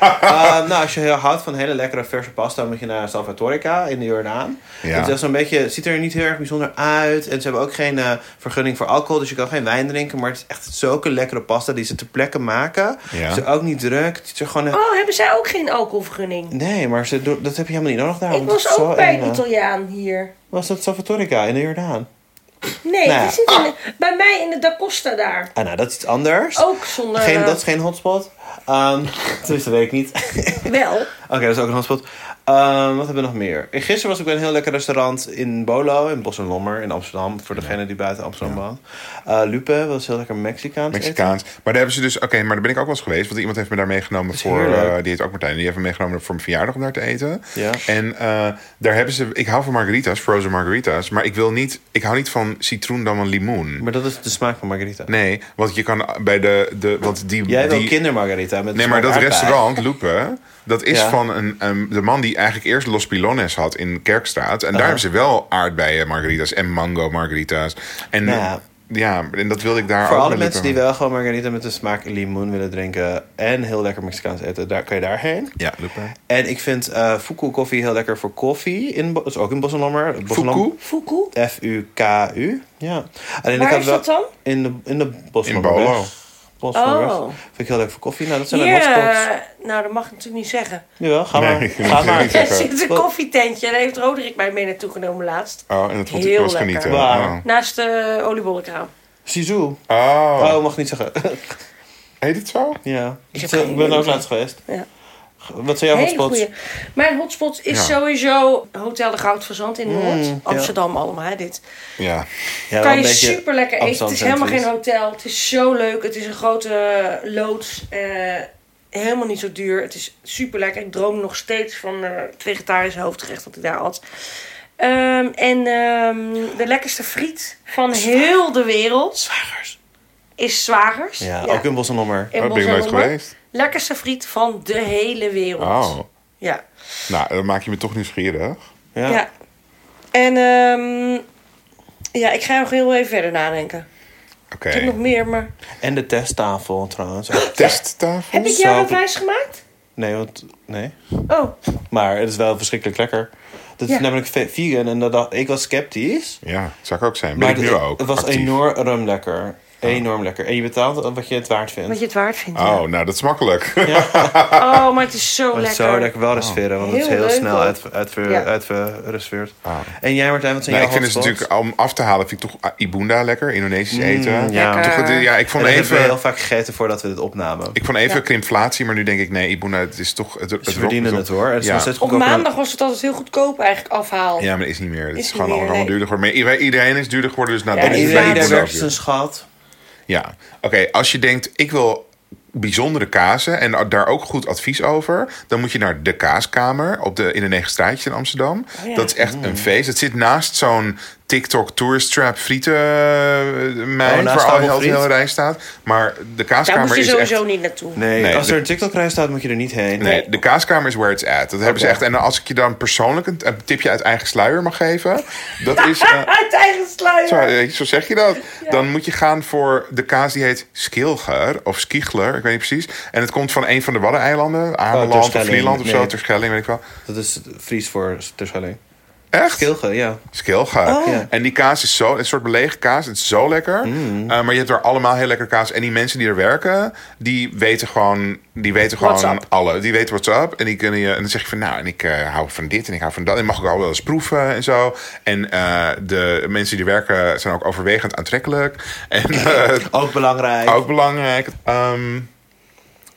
Speaker 3: Eh, nou, als je heel houdt van hele lekkere verse pasta, moet je naar Salvatorica in de Jordaan.
Speaker 2: Ja.
Speaker 3: Het is zo'n beetje, het ziet er niet heel erg bijzonder uit. En ze hebben ook geen eh, vergunning voor alcohol, dus je kan geen wijn drinken. Maar het is echt zulke lekkere pasta die ze ter plekke maken.
Speaker 2: Ja.
Speaker 3: Ze ook niet druk. Het is er gewoon... een-
Speaker 4: Oh, hebben zij ook geen alcoholvergunning?
Speaker 3: Nee, maar ze doen, Nou, dat heb je helemaal niet nodig daar.
Speaker 4: Ik
Speaker 3: want het
Speaker 4: was
Speaker 3: is zo eh.
Speaker 4: ook bij
Speaker 3: in,
Speaker 4: een
Speaker 3: eh,
Speaker 4: Italiaan hier.
Speaker 3: Was dat Salvatorica in de Jordaan?
Speaker 4: Nee,
Speaker 3: Nou ja.
Speaker 4: die zit in de- bij mij in de Da Costa daar.
Speaker 3: Ah, nou, dat is iets anders.
Speaker 4: Ook zonder...
Speaker 3: Geen,
Speaker 4: eh,
Speaker 3: dat is geen hotspot. Ehm tenminste, weet ik niet. Oké,
Speaker 4: Wel.
Speaker 3: dat is ook een hotspot. Ehm, wat hebben we nog meer? Gisteren was ik bij een heel lekker restaurant in Bolo, in Bos en Lommer, in Amsterdam. Voor degene die buiten Amsterdam woont. Eh, Lupe was heel lekker Mexicaans. eten.
Speaker 2: Mexicaans. Maar daar hebben ze dus, oké, maar daar ben ik ook wel eens geweest. Want iemand heeft me daar meegenomen voor,
Speaker 3: heerlijk.
Speaker 2: eh, die heet ook Martijn. Die heeft me meegenomen voor mijn verjaardag om daar te eten.
Speaker 3: Ja.
Speaker 2: En eh, daar hebben ze, ik hou van margaritas, frozen margaritas. Maar ik wil niet, ik hou niet van citroen dan van limoen.
Speaker 3: Maar dat is de smaak van margarita.
Speaker 2: Nee, want je kan bij de, de want die...
Speaker 3: Jij wil
Speaker 2: die,
Speaker 3: kindermargarita met
Speaker 2: Nee, maar dat
Speaker 3: smaak aardbei.
Speaker 2: restaurant, Loepen, dat is
Speaker 3: Ja.
Speaker 2: van een, een- de man die eigenlijk eerst Los Pilones had in Kerkstraat. En daar hebben ze wel aardbeien margaritas en mango margaritas. En
Speaker 3: Nou
Speaker 2: ja,
Speaker 3: ja.
Speaker 2: en dat wil ik daar
Speaker 3: Voor
Speaker 2: ook
Speaker 3: alle
Speaker 2: bij
Speaker 3: mensen die
Speaker 2: Loepen.
Speaker 3: wel gewoon margarita met de smaak limoen willen drinken en heel lekker Mexicaans eten, daar kan je daarheen.
Speaker 2: Ja, Loepen.
Speaker 3: En ik vind eh Fuku koffie heel lekker voor koffie. In, Bo- dat is ook in Bossenlammer.
Speaker 2: Fuku?
Speaker 4: Fuku?
Speaker 3: F-U-K-U. Ja. Alleen
Speaker 4: Waar
Speaker 3: ik had
Speaker 4: is
Speaker 3: wel-
Speaker 4: dat dan?
Speaker 3: In de, in de
Speaker 2: In
Speaker 3: Bossenlammer.
Speaker 2: Bolo.
Speaker 4: Oh.
Speaker 3: Vind ik heel leuk voor koffie. Nou, dat zijn
Speaker 4: Hier,
Speaker 3: de hotspots.
Speaker 4: eh, nou dat mag ik natuurlijk niet zeggen.
Speaker 3: Jawel, ga maar.
Speaker 2: Nee, ik
Speaker 3: ga
Speaker 2: moet
Speaker 3: maar.
Speaker 2: niet
Speaker 4: Er
Speaker 2: zeggen.
Speaker 4: zit een
Speaker 3: Wat?
Speaker 4: koffietentje en daar heeft Roderick mij mee naartoe genomen laatst.
Speaker 2: Oh, en dat vond ik
Speaker 4: Heel
Speaker 2: was
Speaker 4: lekker.
Speaker 2: genieten.
Speaker 3: Waar?
Speaker 2: Oh.
Speaker 4: Naast de oliebollenkraam.
Speaker 3: Sisu.
Speaker 2: Oh.
Speaker 3: Oh, mag niet zeggen.
Speaker 2: heet het zo?
Speaker 3: ja.
Speaker 4: Ik heb
Speaker 3: Ik,
Speaker 4: geen
Speaker 3: ben er ook
Speaker 4: idee.
Speaker 3: laatst geweest.
Speaker 4: Ja.
Speaker 3: Wat zijn jouw
Speaker 4: Hele
Speaker 3: hotspots?
Speaker 4: goeie. Mijn hotspot is
Speaker 2: Ja.
Speaker 4: sowieso Hotel de Goudverzand in Noord. Amsterdam allemaal, hè, dit.
Speaker 2: Ja.
Speaker 3: Ja, Mm, wel
Speaker 4: kan
Speaker 3: een
Speaker 4: je
Speaker 3: beetje
Speaker 4: super lekker eten. Het is helemaal geen
Speaker 3: Amsterdam-centrisch.
Speaker 4: hotel. Het is zo leuk. Het is een grote loods. eh, helemaal niet zo duur. Het is super lekker. Ik droom nog steeds van eh, het vegetarisch hoofdgerecht dat ik daar had. Ehm, en ehm, de lekkerste friet van heel de wereld. Is Zwagers.
Speaker 3: Ja, ook in Bossenlammer.
Speaker 4: In
Speaker 2: Oh, ben ik
Speaker 4: Bos en
Speaker 2: nooit
Speaker 4: Lommer.
Speaker 2: geweest.
Speaker 4: Lekkerste friet van de hele wereld.
Speaker 2: Oh.
Speaker 4: Ja.
Speaker 2: Nou, dan maak je me toch nieuwsgierig.
Speaker 3: Ja.
Speaker 4: Ja. En ehm, ja, ik ga nog heel even verder nadenken.
Speaker 2: Oké.
Speaker 4: Ik heb nog meer, maar...
Speaker 3: En de testtafel trouwens.
Speaker 2: Testtafel?
Speaker 4: Heb ik jou
Speaker 3: Zo-
Speaker 4: dat wijs gemaakt?
Speaker 3: Nee, want... Nee.
Speaker 4: Oh,
Speaker 3: Maar het is wel verschrikkelijk lekker. Dat is
Speaker 4: Ja.
Speaker 3: namelijk ve- vegan en dat dacht, ik was sceptisch.
Speaker 2: Ja, zou ik ook zijn. Ben ik nu
Speaker 3: het,
Speaker 2: ook.
Speaker 3: het was
Speaker 2: actief.
Speaker 3: enorm lekker. Enorm lekker. En je betaalt wat je het waard vindt.
Speaker 4: wat je het waard vindt.
Speaker 2: Oh, nou, dat is makkelijk.
Speaker 4: Oh, maar het is zo
Speaker 3: Maar
Speaker 4: lekker.
Speaker 3: het zou lekker wel reserveren, want het is
Speaker 4: Heel
Speaker 3: heel
Speaker 4: leuk
Speaker 3: snel
Speaker 4: ook.
Speaker 3: uit, uit,
Speaker 4: Ja.
Speaker 3: uitgereserveerd. En jij Martijn, wat zijn
Speaker 2: Nou, Ah. ik
Speaker 3: jouw
Speaker 2: vind het
Speaker 3: hotspots?
Speaker 2: natuurlijk, om af te halen, vind ik toch ah, Ibunda lekker, Indonesisch eten.
Speaker 3: Mm, ja.
Speaker 2: Toch, het- ja, ik
Speaker 3: En
Speaker 2: vond
Speaker 3: dat hebben we heel
Speaker 2: even,
Speaker 3: vaak gegeten voordat we dit opnamen.
Speaker 2: ik vond even krimflatie, maar nu denk ik, nee, Ibunda, het is toch... Het, het
Speaker 3: Ze verdienen het hoor. Het is
Speaker 2: ja.
Speaker 3: nog steeds
Speaker 4: Op
Speaker 3: goedkoper dan-
Speaker 4: maandag was het altijd heel goedkoop eigenlijk afhaal.
Speaker 2: Ja, maar dat is niet meer. Het is,
Speaker 4: niet
Speaker 2: gewoon
Speaker 4: meer,
Speaker 2: allemaal
Speaker 4: nee.
Speaker 2: duurder geworden. Maar iedereen- iedereen is duurder geworden, dus nou,
Speaker 4: Ja,
Speaker 2: dan
Speaker 3: En
Speaker 2: is het
Speaker 3: iedereen
Speaker 2: wel
Speaker 3: die daar
Speaker 2: duurder.
Speaker 3: werkt is een schat.
Speaker 2: Ja, oké. als je denkt, ik wil bijzondere kazen en daar ook goed advies over, dan moet je naar de Kaaskamer op de, in de Negen Straatjes in Amsterdam.
Speaker 4: Oh
Speaker 2: Dat is echt
Speaker 4: Mm.
Speaker 2: een feest. Het zit naast zo'n TikTok tourist trap frieten eh,
Speaker 3: Oh,
Speaker 2: meid,
Speaker 3: naast
Speaker 2: waar al
Speaker 3: Abel
Speaker 2: heel de
Speaker 3: Friet?
Speaker 2: hele rij staat. Maar de
Speaker 4: Daar moest
Speaker 2: Kaaskamer
Speaker 4: je
Speaker 2: is echt...
Speaker 4: sowieso niet naartoe.
Speaker 3: Nee,
Speaker 2: Nee,
Speaker 3: als
Speaker 2: de-
Speaker 3: er een TikTok-rij staat moet je er niet heen.
Speaker 2: Nee, de kaaskamer is where it's at. Dat hebben ze echt. En als ik je dan persoonlijk een, een tipje uit eigen sluier mag geven, dat is. eh,
Speaker 4: Uit eigen sluier.
Speaker 2: Zo, eh, zo zeg je dat. Dan moet je gaan voor de kaas die heet Skilger of Skiegler, ik weet niet precies. En het komt van een van de Waddeneilanden, Ameland of
Speaker 3: Terschelling.
Speaker 2: Vlieland of zo,
Speaker 3: Nee.
Speaker 2: Terschelling, weet ik wel.
Speaker 3: Dat is Fries voor Terschelling.
Speaker 2: Echt?
Speaker 3: Kilge, ja.
Speaker 2: Skilger.
Speaker 4: Oh.
Speaker 3: Ja.
Speaker 2: En die kaas is zo, een soort belegen kaas, het is zo lekker. Eh, maar je hebt er allemaal heel lekker kaas. En die mensen die er werken, die weten gewoon, die weten gewoon
Speaker 4: What's up?
Speaker 2: alle. Die weten what's up. En, die kunnen je, en dan zeg je van, nou, en ik eh, hou van dit en ik hou van dat. En mag ik al wel eens proeven en zo. En eh, de mensen die er werken zijn ook overwegend aantrekkelijk. En eh,
Speaker 3: Ook belangrijk.
Speaker 2: Ook belangrijk. Ehm,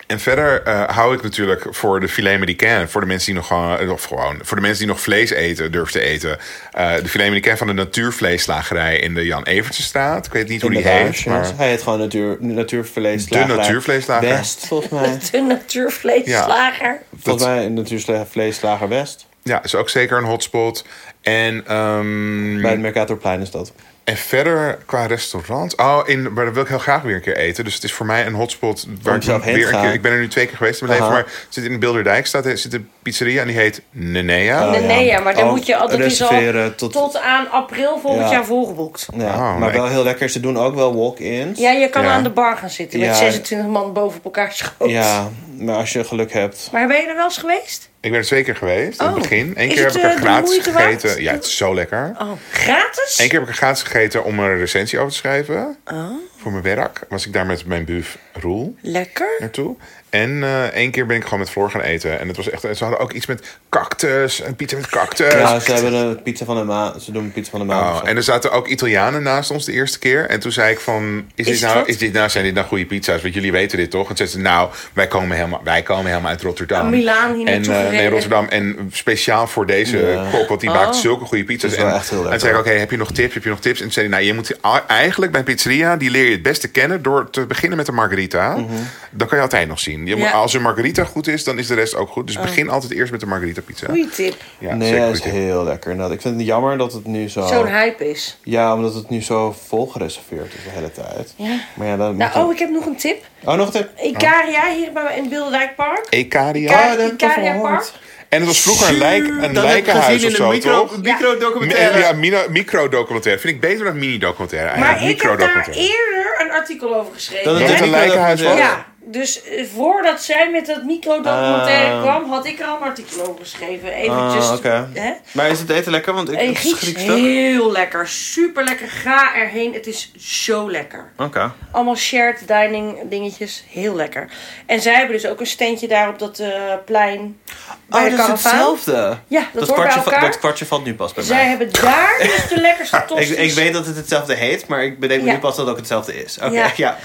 Speaker 2: en verder eh, hou ik natuurlijk voor de filet medicain. Voor de mensen die nog gewoon, eh, of gewoon, voor de mensen die nog vlees eten, durven te eten. eh, de filet medicain van de natuurvleesslagerij in de Jan Evertsenstraat. Ik weet niet hoe die
Speaker 3: Inderdaad,
Speaker 2: heet.
Speaker 3: ja.
Speaker 2: Maar,
Speaker 3: Hij heet gewoon natuur, natuurvleeslager.
Speaker 2: De natuurvleeslager.
Speaker 3: West, volgens mij.
Speaker 4: De natuurvleesslager.
Speaker 3: volgens mij natuurvleeslager West.
Speaker 2: ja, is ook zeker een hotspot. En, ehm,
Speaker 3: Bij het Mercatorplein is dat.
Speaker 2: en verder qua restaurant. Oh, in, maar dat wil ik heel graag weer een keer eten. Dus het is voor mij een hotspot waar ik
Speaker 3: zelf heen
Speaker 2: weer
Speaker 3: te
Speaker 2: een
Speaker 3: gaan.
Speaker 2: keer. Ik ben er nu twee keer geweest in mijn leven.
Speaker 3: Aha.
Speaker 2: Maar het zit in de Bilderdijkstraat eh, zit een pizzeria en die heet Nenea.
Speaker 4: Nee, nee, ja, maar daar
Speaker 3: Oh,
Speaker 4: moet je altijd is al
Speaker 3: reserveren tot-
Speaker 4: tot... aan april volgend
Speaker 3: Ja.
Speaker 4: jaar volgeboekt.
Speaker 3: Ja,
Speaker 2: Oh,
Speaker 3: maar
Speaker 2: nee.
Speaker 3: wel heel lekker. Ze doen ook wel walk-ins.
Speaker 4: Ja, je kan
Speaker 2: Ja.
Speaker 4: aan de bar gaan zitten
Speaker 3: Ja.
Speaker 4: met 26 man boven op elkaar schoot.
Speaker 3: Ja, maar als je geluk hebt.
Speaker 4: Maar ben je er wel eens geweest?
Speaker 2: Ik ben er twee keer geweest. In het
Speaker 4: Oh.
Speaker 2: begin. Eén
Speaker 4: Is
Speaker 2: keer
Speaker 4: het,
Speaker 2: heb ik er
Speaker 4: eh, de
Speaker 2: gratis
Speaker 4: moeite waard?
Speaker 2: gegeten. Ja, het is zo lekker.
Speaker 4: Oh, gratis? Oh.
Speaker 2: Eén keer heb ik er gratis gegeten om er een recensie over te schrijven. Voor voor mijn werk was ik daar met mijn buf Roel
Speaker 9: Lekker.
Speaker 2: naartoe. En eh, één keer ben ik gewoon met Floor gaan eten. En het was echt, ze hadden ook iets met cactus, een pizza met cactus.
Speaker 3: Ja, ze hebben een pizza van de maand. Ze doen een pizza van de maand.
Speaker 2: Oh, en er zaten ook Italianen naast ons de eerste keer. En toen zei ik van, is dit,
Speaker 4: Is
Speaker 2: nou,
Speaker 4: dat-
Speaker 2: is dit nou, zijn dit nou goede pizza's? Want jullie weten dit toch? En zeiden ze, nou, wij komen helemaal, wij komen helemaal uit Rotterdam.
Speaker 9: Uit Milaan hier
Speaker 2: en,
Speaker 9: naartoe
Speaker 2: eh, Nee,
Speaker 9: gereden.
Speaker 2: Rotterdam. En speciaal voor deze kok, want die maakt zulke goede pizza's.
Speaker 3: Oh. is wel
Speaker 2: en,
Speaker 3: echt heel
Speaker 2: en toen
Speaker 3: lekker.
Speaker 2: zei ik, oké, heb je nog tips? Heb je nog tips? En toen zei hij, nou, je moet a- eigenlijk bij een pizzeria, die leer je het beste kennen door te beginnen met de margarita.
Speaker 3: Mhm.
Speaker 2: Dan kan je altijd nog zien. Je moet-
Speaker 9: Ja.
Speaker 2: Als een margarita goed is, dan is de rest ook goed. Dus begin altijd eerst met de margarita pizza.
Speaker 9: Goeie tip.
Speaker 2: Ja,
Speaker 3: nee,
Speaker 2: zeker
Speaker 3: dat
Speaker 2: goede
Speaker 3: is
Speaker 2: tip.
Speaker 3: heel lekker. Nou, ik vind het jammer dat het nu zo...
Speaker 9: Zo'n hype is.
Speaker 3: Ja, omdat het nu zo vol gereserveerd is de hele tijd.
Speaker 9: Ja.
Speaker 3: Maar ja, dan moet
Speaker 4: Nou,
Speaker 3: het-
Speaker 4: oh, ik heb nog een tip.
Speaker 3: oh, nog een tip.
Speaker 4: Icaria hier bij in Bilderdijkpark.
Speaker 2: Ekadia.
Speaker 4: Icaria,
Speaker 3: Oh, dat heb ik al
Speaker 4: Icaria
Speaker 3: gehoord.
Speaker 4: Park.
Speaker 2: En het was vroeger een, lijk, een
Speaker 3: Dat heb ik
Speaker 2: lijkenhuis
Speaker 3: gezien
Speaker 2: of
Speaker 3: in
Speaker 2: zo,
Speaker 3: een micro,
Speaker 2: toch?
Speaker 3: microdocumentaire.
Speaker 2: Ja, mino- micro-documentaire. Vind ik beter dan mini-documentaire
Speaker 4: Maar
Speaker 2: eigenlijk.
Speaker 4: ik heb daar
Speaker 2: Micro-documentaire.
Speaker 4: eerder een artikel over geschreven.
Speaker 3: Dat
Speaker 2: Dat
Speaker 3: Ja,
Speaker 2: het een
Speaker 3: microdocumentaire.
Speaker 2: lijkenhuis was?
Speaker 4: Ja, dus eh, voordat zij met dat microdocumentaire
Speaker 3: Ah.
Speaker 4: kwam, had ik er al een artikel over geschreven. Eventjes.
Speaker 3: Ah, oké.
Speaker 4: hè?
Speaker 3: Maar is het eten lekker? Want ik
Speaker 4: En
Speaker 3: het is
Speaker 4: Grieks,
Speaker 3: Grieks toch?
Speaker 4: heel lekker, super lekker. Ga erheen, het is zo lekker.
Speaker 3: Oké.
Speaker 4: Allemaal shared dining dingetjes, heel lekker. En zij hebben dus ook een standje daar op dat eh, plein bij de
Speaker 3: Oh, dat is
Speaker 4: karavaan.
Speaker 3: hetzelfde.
Speaker 4: Ja, dat hoort bij
Speaker 3: kwartje va-
Speaker 4: elkaar.
Speaker 3: dat kwartje valt nu pas bij
Speaker 4: Zij
Speaker 3: mij.
Speaker 4: hebben daar dus de lekkerste
Speaker 3: Ik,
Speaker 4: tosti's.
Speaker 3: ik weet dat het hetzelfde heet, maar ik bedenk me
Speaker 4: Ja.
Speaker 3: nu pas dat het ook hetzelfde is. Oké,
Speaker 4: Ja.
Speaker 3: ja.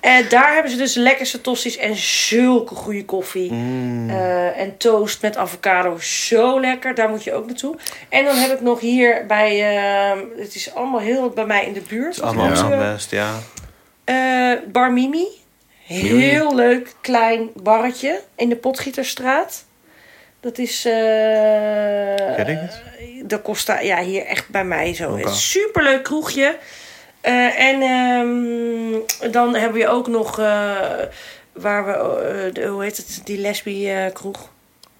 Speaker 4: En daar hebben ze dus de lekkerste tosti's en zulke goede koffie.
Speaker 3: Mm.
Speaker 4: Eh, en toast met avocado. Zo lekker. Daar moet je ook naartoe. En dan heb ik nog hier bij... ehm, het is allemaal heel bij mij in de buurt.
Speaker 3: Allemaal
Speaker 4: Dus,
Speaker 3: Amsterdam
Speaker 4: eh,
Speaker 3: best, ja.
Speaker 4: eh, Bar Mimi. Heel leuk klein barretje in de Potgieterstraat. Dat is... eh
Speaker 3: Ken ik het?
Speaker 4: de Costa, ja, hier echt bij mij zo. Een Superleuk kroegje. Eh, en ehm, dan hebben we ook nog eh, waar we, eh, de- hoe heet het, die lesbi eh, kroeg?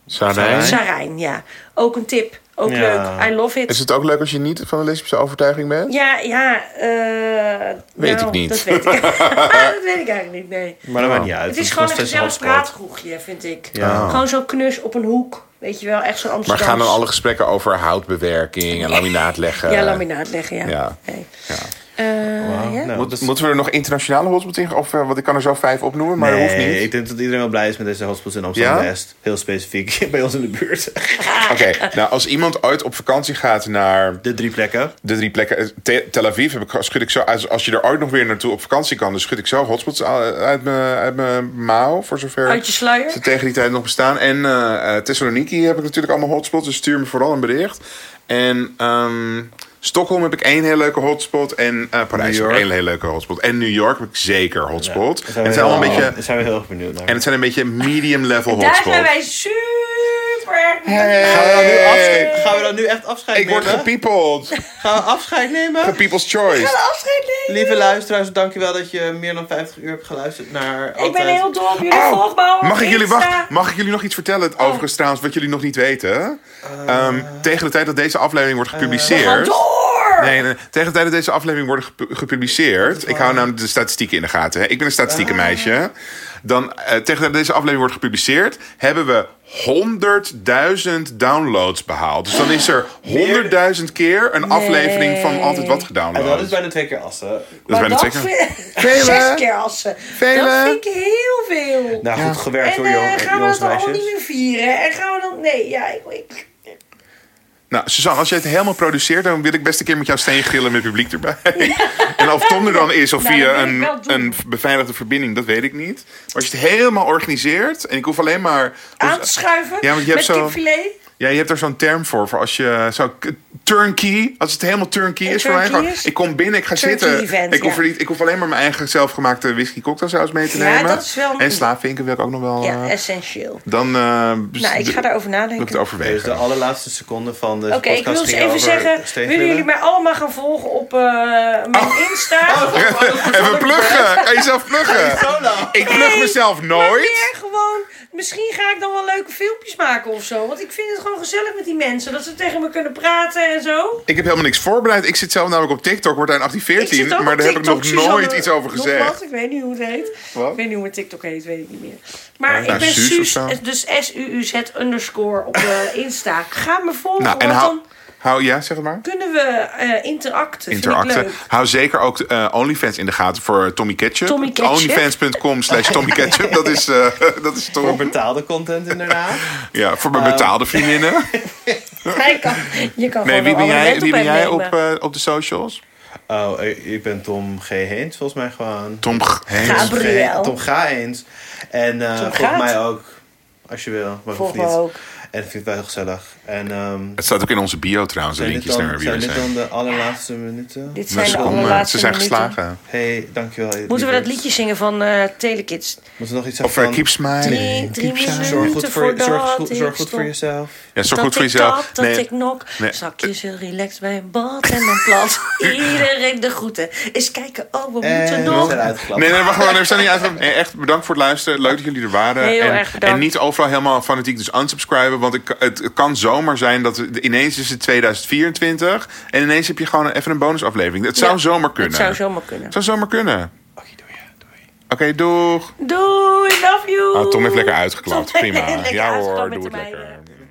Speaker 2: Sarijn.
Speaker 4: Sarijn, ja. Ook een tip. Ook
Speaker 3: Ja.
Speaker 4: leuk. I love it.
Speaker 2: Is het ook leuk als je niet van een lesbische overtuiging bent?
Speaker 4: Ja, ja. eh,
Speaker 2: Weet
Speaker 4: nou,
Speaker 2: ik niet.
Speaker 4: Dat weet ik, dat weet ik eigenlijk niet, nee.
Speaker 3: Maar dat maakt niet uit.
Speaker 4: Het
Speaker 3: want
Speaker 4: is gewoon een
Speaker 3: nog steeds
Speaker 4: gezellig
Speaker 3: half sport.
Speaker 4: praatkroegje, vind ik.
Speaker 3: Ja.
Speaker 4: Gewoon zo'n knus op een hoek. Weet je wel, echt zo'n
Speaker 2: Oh. Maar
Speaker 4: Amsterdam.
Speaker 2: gaan dan alle gesprekken over houtbewerking en laminaat leggen?
Speaker 4: Ja, laminaat leggen, ja.
Speaker 2: Ja.
Speaker 4: Nee.
Speaker 2: Ja.
Speaker 4: Eh, ja?
Speaker 3: Nou,
Speaker 2: Moet-
Speaker 3: dat is-
Speaker 2: Dus Moeten we er nog internationale hotspots in? Of, eh, want ik kan er zo vijf opnoemen, maar
Speaker 3: nee,
Speaker 2: dat hoeft niet.
Speaker 3: ik denk dat iedereen wel blij is met deze hotspots in Amsterdam
Speaker 2: Ja?
Speaker 3: West. Heel specifiek bij ons in de buurt.
Speaker 2: Oké, nou als iemand ooit op vakantie gaat naar
Speaker 3: De drie plekken.
Speaker 2: de drie plekken. Eh, Te- Tel Aviv heb ik, schud ik zo. Als, als je er ooit nog weer naartoe op vakantie kan, dan schud ik zo hotspots a- uit mijn uit mijn mouw. Voor zover
Speaker 4: Uit je sluier?
Speaker 2: ze tegen die tijd nog bestaan. En eh eh, Thessaloniki heb ik natuurlijk allemaal hotspots. Dus stuur me vooral een bericht. En ehm, Stockholm heb ik één heel leuke hotspot. En eh, Parijs heb ik één heel leuke hotspot. En New York heb ik zeker hotspot.
Speaker 3: Daar
Speaker 2: en
Speaker 3: zijn
Speaker 2: het
Speaker 3: we
Speaker 2: zijn allemaal een
Speaker 3: heel-
Speaker 2: beetje.
Speaker 3: daar zijn we heel erg benieuwd naar.
Speaker 2: En het zijn een beetje medium level
Speaker 4: Daar zijn
Speaker 2: hotspots.
Speaker 4: wij super
Speaker 3: Gaan we, dan nu
Speaker 2: Hey.
Speaker 3: afscheid- gaan we dan nu echt afscheid
Speaker 2: Ik word
Speaker 3: nemen?
Speaker 2: gepiepeld.
Speaker 3: Gaan we afscheid nemen?
Speaker 2: People's choice.
Speaker 4: afscheid nemen.
Speaker 3: Lieve luisteraars, dankjewel dat je meer dan 50 uur hebt geluisterd naar altijd.
Speaker 4: Ik ben heel dol op Oh. jullie
Speaker 2: Oh,
Speaker 4: volgbouwen.
Speaker 2: Mag ik, jullie, wacht, mag ik jullie nog iets vertellen? Het Overigens trouwens, wat jullie nog niet weten. Ehm, tegen de tijd dat deze aflevering wordt gepubliceerd...
Speaker 4: Eh, Door!
Speaker 2: Nee, nee, tegen de tijd dat deze aflevering wordt gepu- gepubliceerd... Ik hou namelijk de statistieken in de gaten. Hè. Ik ben een
Speaker 4: Ah.
Speaker 2: statistiekenmeisje. Dan, eh, tegen de tijd dat deze aflevering wordt gepubliceerd... hebben we 100.000 downloads behaald. Dus dan is er 100.000 keer een aflevering van Altijd Wat
Speaker 3: En dat is
Speaker 2: gedownload.
Speaker 3: bijna twee keer assen.
Speaker 2: Dat
Speaker 4: Maar
Speaker 2: bijna
Speaker 4: dat
Speaker 2: zeker.
Speaker 4: vind Zes
Speaker 2: Velen.
Speaker 4: keer assen. Dat
Speaker 2: Velen.
Speaker 4: vind ik heel veel.
Speaker 3: Nou, goed gewerkt
Speaker 4: en
Speaker 3: hoor,
Speaker 4: eh,
Speaker 3: jong,
Speaker 4: gaan we
Speaker 3: jongens
Speaker 4: dat
Speaker 3: en
Speaker 4: dan allemaal niet
Speaker 3: meisjes.
Speaker 4: meer vieren? En gaan we dan... Nee, ja, ik... ik
Speaker 2: Nou, Suzanne, als jij het helemaal produceert, dan wil ik best een keer met jou steen gillen met publiek erbij. En of Tom er dan is, of
Speaker 4: Nou, dat
Speaker 2: via
Speaker 4: wil ik
Speaker 2: een,
Speaker 4: wel doen.
Speaker 2: een beveiligde verbinding, dat weet ik niet. Maar als je het helemaal organiseert, en ik hoef alleen maar.
Speaker 4: aan te schuiven
Speaker 2: Dus, eh, Ja, want je
Speaker 4: met
Speaker 2: hebt zo-
Speaker 4: kipfilet.
Speaker 2: Ja, je hebt daar zo'n term voor, voor als je zo turnkey, als het helemaal turnkey
Speaker 4: Een
Speaker 2: is voor mij.
Speaker 4: turnkey
Speaker 2: gewoon,
Speaker 4: is?
Speaker 2: Ik kom binnen, ik ga
Speaker 4: Turnkey
Speaker 2: zitten.
Speaker 4: event,
Speaker 2: ik, hoef er
Speaker 4: ja.
Speaker 2: niet, ik hoef alleen maar mijn eigen zelfgemaakte whisky cocktailsaus mee te
Speaker 4: Ja,
Speaker 2: nemen.
Speaker 4: dat is wel-
Speaker 2: En slaafvinken wil ik ook nog wel.
Speaker 4: Ja,
Speaker 2: eh,
Speaker 4: essentieel.
Speaker 2: dan eh,
Speaker 4: Nou, ik ga daarover
Speaker 2: wil ik het
Speaker 4: nadenken.
Speaker 2: overwegen.
Speaker 3: Dus de allerlaatste seconde van de
Speaker 4: Oké, ik wil
Speaker 3: podcast
Speaker 4: eens
Speaker 3: ging
Speaker 4: even
Speaker 3: over
Speaker 4: zeggen...
Speaker 3: steengrillen.
Speaker 4: Willen jullie mij allemaal gaan volgen op eh, mijn
Speaker 2: Oh.
Speaker 4: Insta?
Speaker 2: Even pluggen, kan je zelf pluggen? Ik plug mezelf nooit.
Speaker 4: meer gewoon, misschien ga ik dan wel leuke filmpjes maken of zo. Want ik vind het gewoon gezellig met die mensen. Dat ze tegen me kunnen praten en zo.
Speaker 2: Ik heb helemaal niks voorbereid. Ik zit zelf namelijk op TikTok, wordt daar een
Speaker 4: zit
Speaker 2: 1814.
Speaker 4: ook op
Speaker 2: Maar daar heb ik
Speaker 4: TikTok,
Speaker 2: nog
Speaker 4: Suzanne-
Speaker 2: nooit iets over
Speaker 4: eh, nog
Speaker 2: gezegd.
Speaker 4: wat? ik weet niet hoe het heet.
Speaker 2: Wat?
Speaker 4: Ik weet niet hoe mijn TikTok heet, weet ik niet meer. Maar
Speaker 2: nou,
Speaker 4: ik ben
Speaker 2: Suus of
Speaker 4: Suus,
Speaker 2: zo.
Speaker 4: dus S-U-U-Z underscore op eh, Insta. Ga me volgen,
Speaker 2: Nou, en
Speaker 4: want
Speaker 2: hou,
Speaker 4: dan
Speaker 2: Hou, ja, zeg het maar.
Speaker 4: Kunnen we eh, interacten? Vind ik
Speaker 2: Interacten.
Speaker 4: leuk.
Speaker 2: Hou zeker ook eh, OnlyFans in de gaten voor Tommy Ketchup.
Speaker 4: Tommy Ketchup.
Speaker 2: Onlyfans.com slash Tommy Ketchup. Dat is, eh, dat is
Speaker 3: Voor
Speaker 2: toch...
Speaker 3: betaalde content inderdaad.
Speaker 2: Ja, voor
Speaker 4: Oh.
Speaker 2: mijn betaalde vriendinnen.
Speaker 4: Hij kan, je kan
Speaker 2: Nee,
Speaker 4: gewoon
Speaker 2: wie ben
Speaker 4: een
Speaker 2: jij,
Speaker 4: abonnement
Speaker 2: wie ben
Speaker 4: hem
Speaker 2: jij op,
Speaker 4: nemen.
Speaker 2: eh, op de socials?
Speaker 3: Oh, ik, ik ben Tom G. Heens volgens mij gewoon.
Speaker 2: Tom G- Heens.
Speaker 4: Gabriel. Gabriel.
Speaker 3: Tom Ga eens. En eh
Speaker 4: Tom
Speaker 3: volg
Speaker 4: Gaat.
Speaker 3: mij ook. Als je wil, maar
Speaker 4: Volg
Speaker 3: hoeft niet.
Speaker 4: me ook.
Speaker 3: En ik vind het wel heel gezellig. En ehm
Speaker 2: Het staat ook in onze bio trouwens, de
Speaker 3: zijn dit
Speaker 2: linkjes naar
Speaker 3: dan,
Speaker 2: wie we
Speaker 3: zijn dit
Speaker 2: zijn.
Speaker 3: dan de allerlaatste minuten?
Speaker 4: Dit
Speaker 2: Nou,
Speaker 4: zijn
Speaker 2: ze,
Speaker 4: de
Speaker 2: komen,
Speaker 4: allerlaatste
Speaker 2: ze zijn
Speaker 4: minuten.
Speaker 2: geslagen.
Speaker 3: Hey, dankjewel.
Speaker 4: Moeten we dat
Speaker 3: lieverd.
Speaker 4: liedje zingen van eh Telekids?
Speaker 3: Moeten we nog iets
Speaker 2: Of
Speaker 3: zeggen
Speaker 2: eh,
Speaker 3: van...
Speaker 2: keep smiling.
Speaker 4: Drie, drie
Speaker 2: Keep shining.
Speaker 3: Zorg goed
Speaker 4: minuten
Speaker 3: voor, je- zorg,
Speaker 4: voordat
Speaker 3: goed-
Speaker 4: ik
Speaker 3: zorg goed voor
Speaker 4: stop.
Speaker 3: jezelf.
Speaker 2: Ja, zorg
Speaker 4: dat
Speaker 2: goed voor
Speaker 4: ik
Speaker 2: jezelf.
Speaker 4: Dat, dat
Speaker 2: Nee,
Speaker 4: ik nok.
Speaker 2: Nee.
Speaker 4: Zakjes heel relaxed bij een bad en dan plat. Iedereen de groeten. Eens kijken, oh, we moeten
Speaker 3: En we
Speaker 4: nog.
Speaker 3: zijn uitgeklapt.
Speaker 2: Nee, nee, wacht maar. We zijn niet uit. Nee, echt bedankt voor het luisteren. Leuk dat jullie er waren.
Speaker 4: Heel
Speaker 2: en,
Speaker 4: erg bedankt.
Speaker 2: en niet overal helemaal fanatiek dus unsubscriben. Want ik, het, het kan zomaar zijn dat we- ineens is het 2024. En ineens heb je gewoon even een bonusaflevering. Het zou
Speaker 4: Ja,
Speaker 2: zomaar kunnen.
Speaker 4: Het zou zomaar kunnen.
Speaker 2: Het zou zomaar kunnen.
Speaker 3: Oké, doei. ja, doei.
Speaker 2: Oké, doeg.
Speaker 4: Doei, love you.
Speaker 2: Ah, Tom heeft lekker uitgeklapt.
Speaker 4: Tom heeft
Speaker 2: Prima.
Speaker 4: lekker
Speaker 2: ja
Speaker 4: uitgeklapt
Speaker 2: hoor,
Speaker 4: met eh.
Speaker 2: doe het
Speaker 4: de
Speaker 2: lekker.
Speaker 4: meiden.